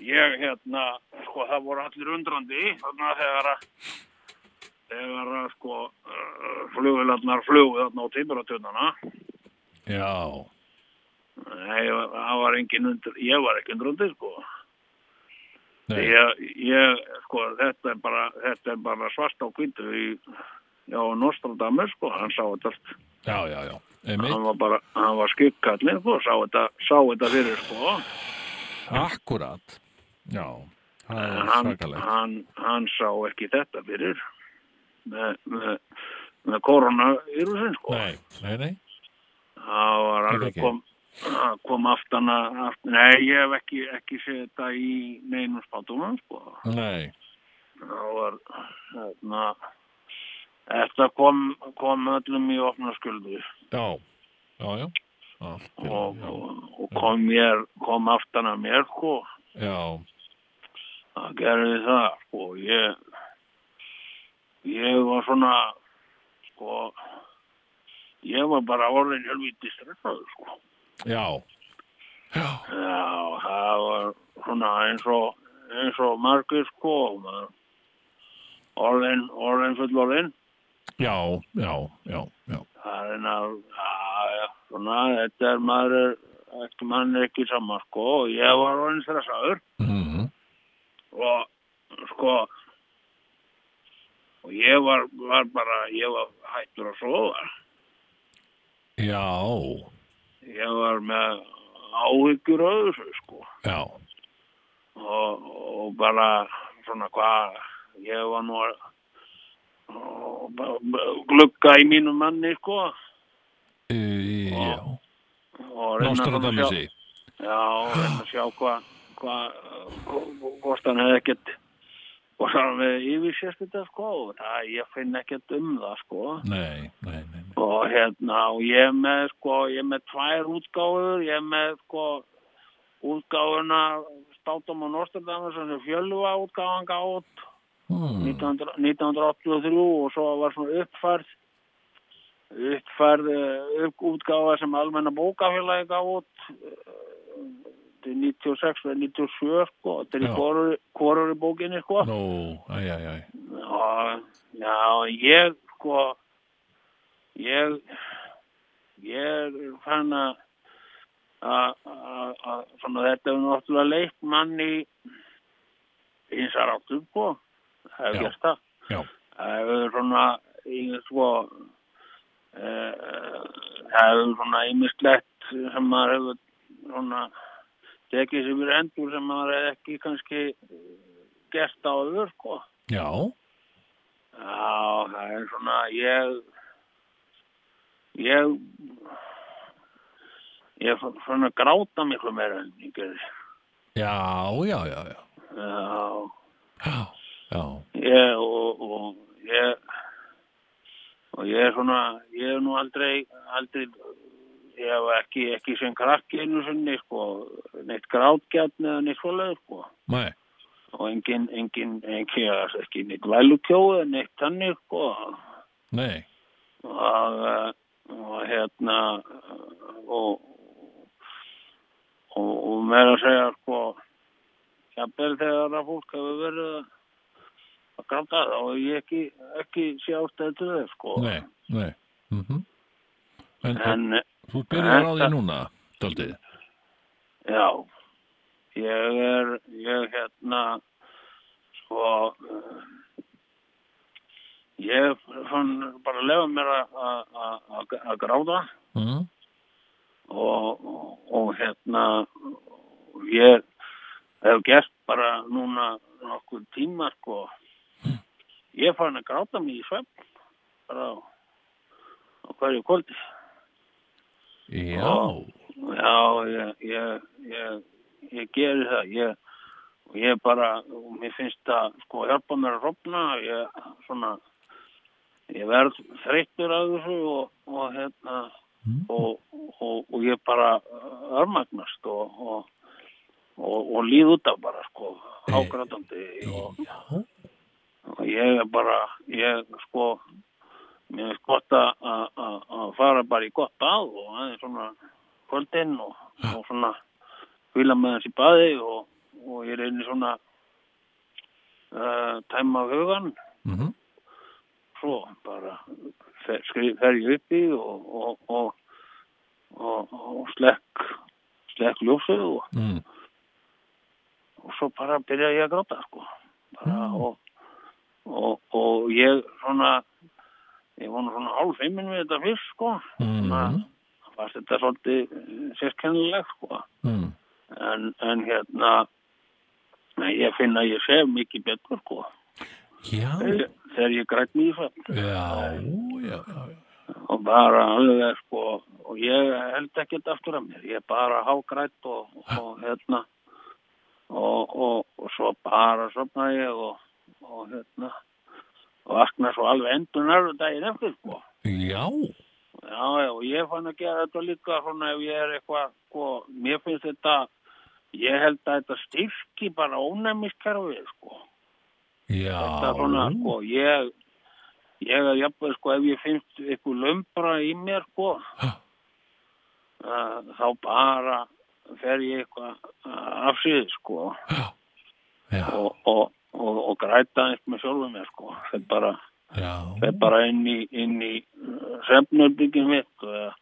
[SPEAKER 7] ég hérna sko það voru allir undrandi þarna þegar að þegar að sko flugularnar flugu þarna á tímuratunana
[SPEAKER 1] já,
[SPEAKER 7] Nei, það var engin undur, ég var ekki undrandi sko
[SPEAKER 1] Nei.
[SPEAKER 7] ég, ég sko þetta er bara, þetta er bara svart á hvítu í Já, Nostradamus, sko, hann sá þetta allt.
[SPEAKER 1] já, já, já, einmitt,
[SPEAKER 7] Hann var bara, hann var skikkallinn, sko, sá þetta, sá þetta fyrir, sko.
[SPEAKER 1] akkurat, já, það er
[SPEAKER 7] hann,
[SPEAKER 1] svakalegt,
[SPEAKER 7] hann, hann sá ekki þetta fyrir með, með, með koronavirusin sko.
[SPEAKER 1] nei, nei, nei,
[SPEAKER 7] það var alveg
[SPEAKER 1] ekki.
[SPEAKER 7] kom, það kom aftan að aft- nei ég hef ekki, ekki séð þetta í neinum spátumum sko.
[SPEAKER 1] nei,
[SPEAKER 7] það var hérna, þetta kom, kom öllum í opna skuldu
[SPEAKER 1] já, já, já, allt, í
[SPEAKER 7] og,
[SPEAKER 1] lagi,
[SPEAKER 7] og, og kom, mér, kom aftan að mér sko.
[SPEAKER 1] já, já,
[SPEAKER 7] Það gerði það, sko, ég, ég var svona, sko, ég var bara orðin helviti stressaður, sko.
[SPEAKER 1] já, já,
[SPEAKER 7] Já, það var svona eins og, eins og margir, sko, maður, orðin, orðin fullorðin,
[SPEAKER 1] já, já, já, já.
[SPEAKER 7] það er en að, já, já, svona, þetta er maður, er- ekki mann er ekki saman, sko, og ég var orðin stressaður.
[SPEAKER 1] Mm
[SPEAKER 7] og sko og ég var, var bara ég var hættur að sofa
[SPEAKER 1] Já,
[SPEAKER 7] ég var með áhyggjur öðru sko
[SPEAKER 1] já,
[SPEAKER 7] og, og bara svona hvað ég var nú að og bara- bara glugga í mínum manni sko
[SPEAKER 1] Uh, já,
[SPEAKER 7] og reyna svona að sjá
[SPEAKER 1] Nostradamusi.
[SPEAKER 7] já, og reyna að sjá hvað hva, hva, hvort hann hefði ekkert og hann hefði yfir sérstætt sko og það, ég finn ekkert um það sko
[SPEAKER 1] Nei, nei, nei. nei.
[SPEAKER 7] og hérna og ég er með sko, ég er með tvær útgáfur ég er með sko útgáfuna státum og Nostradamus sem fjölva útgáfan gátt
[SPEAKER 1] Hmm.
[SPEAKER 7] 1900 1983 og svo var svona uppfærð uppfærð eh, upp, útgáfa sem almenna bókafélagi gátt eh, til 96 eða 97 sko, þetta er
[SPEAKER 1] Já.
[SPEAKER 7] í hvorur- hvorur í bókinni sko
[SPEAKER 1] Nó, æj, æj, æj.
[SPEAKER 7] og já, ég sko ég ég er fann að að- að að- svona þetta er náttúrulega leitt mann í einsar áttum sko það
[SPEAKER 1] Já.
[SPEAKER 7] hefur gert það
[SPEAKER 1] Já.
[SPEAKER 7] það hefur svona í, sko e, það hefur svona ýmislegt sem maður hefur svona tekið sér fyrir endur sem maður hefur ekki kannski eh, gert á öður sko
[SPEAKER 1] Já,
[SPEAKER 7] Já, það er svona, ég, ég, ég er svona að gráta miklu meira en ég gerði.
[SPEAKER 1] já, já, já, já.
[SPEAKER 7] Já,
[SPEAKER 1] Já, já.
[SPEAKER 7] ég, og, og ég, og ég er svona, ég er nú aldrei, aldrei, ég hef ekki, ekki sem krakki einu sinni, sko, neitt grátgjarn eða neitt svoleið, sko.
[SPEAKER 1] Nei,
[SPEAKER 7] Og engin, engin, engin, ekki neitt vælukjóð eða neitt þannig, sko,
[SPEAKER 1] nei.
[SPEAKER 7] og, eh, og hérna og og, og meira að segja sko jafnvel þegar að fólk hefur verið að- að gráta þá og ég ekki, ekki sé ástæði til þess sko
[SPEAKER 1] Nei, nei. Mm en, en
[SPEAKER 7] en
[SPEAKER 1] þú byrjar á því
[SPEAKER 7] þetta-
[SPEAKER 1] núna, daldið.
[SPEAKER 7] já ég er ég hérna sko eh, ég fann bara að lefa mér að- að að- að- að gráta
[SPEAKER 1] Mm.
[SPEAKER 7] og, og, og hérna ég hef gert bara núna nokkur tíma sko ég er farin að gráta mig í svefn bara á, á hverju kvöldi
[SPEAKER 1] Já,
[SPEAKER 7] já, ég ég, ég, ég geri það ég, og ég bara og mér finnst það sko hjálpa mér að rofna ég svona ég verð þreyttur af þessu og, og hérna og, og, og ég bara uh, örmagnast og, og, og, og líð út af bara sko ágrátandi og, og ég er bara ég sko mér er gott að- að að- að fara bara í gott bað og aðeins svona kvöldin og, og svona hvila með þessi baði og, og ég reynir svona uh, tæma hugan
[SPEAKER 1] Mhm.
[SPEAKER 7] svo bara fer, skri- fer ég upp í og, og, og, og, og slekk slekk ljósið og,
[SPEAKER 1] Mm.
[SPEAKER 7] og svo bara byrja ég að gráta sko bara
[SPEAKER 1] Mm.
[SPEAKER 7] og, og, og ég svona ég var nú svona hálf feimin við þetta fyrst sko
[SPEAKER 1] Mhm.
[SPEAKER 7] mm. var þetta svolítið eh, sérkennilegt sko
[SPEAKER 1] Mm.
[SPEAKER 7] en, en hérna en ég finn að ég sef mikið betur sko
[SPEAKER 1] Já,
[SPEAKER 7] þegar ég- þegar ég grætt mjög svefn
[SPEAKER 1] já, já, já.
[SPEAKER 7] og bara alveg sko og ég held ekkert aftur af mér ég er bara hágrætt og, og hérna og, og, og svo bara sopna ég og, og hérna og vakna svo alveg endur nærðu daginn eftir sko
[SPEAKER 1] Já,
[SPEAKER 7] já, já, og ég fann að gera þetta líka svona ef ég er eitthvað sko, mér finnst þetta ég held að þetta styrki bara ónæmiskerfið sko
[SPEAKER 1] já.
[SPEAKER 7] þetta er svona, sko, ég ég er jafnveg, sko, ef ég finnst eitthvað lömbra í mér, sko uh, þá bara fer ég eitthvað afsýð, sko
[SPEAKER 1] Já,
[SPEAKER 7] og, og, og, og græta eitthvað með sjálfum mér, sko þetta bara,
[SPEAKER 1] já,
[SPEAKER 7] þetta bara inn í, inn í uh, semnörbyggjum mitt sko, eða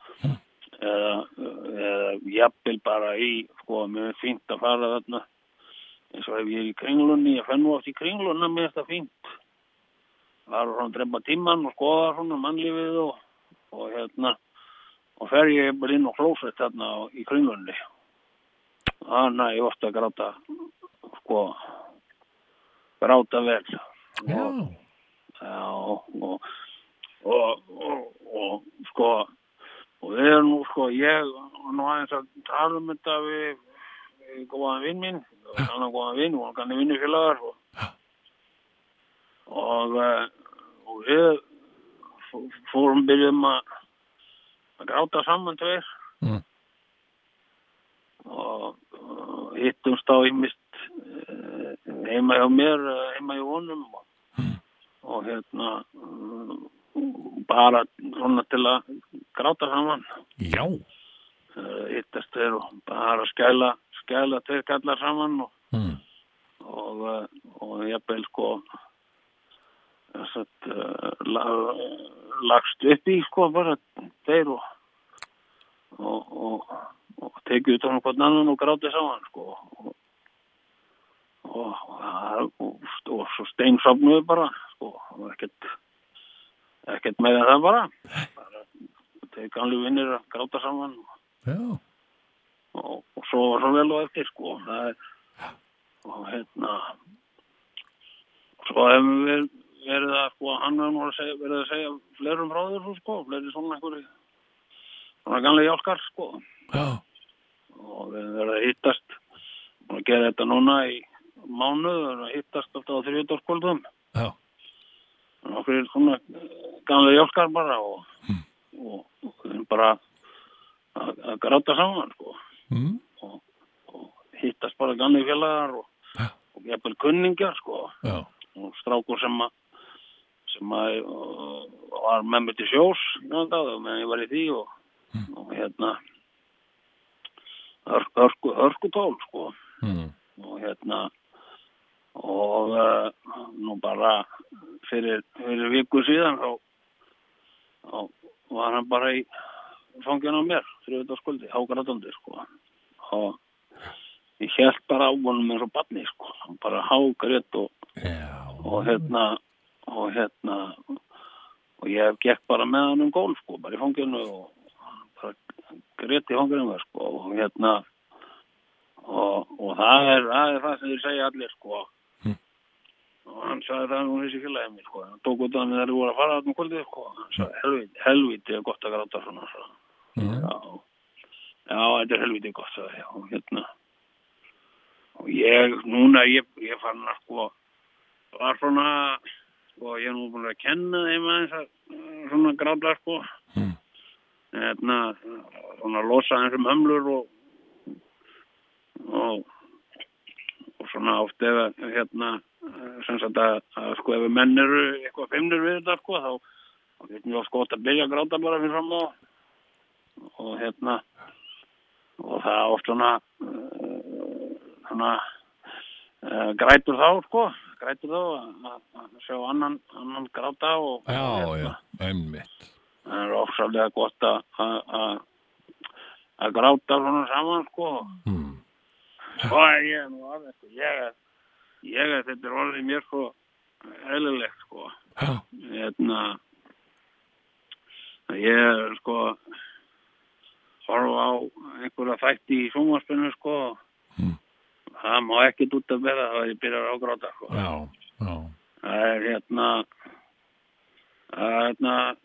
[SPEAKER 7] eða, eða jafnvel bara í, sko, mér er fínt að fara þarna eins og ef ég er í kringlunni, ég fennu átt í kringlunna mér er þetta fínt var svona að drepa tíman og skoða svona mannlífið og, og hérna og fer ég bara inn og klósett þarna á- í kringlunni þannig að ég varst að gráta sko sko gráta vel
[SPEAKER 1] Já,
[SPEAKER 7] og, já, og, og, og, og sko og við erum nú sko ég og nú aðeins að tala um þetta við, við góðan vinn minn hann er um góðan vinn og hann er vinnufélagar og og, eh, og við fó- fórum byrjum að að gráta saman tveir
[SPEAKER 1] Mm.
[SPEAKER 7] og, og hittumst á ímist eh, heima hjá mér eh, heima hjá honum og, og hérna mm, bara svona til að gráta saman
[SPEAKER 1] já,
[SPEAKER 7] eh, hittast þeir og bara skæla skæla tveir kallar saman og
[SPEAKER 1] mm.
[SPEAKER 7] og, eh, og jafnvel sko satt, uh, la, lagst upp í sko bara þeir og og, og, og tekið út á hann hvern annan og grátið saman sko og, og, og, og, og svo steinsofnuðu bara sko og ekkert ekkert meira en það bara, bara tekið alveg vinnir að gráta saman og
[SPEAKER 1] já,
[SPEAKER 7] og, og svo var svo vel og eftir sko það er og hérna svo hefum við verið að sko hann var nú að segja, verið að segja flerum frá þessu sko, fleiri svona einhverju svona ganlega hjálkar sko
[SPEAKER 1] já,
[SPEAKER 7] og við hefum verið að hittast og gera þetta núna í mánuð við erum að hittast alltaf á þriðjóttarskvöldum
[SPEAKER 1] já,
[SPEAKER 7] okkur svona ganlega hjálkar bara og,
[SPEAKER 1] Hmm.
[SPEAKER 7] og, og við erum bara að, að gráta saman sko
[SPEAKER 1] mm.
[SPEAKER 7] og hittast bara ganni félagar og, og jafnvel kunningjar sko
[SPEAKER 1] já,
[SPEAKER 7] og strákur sem að sem að uh, var með mér til sjós náttúrulega dag, meðan ég var í því og, og hérna hörk, hörku, hörkutól sko
[SPEAKER 1] mm.
[SPEAKER 7] og hérna og uh, nú bara fyrir, fyrir viku síðan þá, þá var hann bara í fangin á mér þriðutarskuldi, hágrætandi sko og ég held bara á honum eins og barni sko, hann bara hágrætt og,
[SPEAKER 1] já,
[SPEAKER 7] og hérna og hérna og ég gekk bara með hann um gólf sko, bara í fanginu og hann bara grét í fanginu mér sko og hérna og, og það, er, það er það sem þeir segja allir sko og hann sagði það nú þessi félagið mér sko hann tók út af mér þegar við voru að fara þarna um kvöldið sko hann sagði helviti, helviti er gott að gráta svona svo. já, já, þetta er helviti gott sagði ég og hérna og ég, núna ég, ég fann að sko var svona sko ég er nú búin að kenna þeim aðeins að eh, svona gráta sko
[SPEAKER 1] Mm.
[SPEAKER 7] hérna svona losa aðeins um hömlur og og, og svona oft ef að, hérna eh, sem sagt að, að sko ef menn eru eitthvað feimnir við þetta sko þá, þá getum við oft gott að byrja að gráta bara fyrir fram á og hérna og það er oft svona eh, svona uh, grætur þá sko grætur þá að, að- að sjá annan, annan gráta og
[SPEAKER 1] já,
[SPEAKER 7] og,
[SPEAKER 1] já, einmitt
[SPEAKER 7] það er ofsalega gott að- að að- að gráta svona saman sko
[SPEAKER 1] mm.
[SPEAKER 7] Ó, ég er nú aðeins, sko, ég er, ég er, þetta er orðið mér svo eðlilegt, sko,
[SPEAKER 1] já,
[SPEAKER 7] hérna, ég er, sko, horfa á einhverja þætti í sjónvarspinu, sko,
[SPEAKER 1] Mm.
[SPEAKER 7] það má ekkert út að vera, það er ég byrjar að gráta, sko,
[SPEAKER 1] já, já
[SPEAKER 7] það er, hérna, það er, hérna,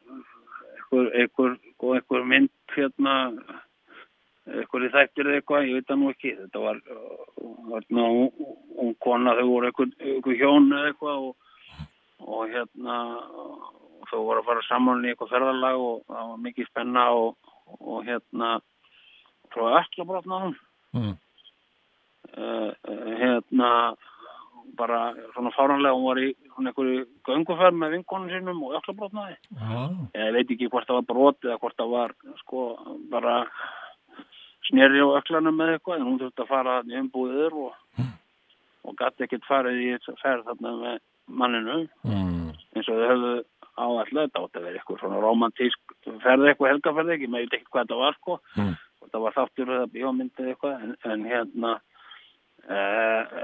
[SPEAKER 7] einhver, einhver, sko, einhver mynd, hérna, einhver í þættir eða eitthvað, ég veit það nú ekki þetta var, var ná, hún kona þau voru einhver, einhver hjón eða eitthvað og, og hérna og þau voru að fara saman í eitthvað ferðalag og það var mikið spenna og, og hérna frá öll að brotna hún
[SPEAKER 1] Mm.
[SPEAKER 7] Eh, hérna bara svona fáranlega hún var í svona einhverju gönguferð með vinkonum sínum og öll að brotnaði
[SPEAKER 1] Já,
[SPEAKER 7] ég veit ekki hvort það var brot eða hvort það var sko bara sneri á öklanum með eitthvað en hún þurfti að fara þarna í umbúðir og, og gæti ekkert farið í þessa ferð þarna með manninu
[SPEAKER 1] mm.
[SPEAKER 7] eins og þau höfðu áallega þetta átt að vera eitthvað svona romantísk ferð eitthvað helgaferð ekki, maður veit ekki hvað þetta var sko
[SPEAKER 1] Mm.
[SPEAKER 7] og það var þáttur eða bíómyndið eitthvað en, en hérna e, e,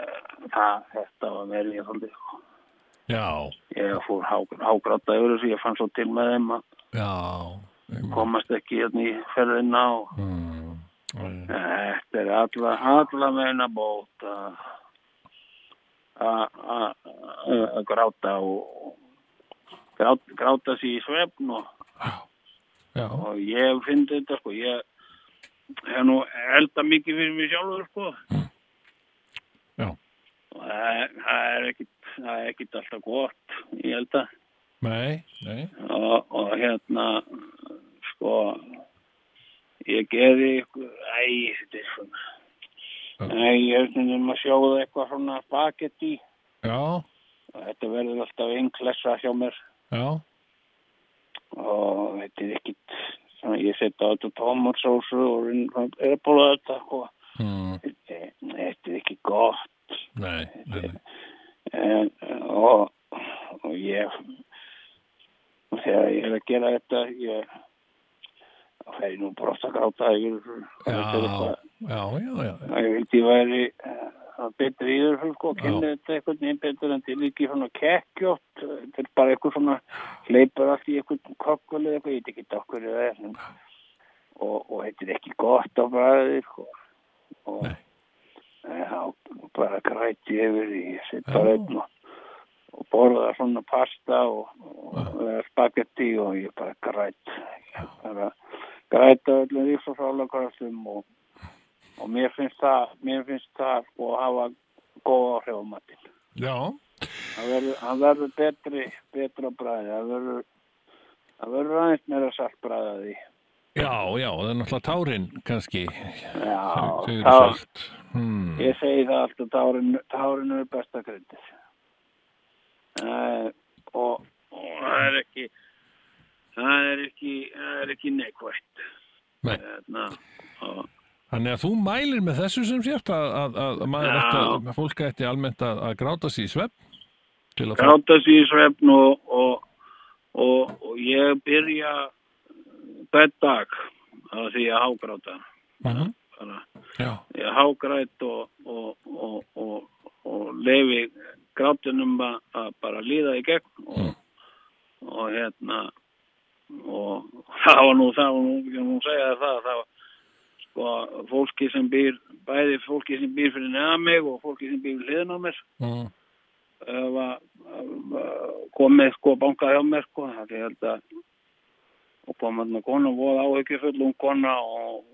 [SPEAKER 7] það, þetta var meira ég svolítið sko.
[SPEAKER 1] já,
[SPEAKER 7] ég fór há, hágráta yfir þessu, ég fann svo til með þeim að
[SPEAKER 1] já einmitt.
[SPEAKER 7] komast ekki hérna í ferðina og
[SPEAKER 1] Mm.
[SPEAKER 7] þetta er alla, alla meina bóta að- að að gráta og grát, gráta sér í svefn og,
[SPEAKER 1] já,
[SPEAKER 7] og ég finn þetta sko, ég hef nú elda mikið fyrir mig sjálfur sko
[SPEAKER 1] Mm. Já.
[SPEAKER 7] Og það er- það er ekkit það er ekkit alltaf gott ég held að
[SPEAKER 1] nei, nei
[SPEAKER 7] og, og hérna sko ég gerði ykkur æ, þetta er svona æ, ég er svona um að sjóða eitthvað svona spagetti
[SPEAKER 1] já,
[SPEAKER 7] og þetta verður alltaf einn klessa hjá mér
[SPEAKER 1] já,
[SPEAKER 7] og þetta er ekkit svona, ég setja á þetta tómatsósu og er að búla þetta og
[SPEAKER 1] mm,
[SPEAKER 7] eh, þetta er ekki gott
[SPEAKER 1] nei, nei, nei.
[SPEAKER 7] en, og, og ég og þegar ég er að gera þetta ég þá fer ég nú brost að gráta ég,
[SPEAKER 1] Já,
[SPEAKER 7] þetta er eitthvað-
[SPEAKER 1] já, já, já, já.
[SPEAKER 7] að ég vildi ég væri eh, að betri í þessu sko, kynna þetta eitthvað nefn betur en til ekki svona kekkjótt þetta er bara eitthvað svona hleypar allt í eitthvað kokkul eða eitthvað, ég veit ekki okkur eða það er og, og þetta er ekki gott á bræði sko og
[SPEAKER 1] Nei.
[SPEAKER 7] eh, þá bara græti ég yfir því, ég sitt bara einn og og borða svona pasta og, og eh, spagetti og ég bara græt ég bara græta öllum ríks og sálagröfsum og og mér finnst það, mér finnst það sko að hafa góð áhrif á matinn.
[SPEAKER 1] já.
[SPEAKER 7] Það verður, hann verður betri, betra bræði, það verður, það verður aðeins meira saltbræði að því.
[SPEAKER 1] Já, já, það er náttúrulega tárin kannski, þau
[SPEAKER 7] Já,
[SPEAKER 1] eru
[SPEAKER 7] þá,
[SPEAKER 1] salt. Hmm.
[SPEAKER 7] ég segi það alltaf, tárin, tárin eru besta kryndið. Uh, og, og það er ekki, það er ekki, það er ekki Hérna, neikvægt.
[SPEAKER 1] Nei.
[SPEAKER 7] Þarna, og,
[SPEAKER 1] Þannig að þú mælir með þessu sem sért að, að, að, að maður
[SPEAKER 7] Já.
[SPEAKER 1] ætti að, að fólk ætti almennt að, að gráta sér í svepp til að fá...
[SPEAKER 7] gráta sér í svefn og, og, og, og ég byrja hvern dag á því að hágráta
[SPEAKER 1] Mhm.
[SPEAKER 7] Bara,
[SPEAKER 1] Já,
[SPEAKER 7] ég hágræt og, og, og, og, og lefi grátunum að að bara líða í gegn og, og hérna og það var nú það var nú, ég nú segja þér það það var sko fólki sem býr bæði fólki sem býr fyrir neða mig og fólki sem býr hliðin á mér
[SPEAKER 1] mm,
[SPEAKER 7] var komið sko bankað hjá mér sko það er held að og kom hann að konu voða áhyggjufull um kona og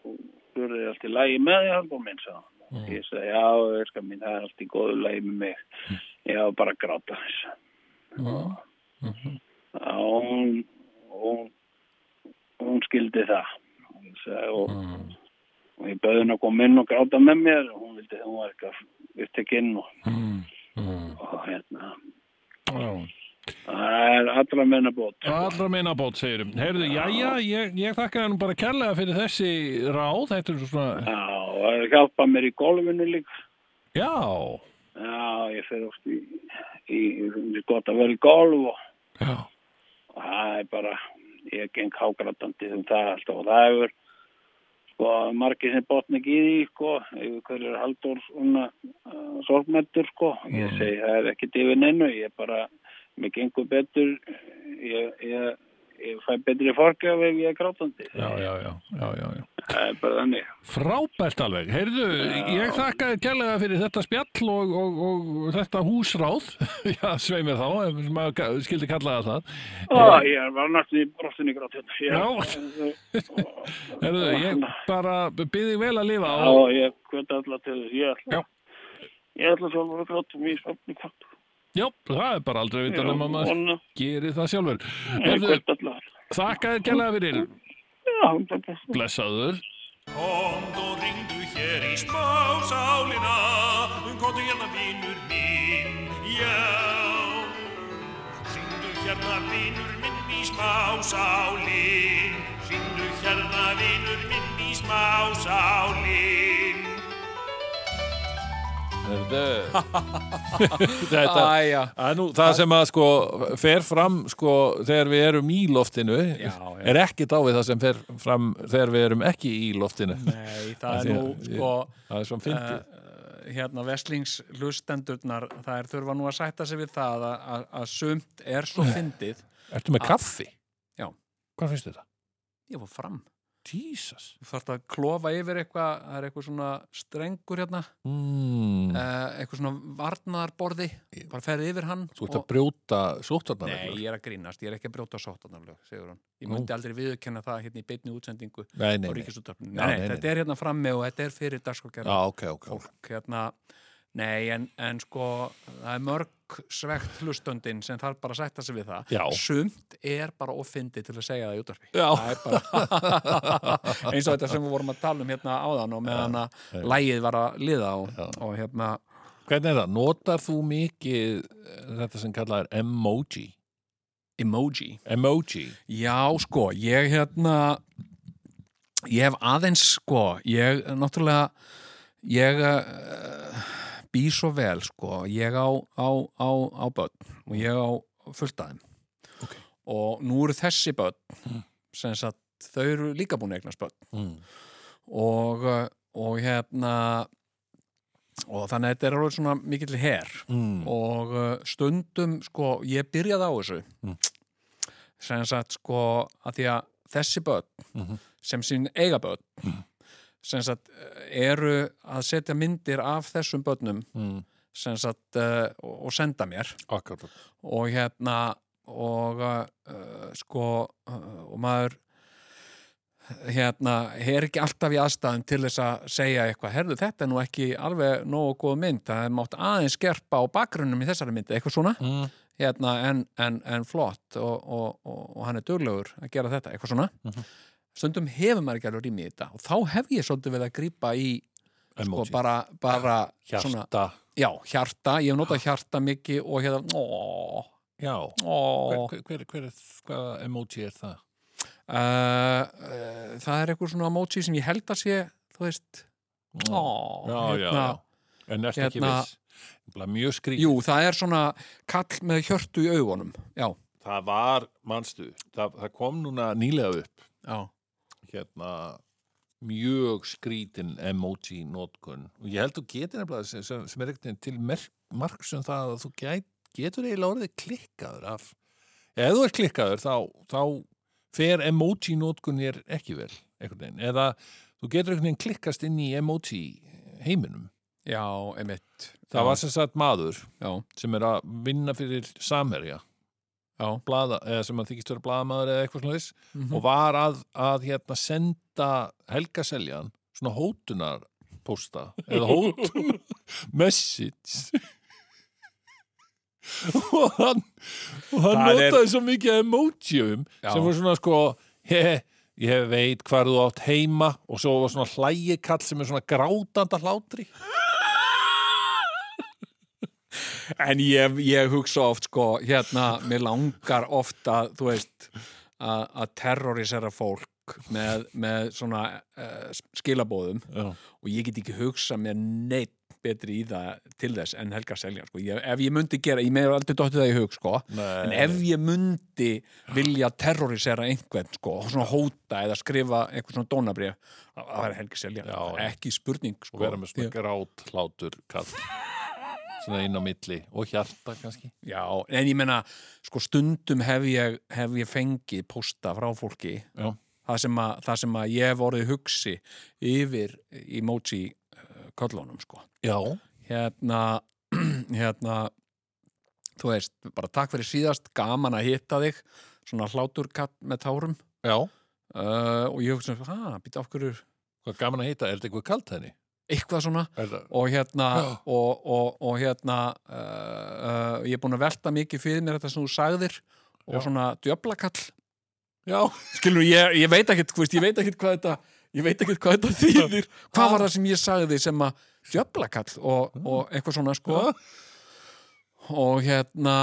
[SPEAKER 7] og spurði allt í lagi með því hann minn sá mm. ég sagði já verka mín það er allt í góðu lagi með mig ég hafa bara að gráta þess og hún hún, hún skildi það Ég sagði, og, og ég bauði henni að koma inn og gráta með mér og hún vildi hún var ekki að upptekinn og,
[SPEAKER 1] mm, mm,
[SPEAKER 7] og hérna
[SPEAKER 1] já.
[SPEAKER 7] Það er allra menna bót.
[SPEAKER 1] Allra meina bót, segirum. Heyrðu, jæja, ég, ég þakka hann bara kærlega fyrir þessi ráð. Þetta er svona...
[SPEAKER 7] Já, og það hjálpa mér í golfinu líka.
[SPEAKER 1] Já,
[SPEAKER 7] Já, ég fer oft í, í, í gott að vera í golf og,
[SPEAKER 1] já,
[SPEAKER 7] og það er bara, ég geng hágratandi um það alltaf og það hefur sko margir sem botn ekki í því sko, yfir hverju er haldur svona uh, sorgmættur sko. Ég segi það er ekkit yfir neinu, ég bara, mér gengur betur, ég, ég, ég fæ betri forgjöf ef ég er grátandi.
[SPEAKER 1] já, já, já, já, já, já.
[SPEAKER 7] Það er bara þannig.
[SPEAKER 1] Frábært alveg. Heyrðu, ég þakka þér kærlega fyrir þetta spjall og, og, og þetta húsráð. já, svei mér þá, ef maður ka- skildi kalla það það.
[SPEAKER 7] Ó, ég var náttúrulega í brostinni grátandi. Ég-
[SPEAKER 1] Já. Heyrðu, ég bara byrði vel að lifa
[SPEAKER 7] Já,
[SPEAKER 1] og
[SPEAKER 7] ég kvöta alltaf til þess, ég ætla
[SPEAKER 1] Já.
[SPEAKER 7] Ég ætla sjálfur að gráta mér í svefni kvart
[SPEAKER 1] já, það er bara aldrei
[SPEAKER 7] Já,
[SPEAKER 1] vitað um að maður
[SPEAKER 7] vona.
[SPEAKER 1] gerir það sjálfur.
[SPEAKER 7] Ég
[SPEAKER 1] Heyrðu,
[SPEAKER 7] kvöta alltaf
[SPEAKER 1] þakka þér kærlega fyrir.
[SPEAKER 7] Já, það er best
[SPEAKER 1] Blessaður.
[SPEAKER 3] Komdu og ringdu hér í spásálina, komdu hérna vinnur minn, já. Ringdu hérna vinnur minn í spásálin, ringdu hérna vinnur minn í spásálin.
[SPEAKER 4] Þetta
[SPEAKER 5] Æja,
[SPEAKER 4] Það er nú það sem að sko fer fram sko þegar við erum í loftinu
[SPEAKER 5] Já, já.
[SPEAKER 4] er ekki dáið það sem fer fram þegar við erum ekki í loftinu.
[SPEAKER 5] nei, það er
[SPEAKER 4] Því
[SPEAKER 5] nú
[SPEAKER 4] að-
[SPEAKER 5] sko
[SPEAKER 4] Það er svona fyndið.
[SPEAKER 5] hérna veslings hlustendurnar það er þurfa nú að sætta sig við það að, að, að sumt er svo fyndið
[SPEAKER 4] Ertu með kaffi?
[SPEAKER 5] Já.
[SPEAKER 4] Hvað finnst þetta?
[SPEAKER 5] ég fór fram
[SPEAKER 1] Jesus
[SPEAKER 5] þú þarft að klofa yfir eitthvað það er eitthvað svona strengur hérna
[SPEAKER 4] mm.
[SPEAKER 5] uh, eitthvað svona varnaðarborði bara ferði yfir hann
[SPEAKER 4] Þú ert að brjóta sóttarnar
[SPEAKER 5] Nei, ég er að grínast, ég er ekki að brjóta sóttanarlög, segur hann. Ég myndi aldrei viðurkenna það hérna í beinni útsendingu á
[SPEAKER 4] nei, nei, nei.
[SPEAKER 5] ríkisúttarpinu.
[SPEAKER 4] Já,
[SPEAKER 5] Nei,
[SPEAKER 4] nei,
[SPEAKER 5] nei,
[SPEAKER 4] nei.
[SPEAKER 5] þetta er hérna frammi og þetta er fyrir
[SPEAKER 4] Já,
[SPEAKER 5] dagskókjara
[SPEAKER 4] ok, ok, ok
[SPEAKER 5] fólk hérna. Nei, en, en sko, það er mörg svegt hlustöndin sem þarf bara að sætta sig við það.
[SPEAKER 4] Já.
[SPEAKER 5] Sumt er bara ofindi til að segja það í útvarpi.
[SPEAKER 4] Já.
[SPEAKER 5] Það er bara eins og þetta sem við vorum að tala um hérna áðan og meðan að lægið var að liða og, og hérna,
[SPEAKER 4] Hvernig er það? Notar þú mikið eh, þetta sem kallað er emoji?
[SPEAKER 5] emoji.
[SPEAKER 4] Emoji?
[SPEAKER 5] Já, sko, ég hérna ég hef aðeins sko, ég náttúrulega ég uh, bý svo vel sko, ég á á, á, á börn og ég á fullt aðeim okay. og nú eru þessi börn sem sagt, þau eru líka búin að eignast börn
[SPEAKER 4] Mm.
[SPEAKER 5] og, uh, og hérna og þannig að þetta er alveg svona mikill her
[SPEAKER 4] Mm.
[SPEAKER 5] og uh, stundum sko, ég byrjaði á þessu
[SPEAKER 4] Mm.
[SPEAKER 5] sem sagt sko að því að þessi börn sem sín eiga börn sem sagt uh, eru að setja myndir af þessum börnum
[SPEAKER 4] Mm.
[SPEAKER 5] sem sagt uh, og og senda mér
[SPEAKER 4] Akkurat.
[SPEAKER 5] og hérna og uh, sko uh, og maður hérna, er ekki alltaf í aðstæðum til þess að segja eitthvað, herðu þetta er nú ekki alveg nógu góð mynd, það er mátt aðeins skerpa á bakgrunnum í þessari mynd, eitthvað svona
[SPEAKER 4] Mm.
[SPEAKER 5] hérna, en, en, en flott og, og, og, og hann er duglegur að gera þetta, eitthvað svona
[SPEAKER 4] Mhm.
[SPEAKER 5] stundum hefur maður ekki alveg rými í þetta og þá hef ég svolítið verið að grípa í sko,
[SPEAKER 4] Emoji.
[SPEAKER 5] bara, bara svona,
[SPEAKER 4] Hjarta.
[SPEAKER 5] já, hjarta, ég hef notað hjarta mikið og hérna, ó,
[SPEAKER 4] Já. Hver,
[SPEAKER 5] ó
[SPEAKER 4] hver, hver, hver, hvaða emoji er það?
[SPEAKER 5] Uh, uh, það er eitthvað svona emoji sem ég held að sé þú veist ó,
[SPEAKER 4] Já, já,
[SPEAKER 5] hérna.
[SPEAKER 4] já. En næst ekki
[SPEAKER 5] hérna-
[SPEAKER 4] viss. Bara Mjög skrýt.
[SPEAKER 5] jú, það er svona kall með hjörtu í augunum já,
[SPEAKER 4] Það var, manstu, það, það kom núna nýlega upp
[SPEAKER 5] já,
[SPEAKER 4] hérna mjög skrítin emoji notkun og ég held þú getur nefnilega sem, sem, sem er ekkert til merk- marks um það að þú gæt, getur eiginlega orðið klikkaður af ef þú er klikkaður þá, þá fer emoji notkun þér ekki vel einhvern veginn eða þú getur einhvern veginn klikkast inn í emoji heiminum
[SPEAKER 5] já, emitt
[SPEAKER 4] það var sem sagt maður
[SPEAKER 5] já,
[SPEAKER 4] sem er að vinna fyrir samherja
[SPEAKER 5] já, Mhm.
[SPEAKER 4] blaða, eða sem að þykist vera blaðamaður eða eitthvað svona þess og var að, að hérna, senda Helga Seljan svona hótunar posta eða hótunar message og hann og hann
[SPEAKER 6] Það er-
[SPEAKER 4] notaði svo mikið emojium
[SPEAKER 5] Já.
[SPEAKER 4] sem var svona sko he, ég veit hvar þú átt heima og svo var svona hlægikall sem er svona grátanda hlátri
[SPEAKER 5] en ég, ég hugsa oft sko, hérna, mér langar oft að, þú veist að að terrorisera fólk með, með svona uh, skilabóðum
[SPEAKER 4] Já.
[SPEAKER 5] og ég get ekki hugsa mér neitt betri í það til þess en Helga Seljan sko. ég, ef ég myndi gera, ég meður aldrei dottið það í hug sko.
[SPEAKER 4] Nei.
[SPEAKER 5] en ef ég myndi vilja terrorisera einhvern sko, og svona hóta eða skrifa einhvern svona dónabrif það var Helga Seljan,
[SPEAKER 4] Já, já.
[SPEAKER 5] ekki spurning sko.
[SPEAKER 4] og vera með svona
[SPEAKER 5] Ég-
[SPEAKER 4] grát hlátur kall svona inn á milli og hjarta kannski
[SPEAKER 5] Já, en ég meina, sko stundum hef ég, hef ég fengið posta frá fólki
[SPEAKER 4] Já.
[SPEAKER 5] það sem, að, það sem að ég hef orðið hugsi yfir emoji uh, köllunum, sko
[SPEAKER 4] já
[SPEAKER 5] hérna, hérna þú veist, bara takk fyrir síðast gaman að hitta þig svona hláturkatt með tárum
[SPEAKER 4] Já,
[SPEAKER 5] uh, og ég hugsa, hæ, býta af hverju
[SPEAKER 4] hvað gaman að hitta, er þetta eitthvað kalt henni?
[SPEAKER 5] eitthvað svona
[SPEAKER 4] Er það...
[SPEAKER 5] og hérna
[SPEAKER 4] Já.
[SPEAKER 5] og, og, og hérna uh, uh, ég er búin að velta mikið fyrir mér þetta sem þú sagðir og svona djöflakall
[SPEAKER 4] Já,
[SPEAKER 5] skilur, ég, ég veit ekkert, þú veist, ég veit ekkert hvað þetta ég veit ekkert hvað þetta þýðir hvað var það sem ég sagði sem að djöflakall og, og eitthvað svona sko og hérna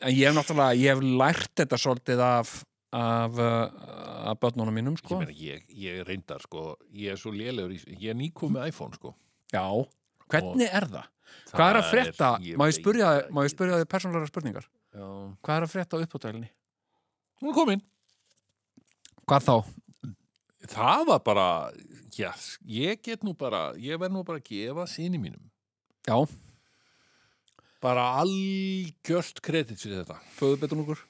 [SPEAKER 5] en ég hef náttúrulega, ég hef lært þetta svolítið af af, uh, af börnunum mínum
[SPEAKER 4] ég
[SPEAKER 5] sko
[SPEAKER 4] meina, ég, ég reyndar sko, ég er svo lélegur í, ég er nýkom með iPhone sko.
[SPEAKER 5] já, hvernig er það? Hvað er að
[SPEAKER 4] Það
[SPEAKER 5] frétta?
[SPEAKER 4] ég
[SPEAKER 5] Má ég
[SPEAKER 4] veit
[SPEAKER 5] spyrja,
[SPEAKER 4] það
[SPEAKER 5] má ég
[SPEAKER 4] ekki.
[SPEAKER 5] spyrja þið persónlega spurningar?
[SPEAKER 4] Já, hún
[SPEAKER 5] Hvað er að frétta á uppátælinni?
[SPEAKER 4] er komin.
[SPEAKER 5] Hvað þá?
[SPEAKER 4] Það var bara, já, ég get nú bara, ég verð nú bara að gefa sinni mínum.
[SPEAKER 5] Já,
[SPEAKER 4] Bara algjört kredit fyrir þetta.
[SPEAKER 5] föðubetunungur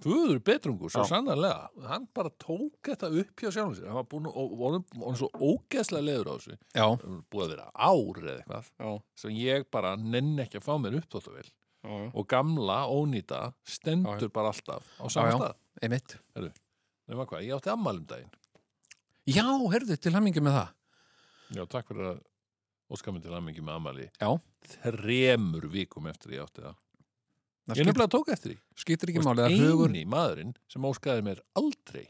[SPEAKER 4] Guður betrungur, svo sannarlega hann bara tók þetta upp hjá sjálfum sér hann var búin og vorum vorum svo ógeðslega leður á þessu,
[SPEAKER 5] já,
[SPEAKER 4] Það var búið að vera ár eða eitthvað,
[SPEAKER 6] Já,
[SPEAKER 4] sem ég bara nenn ekki að fá mér upp þóttu vel
[SPEAKER 6] já, já.
[SPEAKER 4] og gamla, ónýta, stendur bara alltaf
[SPEAKER 5] Já,
[SPEAKER 4] á
[SPEAKER 5] já.
[SPEAKER 4] saman stað
[SPEAKER 5] einmitt
[SPEAKER 4] nema hvað, ég átti ammælum daginn
[SPEAKER 5] Já, herðu, til hamingi með það
[SPEAKER 4] já, takk fyrir að óskaminn til ammingi með ammæli
[SPEAKER 5] Já.
[SPEAKER 4] þremur vikum eftir ég átti það
[SPEAKER 5] Það
[SPEAKER 4] ég
[SPEAKER 5] skiptir,
[SPEAKER 4] nefnilega tók eftir því
[SPEAKER 5] skiptir ekki
[SPEAKER 4] Þú
[SPEAKER 5] máli,
[SPEAKER 4] veist,
[SPEAKER 5] það er hugur
[SPEAKER 4] eini maðurinn sem óskaði mér aldrei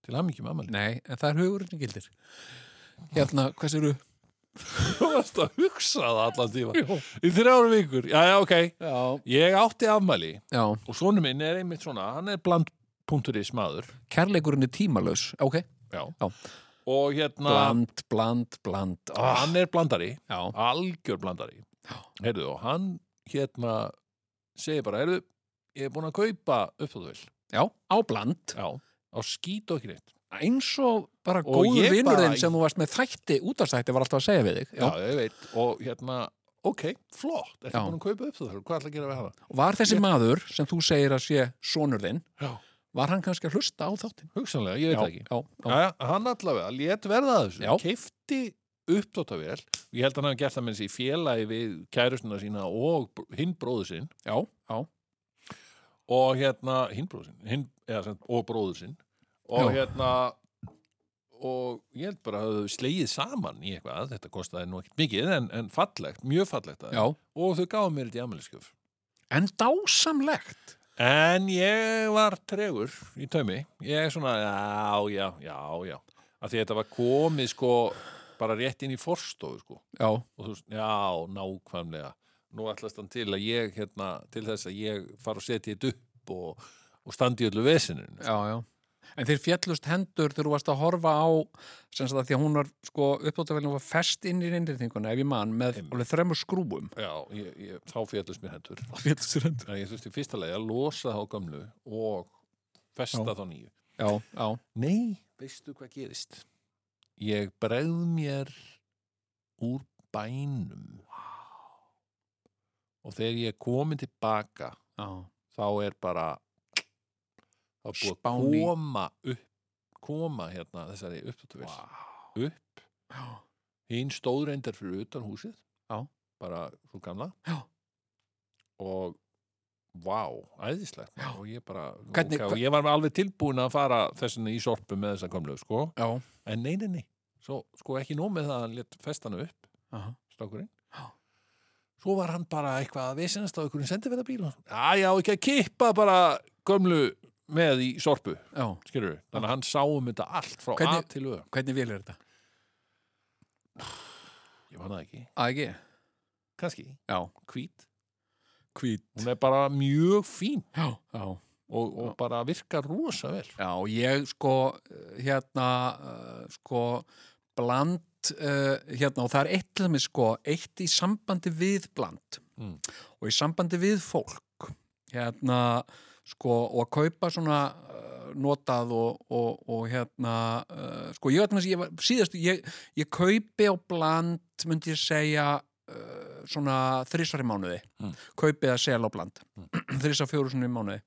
[SPEAKER 4] til hammingjum ammali
[SPEAKER 5] Nei, en það er hugurinn sem gildir Hérna, hvers eru
[SPEAKER 4] þú varst að hugsa það allan tíma í þrjáru vikur, já já ok
[SPEAKER 5] Já,
[SPEAKER 4] ég átti ammali
[SPEAKER 5] já
[SPEAKER 4] og sonu minn er einmitt svona hann er bland.is maður
[SPEAKER 5] Kærleikurinn er tímalaus, ok
[SPEAKER 4] já. Ah.
[SPEAKER 5] Já.
[SPEAKER 4] og hérna
[SPEAKER 5] Bland, bland, bland oh.
[SPEAKER 4] hann er blandari,
[SPEAKER 5] Já,
[SPEAKER 4] algjör blandari heyrðu og hann hérna segir bara, heyrðu ég er búin að kaupa uppþóðuvel
[SPEAKER 5] já, á bland
[SPEAKER 4] já, á skýt og ekki neitt
[SPEAKER 5] Eins og bara
[SPEAKER 4] Og
[SPEAKER 5] góður
[SPEAKER 4] ég
[SPEAKER 5] vinnur
[SPEAKER 4] bara-
[SPEAKER 5] þinn sem þú varst með þætti útastætti var alltaf að segja við þig
[SPEAKER 4] já, ég veit, og hérna ok, flott, ertu
[SPEAKER 5] Já.
[SPEAKER 4] búin að kaupa uppþóðuvel hvað ætla að gera við hana?
[SPEAKER 5] Var þessi maður sem þú segir að sé sonur þinn
[SPEAKER 4] Já.
[SPEAKER 5] Var hann kannski að hlusta á þáttin?
[SPEAKER 4] Hugsanlega, ég veit það ekki.
[SPEAKER 5] já, já,
[SPEAKER 4] Jæja, hann allavega létt verða að þessu,
[SPEAKER 5] Já.
[SPEAKER 4] keifti uppdóttavél og ég held að hann hafi gert það með þessi félagi við kærustuna sína og br- hinn bróður sinn
[SPEAKER 5] já, já.
[SPEAKER 4] og hérna, hinn bróður sinn hinn, eða, sem, og bróður sinn og
[SPEAKER 5] Já.
[SPEAKER 4] hérna og ég held bara að þau slegið saman í eitthvað, þetta kostaði nú ekkert mikið en, en fallegt, mjög fallegt að
[SPEAKER 5] já.
[SPEAKER 4] og þau gáðu mér þetta í amelisköf
[SPEAKER 5] En dásamlegt
[SPEAKER 4] En ég var tregur í taumi. Ég er svona, já, já, já, já. Af því þetta var komið sko bara rétt inn í forstofu sko.
[SPEAKER 5] Já,
[SPEAKER 4] Og þú veist, já, nákvæmlega. Nú ætlast hann til að ég, hérna, til þess að ég fara og setja þetta upp og, og standi í öllu vesinun.
[SPEAKER 5] já, já En þeir fjallust hendur þegar þú varst að horfa á sem sagt að því að hún var sko uppdóttavælinu var fest inn í reyndirtinguna ef ég man með
[SPEAKER 4] Einmitt.
[SPEAKER 5] alveg þremur skrúbum
[SPEAKER 4] Já, ég, ég, þá fjallast mér hendur.
[SPEAKER 5] Fjallstur hendur
[SPEAKER 4] Þannig að ég þurfti í fyrsta lagi að losa þá gamlu og festa
[SPEAKER 5] Já.
[SPEAKER 4] þá nýju.
[SPEAKER 5] Já, já,
[SPEAKER 4] Nei, veistu hvað gerist? Ég bregð mér úr bænum. Og þegar ég er komin tilbaka,
[SPEAKER 5] já
[SPEAKER 4] þá er bara þá er búið að
[SPEAKER 5] Spáni.
[SPEAKER 4] koma upp, koma hérna þessari upptötuvel. Upp. Hinn stóð reyndar fyrir utan húsið.
[SPEAKER 5] Já.
[SPEAKER 4] Bara svo gamla.
[SPEAKER 5] Já.
[SPEAKER 4] Og vá, æðislegt. Já. Og ég bara,
[SPEAKER 5] Hvernig-
[SPEAKER 4] ok, og ég var alveg tilbúin að fara þessin í sorpu með þessa gamlu, sko.
[SPEAKER 5] Já,
[SPEAKER 4] En nei, nei, nei. Svo, sko ekki nóg með það að hann létt festana upp,
[SPEAKER 5] Aha.
[SPEAKER 4] strákurinn. Svo var hann bara eitthvað að vesinast á einhverjum sendiferðabíl. og- Já, já, ekki að kippa bara gömlu með í sorpu,
[SPEAKER 5] já
[SPEAKER 4] skilur við. Þannig að hann sáum þetta allt frá
[SPEAKER 5] Hvernig-
[SPEAKER 4] A til Ö.
[SPEAKER 5] Hvernig vel er þetta?
[SPEAKER 4] Ég man það ekki.
[SPEAKER 5] Að ekki?
[SPEAKER 4] Kanski.
[SPEAKER 5] Já
[SPEAKER 4] Hvít.
[SPEAKER 5] Hvít
[SPEAKER 4] Hún er bara mjög fín
[SPEAKER 5] Já, já
[SPEAKER 4] og, og bara virkar rosa vel.
[SPEAKER 5] Já, ég sko eh, hérna eh, sko bland uh, hérna og það er eitt til með sko eitt í sambandi við bland
[SPEAKER 4] Mm.
[SPEAKER 5] og í sambandi við fólk hérna sko og að kaupa svona uh, notað og, og, og hérna uh, sko ég veit með þess að síðast ég, ég kaupi á bland myndi ég segja uh, svona þrísvar í mánuði
[SPEAKER 4] Mm.
[SPEAKER 5] kaupi að sel á bland mm. þrísvar fjóru svona í mánuði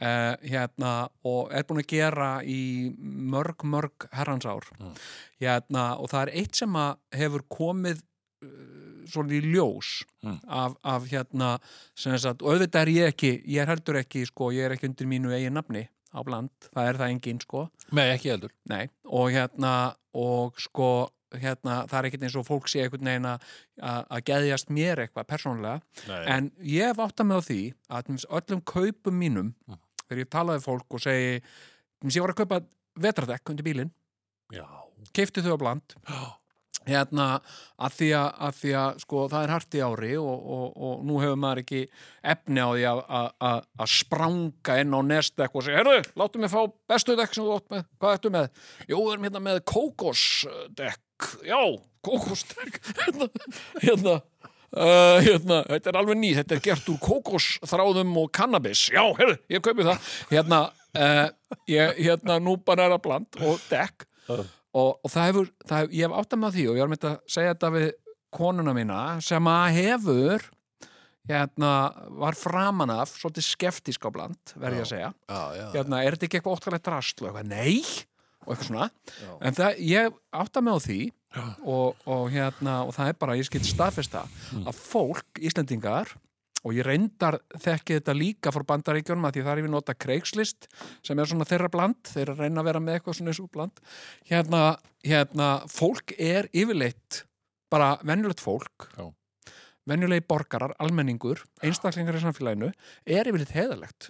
[SPEAKER 5] uh, hérna, og er búin að gera í mörg, mörg herrans ár
[SPEAKER 4] Mm.
[SPEAKER 5] hérna, og það er eitt sem að hefur komið uh, svona í ljós
[SPEAKER 4] Mm.
[SPEAKER 5] af, af hérna sem sagt, og auðvitað er ég ekki, ég er heldur ekki sko, ég er ekki undir mínu eigin nafni á bland, það er það engin sko
[SPEAKER 4] Nei, ekki heldur.
[SPEAKER 5] Nei, og hérna og sko, hérna, það er ekkert eins og fólk sé einhvern veginn að- að að geðjast mér eitthvað persónulega
[SPEAKER 4] Nei.
[SPEAKER 5] En ég hef átt að með á því að til dæmis, öllum kaupum mínum
[SPEAKER 4] Mm.
[SPEAKER 5] þegar ég talaði við fólk og segi til dæmis, ég var að kaupa vetradekk undir bílinn
[SPEAKER 4] Já.
[SPEAKER 5] keifti þau á bland hérna að því að, að, því að sko, það er hart í ári og, og, og nú hefur maður ekki efni á því að, að, að, að spranga inn á nestek og segja, herru, láttu mig fá bestu dekk sem þú átt með, hvað ertu með? Jú, við erum hérna með kókosdekk já, kókosdekk hérna, hérna Uh, hérna, þetta er alveg ný, þetta er gert úr kókosþráðum og kannabis já, herru, ég kaupi það hérna, uh, ég, hérna, nú bara er að bland og dekk og, og það hefur, það hefur, ég hef átt að með því og ég var með að segja þetta við konuna mína sem að hefur hérna, var framan af svolítið skeftísk á bland, verði ég að segja
[SPEAKER 4] já, já, já.
[SPEAKER 5] hérna, er þetta ekki eitthvað óttalegt rastl og eitthvað, nei, og eitthvað svona en það, ég átta mig á því og, og hérna, og það er bara ég skil staðfesta að fólk Íslendingar, og ég reyndar þekki þetta líka frá bandaríkjónum að því þar er við nota kreikslist sem er svona þeirra bland, þeirra reyna að vera með eitthvað svona þessu bland, hérna, hérna fólk er yfirleitt bara venjulegt fólk
[SPEAKER 8] Já.
[SPEAKER 5] venjulegi borgarar, almenningur einstaklingar í samfélaginu, er yfirleitt heðalegt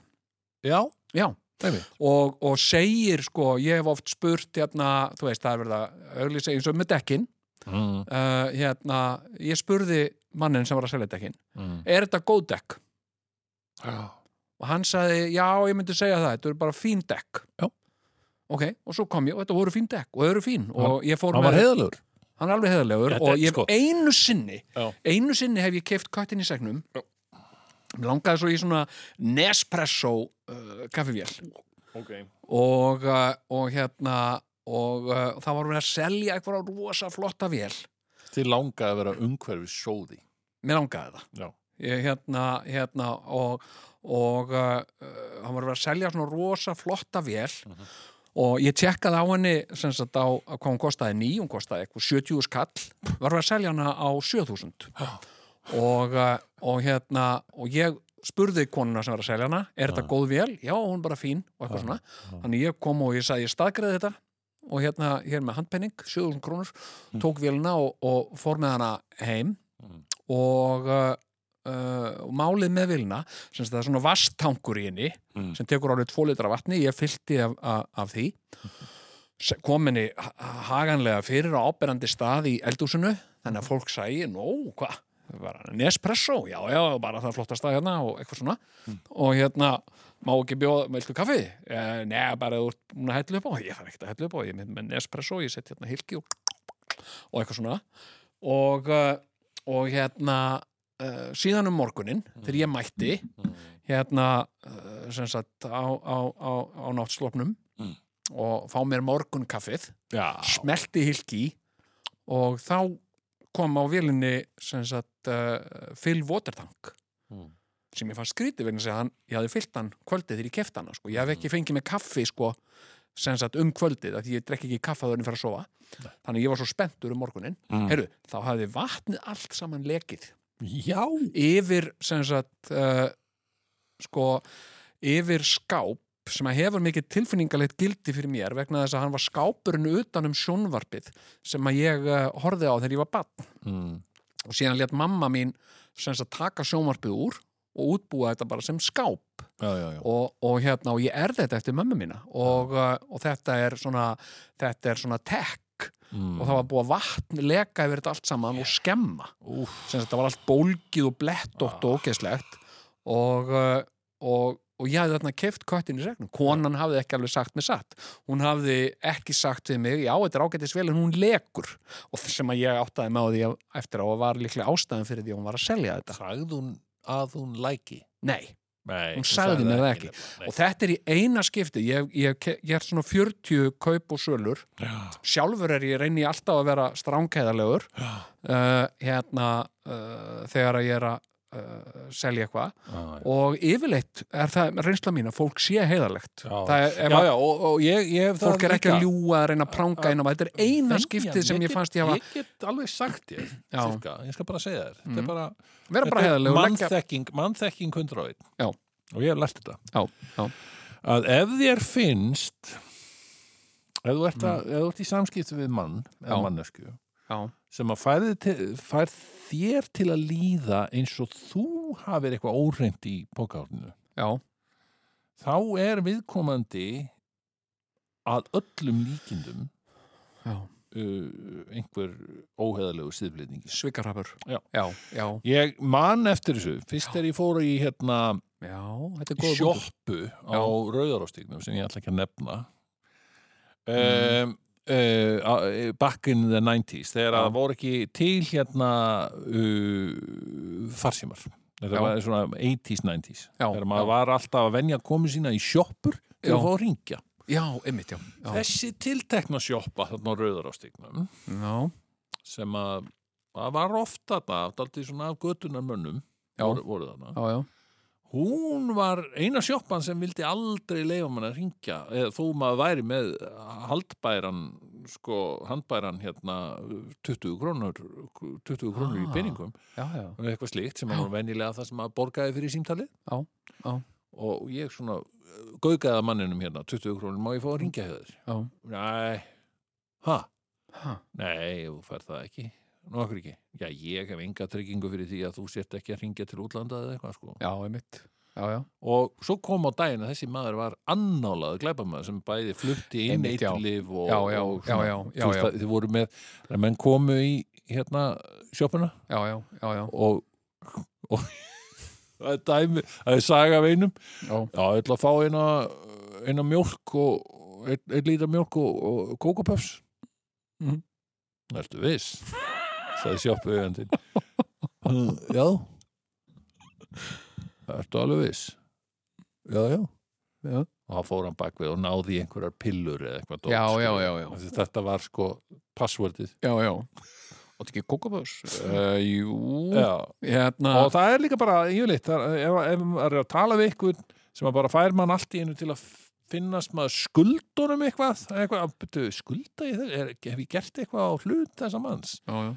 [SPEAKER 4] já,
[SPEAKER 5] Já,
[SPEAKER 4] Einmitt.
[SPEAKER 5] og, og segir sko, ég hef oft spurt hérna, þú veist, það er verið að auglýsa eins og með dekkin
[SPEAKER 9] Mm.
[SPEAKER 5] uh, hérna, ég spurði mannin sem var að selja dekkin,
[SPEAKER 9] Mm.
[SPEAKER 5] er þetta góð dekk?
[SPEAKER 4] já.
[SPEAKER 5] Og hann sagði, já, ég myndi segja það, þetta eru bara fín dekk.
[SPEAKER 4] Já.
[SPEAKER 5] Ok, og svo kom ég og þetta voru fín dekk og þau eru fín og ég fór
[SPEAKER 4] hann var
[SPEAKER 5] með,
[SPEAKER 4] heiðalegur
[SPEAKER 5] hann er alveg heðalegur
[SPEAKER 4] Þetta er
[SPEAKER 5] og ég
[SPEAKER 4] sko-
[SPEAKER 5] einu sinni,
[SPEAKER 4] Já.
[SPEAKER 5] einu sinni hef ég keift köttin í segnum, já. langaði svo í svona Nespresso uh, kaffivél
[SPEAKER 10] Ok.
[SPEAKER 5] og, uh, og hérna og uh, það var verið að selja eitthvað rosa flotta vél
[SPEAKER 4] til langa að vera umhverfi sóði
[SPEAKER 5] mér langaði það
[SPEAKER 4] Já.
[SPEAKER 5] ég, hérna, hérna og, og uh, uh, hann var verið að selja svona rosa flotta vél og ég tjekkaði á henni sem sagt á á hvað hún kostaði ný, hún kostaði eitthvað 70 skall, var verið að selja hana á 7000 og, uh, og hérna og ég spurði konuna sem var að selja hana er þetta góð vél? Já, hún er bara fín og eitthvað svona, þannig ég kom og ég sagði ég staðgreði þetta og hérna hér með handpenning, 7000 krónur tók vélina og, og fór með hana heim og uh, uh, og málið með vilna sem sagt, það er svona vastankur í henni sem tekur árið 2 litra vatni, ég fyllti af, af, af því Se- kom henni ha- haganlega fyrir á áberandi stað í eldúsinu þannig að fólk sæi, nú, hvað bara Nespresso, já, já, bara það flotta stað hérna og eitthvað svona og hérna, má ekki bjóða, viltu kaffi? Eh, Nei, bara þú ert búin að hellu upp á ég þarf ekkert að hellu upp á, ég er með- með Nespresso ég sett hérna hilki og, og eitthvað svona og, eh, og hérna uh, síðan um morgunin þegar ég mætti hérna uh, sem sagt á, á, á, á náttslopnum og fá mér morgun kaffið
[SPEAKER 4] já,
[SPEAKER 5] smelti hilki í og þá kom á vélinni sem sagt uh, Phil Watertank sem ég fann skrítið vegna þess að hann, ég hafði fyllt hann kvöldið þegar ég kefti hann sko. ég hafði ekki fengið með kaffi sko, sem sagt um kvöldið af því ég drekki ekki kaffaðurinn fyrir að sofa þannig að ég var svo spenntur um morgunin Heyrðu, þá hafði vatnið allt saman lekið
[SPEAKER 4] já.
[SPEAKER 5] yfir sem sagt uh, sko yfir skáp sem að hefur mikið tilfinningalegt gildi fyrir mér vegna þess að hann var skápurinn utan um sjónvarpið sem að ég uh, horfði á þegar ég var barn
[SPEAKER 9] Mm.
[SPEAKER 5] og síðan létt mamma mín sem sagt taka sjónvarpið úr og útbúa þetta bara sem skáp
[SPEAKER 4] Já, já, já.
[SPEAKER 5] og, og hérna og ég erði þetta eftir mömmu mína og, uh, og þetta er svona þetta er svona tech
[SPEAKER 4] Mm.
[SPEAKER 5] og það var búið að vatn leka yfir þetta allt saman og skemma sem þetta var allt bólgið og blettótt og ógeðslegt og, uh, og, og ég hafði þarna keft köttin í segnum konan hafði ekki alveg sagt mér satt hún hafði ekki sagt við mig já, þetta er ágætis vel en hún lekur og það sem að ég áttaði með á því að- eftir á að var líklega ástæðan fyrir því að hún var að selja þetta
[SPEAKER 4] sagði hún að hún læki
[SPEAKER 5] nei
[SPEAKER 8] Nei,
[SPEAKER 5] hún sagði mér það ekki og þetta er í eina skipti ég, ég, ég, ég er svona 40 kaup og sölur sjálfur er ég reyni alltaf að vera stránkæðarlegur uh, hérna uh, þegar að ég er að uh, selja eitthvað og yfirleitt er það reynsla mín að fólk sé heiðarlegt það er, ef
[SPEAKER 8] Já,
[SPEAKER 5] að
[SPEAKER 8] já, og, og ég, ég hef
[SPEAKER 5] fólk
[SPEAKER 8] það
[SPEAKER 5] er ekki að
[SPEAKER 8] líka.
[SPEAKER 5] ljúga að reyna að pranga inn á þetta er eina skiptið sem ég fannst ég hafa
[SPEAKER 4] Ég get alveg sagt þér,
[SPEAKER 5] Já.
[SPEAKER 4] cirka, ég skal bara segja þér Þetta er bara,
[SPEAKER 5] vera bara
[SPEAKER 4] þetta er
[SPEAKER 5] heiðarlegur leggja-
[SPEAKER 4] mannþekking, mannþekking 101
[SPEAKER 5] Já.
[SPEAKER 4] Og ég hef lært þetta
[SPEAKER 5] já, já,
[SPEAKER 4] Að ef þér finnst ef þú ert, að, ef þú ert í samskiptum við mann eða
[SPEAKER 5] Mm. Já.
[SPEAKER 4] mannesku
[SPEAKER 5] já,
[SPEAKER 4] sem að færði til, fær þér til að líða eins og þú hafir eitthvað óreint í bókárninu
[SPEAKER 5] já,
[SPEAKER 4] þá er viðkomandi að öllum líkindum
[SPEAKER 5] já.
[SPEAKER 4] uh, einhver óheðalegu síðflýtningi.
[SPEAKER 5] svikarhafur
[SPEAKER 4] Já.
[SPEAKER 5] já, já,
[SPEAKER 4] Ég man eftir þessu, fyrst þegar ég fór í hérna
[SPEAKER 5] já, þetta er
[SPEAKER 4] í
[SPEAKER 5] góð
[SPEAKER 4] sjoppu á
[SPEAKER 5] Já.
[SPEAKER 4] Rauðarástíknum sem ég ætla ekki að nefna um,
[SPEAKER 5] Mm.
[SPEAKER 4] uh, uh, back in the 90s þegar það voru ekki til hérna uh, farsímar þetta
[SPEAKER 5] Já.
[SPEAKER 4] var svona 80s, 90s
[SPEAKER 5] Já,
[SPEAKER 4] þegar maður
[SPEAKER 5] já.
[SPEAKER 4] var alltaf að venja komu sína í sjoppur til
[SPEAKER 5] Já.
[SPEAKER 4] að fá að ringja
[SPEAKER 5] já, einmitt, já, já.
[SPEAKER 4] þessi tiltekna sjoppa þarna á Rauðarástíknum
[SPEAKER 5] já.
[SPEAKER 4] sem að það var ofta þarna, daldið svona af götunar mönnum
[SPEAKER 5] Já.
[SPEAKER 4] voru, voru þarna
[SPEAKER 5] já, já,
[SPEAKER 4] hún var eina sjoppan sem vildi aldrei leifa mann að ringja eða þó maður væri með haldbæran sko, handbæran hérna 20 krónur 20 krónur í
[SPEAKER 5] Ah.
[SPEAKER 4] peningum
[SPEAKER 5] já, já.
[SPEAKER 4] og eitthvað slíkt sem var venjulega það sem maður borgaði fyrir símtalið
[SPEAKER 5] Já, já.
[SPEAKER 4] og ég svona gaugaði að manninum hérna 20 krónur, má ég fá að ringja hjá þér?
[SPEAKER 5] Já.
[SPEAKER 4] Nei, ha?
[SPEAKER 5] Ha.
[SPEAKER 4] Nei, þú fær það ekki Nú okkur ekki, já ég hef enga tryggingu fyrir því að þú sért ekki að ringja til útlanda eða eitthvað sko
[SPEAKER 5] Já, einmitt. Já, já.
[SPEAKER 4] og svo kom á daginn að þessi maður var annálað glæpamaður sem bæði flutti inn
[SPEAKER 5] Einmitt, já.
[SPEAKER 4] eitlif og,
[SPEAKER 5] Já, já,
[SPEAKER 4] og
[SPEAKER 5] já, já, já,
[SPEAKER 4] þú veist
[SPEAKER 5] já.
[SPEAKER 4] að þið voru með að menn komu í hérna sjoppuna
[SPEAKER 5] Já, já, já, já.
[SPEAKER 4] og, og það er dæmi, það er saga af einum
[SPEAKER 5] Já.
[SPEAKER 4] já, ég ætla að fá eina, eina mjólk og einn ein lítra mjólk og, og kókapöfs
[SPEAKER 5] Mhm.
[SPEAKER 4] það ertu viss sagði sjoppu eigandinn "Mm, já það ertu alveg viss já, já
[SPEAKER 5] Já.
[SPEAKER 4] og það fór hann bakvið og náði í einhverjar pillur eða eitthvað dót,
[SPEAKER 5] Já,
[SPEAKER 4] sko.
[SPEAKER 5] já, já, já.
[SPEAKER 4] Þessi- þetta var sko passwordið
[SPEAKER 5] Já, já. Og ekki kókaböðs? Uh, jú.
[SPEAKER 4] já,
[SPEAKER 5] Hérna.
[SPEAKER 4] og það er líka bara yfirleitt, það er- ef, ef maður er að tala við ykkur sem að bara fær mann allt í einu til að f- finnast maður skuldunum eitthvað, eitthvað byrju, skulda ég þess, er, hef ég gert eitthvað á hlut þessa manns?
[SPEAKER 5] Já, já.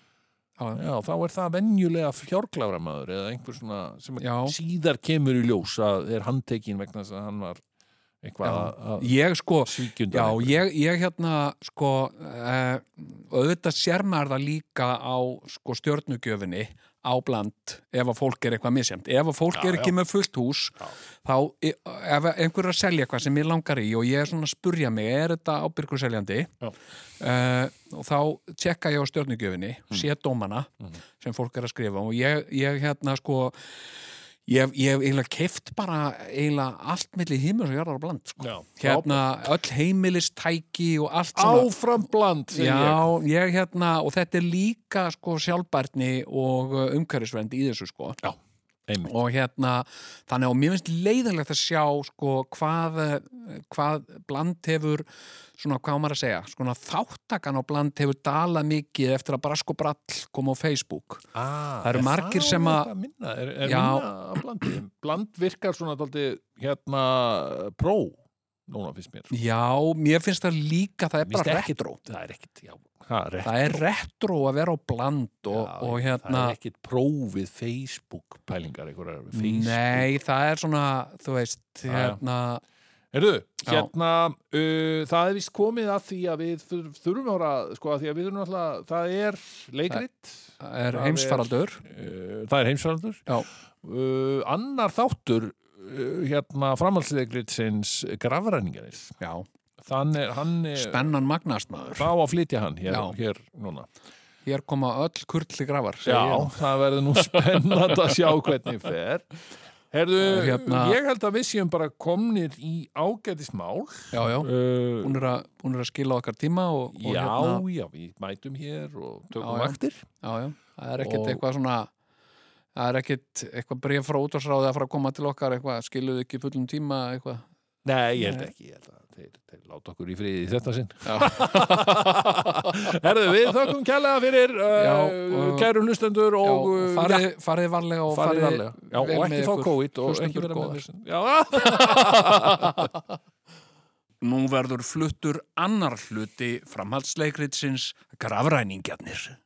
[SPEAKER 4] Já, þá er það venjulega fjárglára maður eða einhver svona sem að
[SPEAKER 5] Já.
[SPEAKER 4] síðar kemur í ljós að er handtekinn vegna þess að hann var eitthvað að- að
[SPEAKER 5] Ég sko,
[SPEAKER 4] svíkjunda.
[SPEAKER 5] já, ég, ég hérna sko, uh, auðvitað sér maður það líka á sko stjörnugjöfinni á bland ef að fólk er eitthvað misjæmt. Ef að fólk er ekki með fullt hús, þá e- ef að einhver er að selja eitthvað sem ég langar í og ég er svona að spurja mig, er þetta ábyrgur seljandi?
[SPEAKER 4] Já.
[SPEAKER 5] Eh, og þá tjekka ég á stjörnugjöfinni,
[SPEAKER 4] Mm.
[SPEAKER 5] sé dómana sem fólk er að skrifa og ég, ég hérna sko, ég hef- ég hef eiginlega keift bara eiginlega allt milli himur og jarðar og bland sko.
[SPEAKER 4] Já.
[SPEAKER 5] hérna öll heimilistæki og allt svona
[SPEAKER 4] Áfram bland, segi ég.
[SPEAKER 5] Já, ég hérna, og þetta er líka sko sjálfbærni og uh, umhverfisvernd í þessu sko. Já,
[SPEAKER 4] Einmitt.
[SPEAKER 5] og hérna, þannig að mér finnst leiðilegt að sjá sko hvað, eh, hvað bland hefur svona hvað á maður að segja, svona þáttakan á bland hefur dalað mikið eftir að Brask og Brall kom á Facebook
[SPEAKER 4] Ah,
[SPEAKER 5] Það eru
[SPEAKER 4] er
[SPEAKER 5] margir
[SPEAKER 4] það
[SPEAKER 5] sem að-
[SPEAKER 4] eitthvað minna, er, er
[SPEAKER 5] Já.
[SPEAKER 4] minna að blandi bland virkar svona daldi hérna pró núna finnst mér
[SPEAKER 5] Já, mér finnst það líka, það er
[SPEAKER 4] Mér finnst
[SPEAKER 5] bara
[SPEAKER 4] ekkit-
[SPEAKER 5] retró
[SPEAKER 4] það er ekkit já, ha, rétt,
[SPEAKER 5] Það er retró að vera á bland og,
[SPEAKER 4] Já,
[SPEAKER 5] og
[SPEAKER 4] það
[SPEAKER 5] hérna
[SPEAKER 4] er ekkit pró við Facebook pælingar einhverjar við Facebook
[SPEAKER 5] Nei, það er svona, þú veist,
[SPEAKER 4] já.
[SPEAKER 5] hérna
[SPEAKER 4] Heyrðu,
[SPEAKER 5] Já.
[SPEAKER 4] hérna uh, það er vist komið að því að við þur- þurfum ára, sko að því að við þurfum alltaf það er leikrit
[SPEAKER 5] það er
[SPEAKER 4] Það er-
[SPEAKER 5] heimsfaraldur
[SPEAKER 4] uh, það er heimsvaraldur
[SPEAKER 5] Já.
[SPEAKER 4] uh, annar þáttur uh, hérna framhaldsleikrit sinns grafræningarins
[SPEAKER 5] Já,
[SPEAKER 4] Þann er, hann er,
[SPEAKER 5] spennan magnast maður
[SPEAKER 4] þá að flytja hann hér,
[SPEAKER 5] Já.
[SPEAKER 4] hér núna.
[SPEAKER 5] Hér koma öll kurli grafar segi
[SPEAKER 4] Já,
[SPEAKER 5] ég.
[SPEAKER 4] það verður nú spennand að sjá hvernig fer. Herðu,
[SPEAKER 5] Það er hérna-
[SPEAKER 4] ég held að við séum bara komnir í ágætismál.
[SPEAKER 5] já, já.
[SPEAKER 4] Uh,
[SPEAKER 5] hún er, að, hún er að skila okkar tíma og, og
[SPEAKER 4] já,
[SPEAKER 5] hérna,
[SPEAKER 4] já, við mætum hér og
[SPEAKER 5] Já,
[SPEAKER 4] tökum
[SPEAKER 5] já.
[SPEAKER 4] vaktir.
[SPEAKER 5] já, já, það er ekkit
[SPEAKER 4] Og-
[SPEAKER 5] eitthvað svona það er ekkit eitthvað bregð frá útvarsráði að fara að koma til okkar eitthvað, skiluðu ekki fullum tíma eitthvað
[SPEAKER 4] Nei, ég held ekki, ég held að þeir, þeir láta okkur í friði í þetta sinn.
[SPEAKER 5] Já.
[SPEAKER 4] Herðu, við þökkum kjærlega fyrir uh,
[SPEAKER 5] Já,
[SPEAKER 4] uh,
[SPEAKER 5] og-
[SPEAKER 4] kæru hlustendur
[SPEAKER 5] já,
[SPEAKER 4] og uh,
[SPEAKER 5] farið, farið varlega og
[SPEAKER 4] farið varlega. Já,
[SPEAKER 5] vel
[SPEAKER 4] og ekki
[SPEAKER 5] með
[SPEAKER 4] fá
[SPEAKER 5] ykkur,
[SPEAKER 4] COVID og ekki
[SPEAKER 5] hlustendur
[SPEAKER 4] vera með
[SPEAKER 5] góðar.
[SPEAKER 4] þessu. Já,
[SPEAKER 5] Nú verður fluttur annar hluti framhaldsleikritsins grafræningjarnir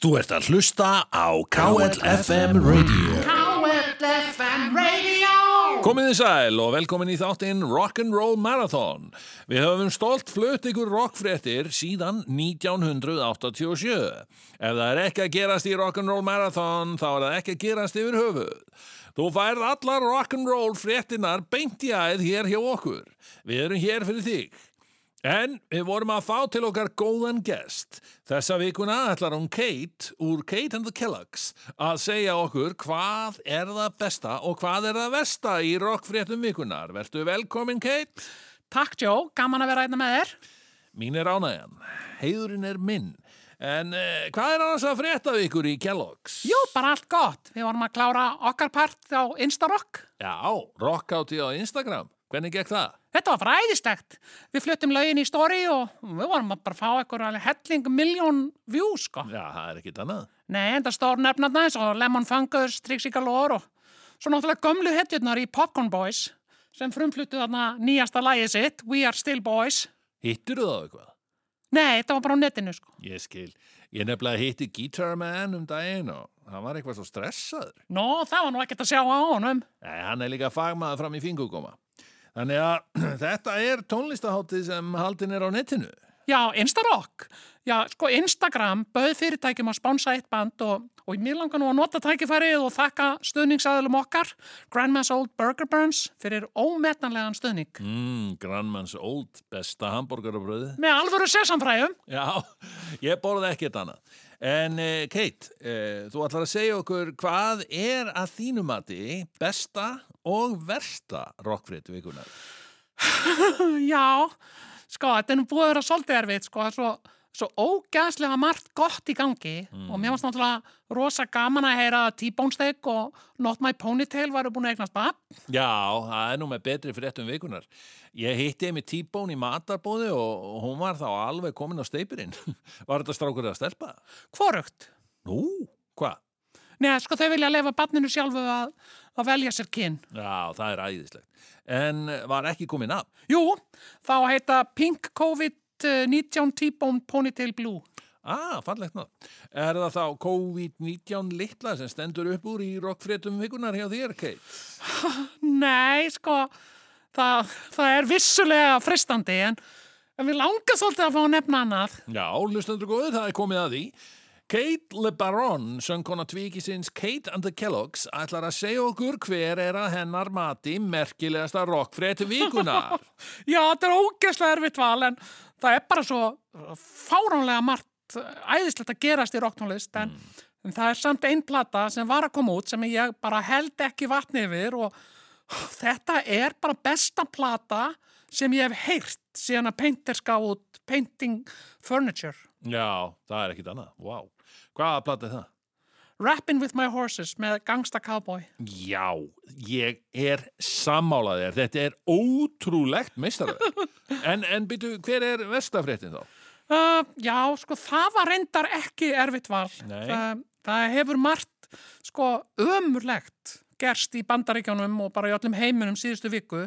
[SPEAKER 11] Þú ert að hlusta á KLFM Radio
[SPEAKER 4] Komið þið sæl og velkomin í þáttinn Rock'n'Roll Marathon. Við höfum stolt flutt ykkur rockfréttir síðan 1987. Ef það er ekki að gerast í Rock'n'Roll Marathon, þá er það ekki að gerast yfir höfuð. Þú færð allar Rock'n'Roll fréttinar beint í æð hér hjá okkur. Við erum hér fyrir þig. En við vorum að fá til okkar góðan gest. Þessa vikuna ætlar hún Kate úr Kate and the Kelloggs að segja okkur hvað er það besta og hvað er það versta í rockfréttum vikunar. Vertu velkomin Kate.
[SPEAKER 12] Takk Jó, gaman að vera
[SPEAKER 5] hérna
[SPEAKER 12] einna með þér.
[SPEAKER 4] Mín er ánægjan. Heiðurinn er minn. En eh, hvað er annars að frétta við ykkur í Kellogg's?
[SPEAKER 12] Jú, bara allt gott. Við vorum að klára okkar part á Instarock.
[SPEAKER 4] Já, rockátið á Instagram. Hvernig gekk það?
[SPEAKER 5] Þetta var fræðistegt. Við fluttum lögin í story og við vorum að bara fá eitthvað alveg helling miljón view, sko.
[SPEAKER 4] Já, það er ekkit annað.
[SPEAKER 5] Nei, enda stór nefnarna eins og Lemon Fungus, Trixie Galore og svo náttúrulega gömlu hetjurnar í Popcorn Boys sem frumfluttu þarna nýjasta lagið sitt, We Are Still Boys.
[SPEAKER 4] Hittirðu þá eitthvað?
[SPEAKER 5] Nei, þetta var bara á netinu, sko.
[SPEAKER 4] Ég skil. Ég nefnilega hitti Guitar Man um daginn og hann var eitthvað svo stressaður.
[SPEAKER 5] Nó, það var nú ekkert að sjá á honum.
[SPEAKER 4] Nei, hann er líka fagmaður fram í fingugóma. Þannig að þetta er tónlistaháttið sem haldin er á netinu.
[SPEAKER 5] Já, Instarock. Já, sko Instagram bauð fyrirtækjum að spánsa eitt band og, og mér langar nú að nota tækifærið og þakka stuðningsaðilum okkar, Grandma's Old Burger Burns, fyrir ómetanlegan stuðning.
[SPEAKER 4] Mm, Grandman's Old, besta hambúrgarabröði.
[SPEAKER 5] Með alvöru sesamfræjum.
[SPEAKER 4] Já, ég borði ekkert annað. En eh, Kate, eh, þú ætlar að segja okkur hvað er að þínu mati besta og versta rockfrétt vikunar?
[SPEAKER 5] Já, sko, þetta er nú búið að vera svolítið erfitt, sko, það er svo, svo ógæðslega margt gott í gangi og mér varst náttúrulega rosa gaman að heyra að T-Bone Steak og Not My Ponytail varu búin að eignast bann.
[SPEAKER 4] Já, það er nú með betri fréttum vikunar. Ég hitti einmitt tíbón í matarbóði og og hún var þá alveg komin á steipirinn. Var þetta strákur eða stelpa?
[SPEAKER 5] Hvorugt?
[SPEAKER 4] Nú, hvað?
[SPEAKER 5] Nei, sko, þau vilja leifa banninu sjálfu að, að velja sér kinn.
[SPEAKER 4] Já, það er æðislegt. En var ekki komin af?
[SPEAKER 5] Jú, þá heita Pink COVID-19 T-Bone Ponytail Blue.
[SPEAKER 4] Ah, fallegt nátt. Er það þá COVID-19 litla sem stendur upp úr í rockfréttum vikunar hjá þér, Kate?
[SPEAKER 5] Nei, sko, það, það er vissulega fristandi en, en við langar svolítið að fá að nefna annað.
[SPEAKER 4] Já, hlustendur góðu, það er komið að því. Kate LeBaron, söngkona tvíkisins Kate and the Kelloggs, ætlar að segja okkur hver er að hennar mati merkilegasta rockfrétt vikunar.
[SPEAKER 5] Já, þetta er ógeðslega erfitt val en það er bara svo fáránlega margt eh, æðislegt að gerast í rocktónlist en, en það er samt einn plata sem var að koma út sem ég bara held ekki vatni yfir og þetta er bara besta plata sem ég hef heyrt síðan að Painter ská út Painting Furniture
[SPEAKER 4] Já, það er ekkit annað. Vá. Hvaða platta er það?
[SPEAKER 5] Rappin' with my horses með Gangsta Cowboy
[SPEAKER 4] Já, ég er sammálað þér. Þetta er ótrúlegt meistarverk. en, en byrju, hver er vestafréttin þá?
[SPEAKER 5] Uh, já, sko, það var reyndar ekki erfitt val.
[SPEAKER 4] Nei.
[SPEAKER 5] Það, það hefur margt, sko, ömurlegt gerst í bandaríkjánum og bara í öllum heiminum síðustu viku,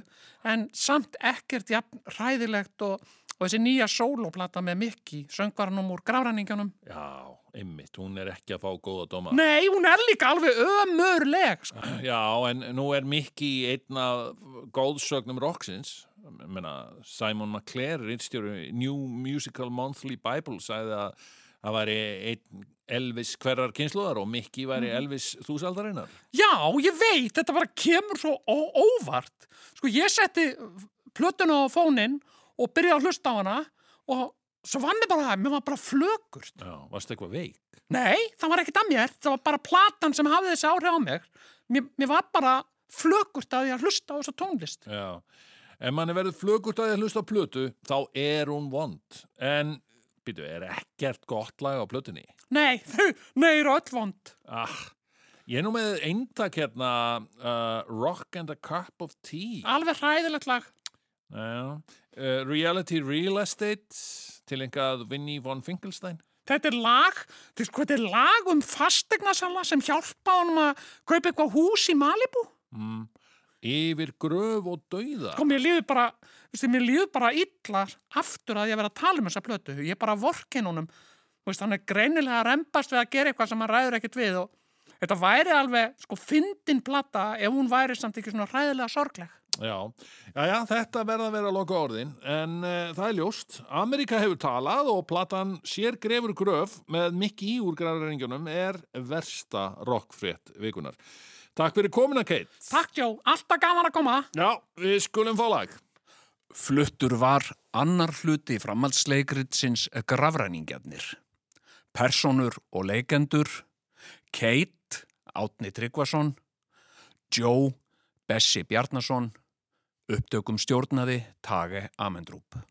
[SPEAKER 5] en samt ekkert jafn ræðilegt og, og þessi nýja sólóplata með Mikki, söngvarnum úr gráræningjánum.
[SPEAKER 4] Ah. Já, einmitt, hún er ekki að fá góða dóma.
[SPEAKER 5] Nei, hún er líka alveg ömurleg, sko.
[SPEAKER 4] Já, en nú er Mikki einn af góðsögnum rocksins. Ég Meina, Simon McClare, rittstjóru New Musical Monthly Bible, sagði að það væri einn Elvis hverjar kynsluðar og Mikki væri Elvis þúsaldarinnar.
[SPEAKER 5] Já, ég veit, þetta bara kemur svo ó- óvart. Sko, ég setti plötuna á fóninn og byrjaði að hlusta á hana og svo vann ég bara það, mér var bara flökur.
[SPEAKER 4] Já, varstu eitthvað veik?
[SPEAKER 5] Nei, það var ekkert að mér, það var bara platan sem hafði þessi áhrif á mér. Mér, mér var bara flökurt að ég að hlusta á þessa tónlist.
[SPEAKER 4] Já, ef mann er verið flögurt að ég hlusta á plötu, þá er hún vond. En, býtu, er ekkert gott lag á plötunni?
[SPEAKER 5] Nei, þau, nei, eru öll vond.
[SPEAKER 4] Ah, ég er nú með eintak hérna uh, Rock and a Cup of Tea.
[SPEAKER 5] Alveg hræðilegt lag.
[SPEAKER 4] Já, uh, Reality Real Estate, til einhvað Vinnie von Finkelstein.
[SPEAKER 5] Þetta er lag, þetta er, sko, þetta er lag um fastegnasala sem hjálpa honum að kaupa eitthvað hús í Malibu.
[SPEAKER 4] Mm. Yfir gröf og dauða.
[SPEAKER 5] Sko, mér líður bara, veistu, mér líður bara illa aftur að ég verið að tala um þessa plötu. Ég er bara vorkin honum. Þú Veist, hann er greinilega að rempast við að gera eitthvað sem hann ræður ekkert við og þetta væri alveg, sko, fyndin plata ef hún væri samt ekki svona ræðilega sorgleg.
[SPEAKER 4] Já, já, þetta verða að vera að loka orðin en uh, það er ljóst Amerika hefur talað og platan Sér grefur gröf með Mikki úr græðarrengjunum er versta rockfrétt vikunar. Takk fyrir komina Kate.
[SPEAKER 5] Takk, Jó, alltaf gaman að koma.
[SPEAKER 4] Já, við skulum fá lag.
[SPEAKER 13] Fluttur var annar hluti framhaldsleikritsins grafræningjarnir. Personur og leikendur, Kate, Átni Tryggvason, Joe, Bessi Bjarnason, upptökum stjórnaði Tage Amendrup.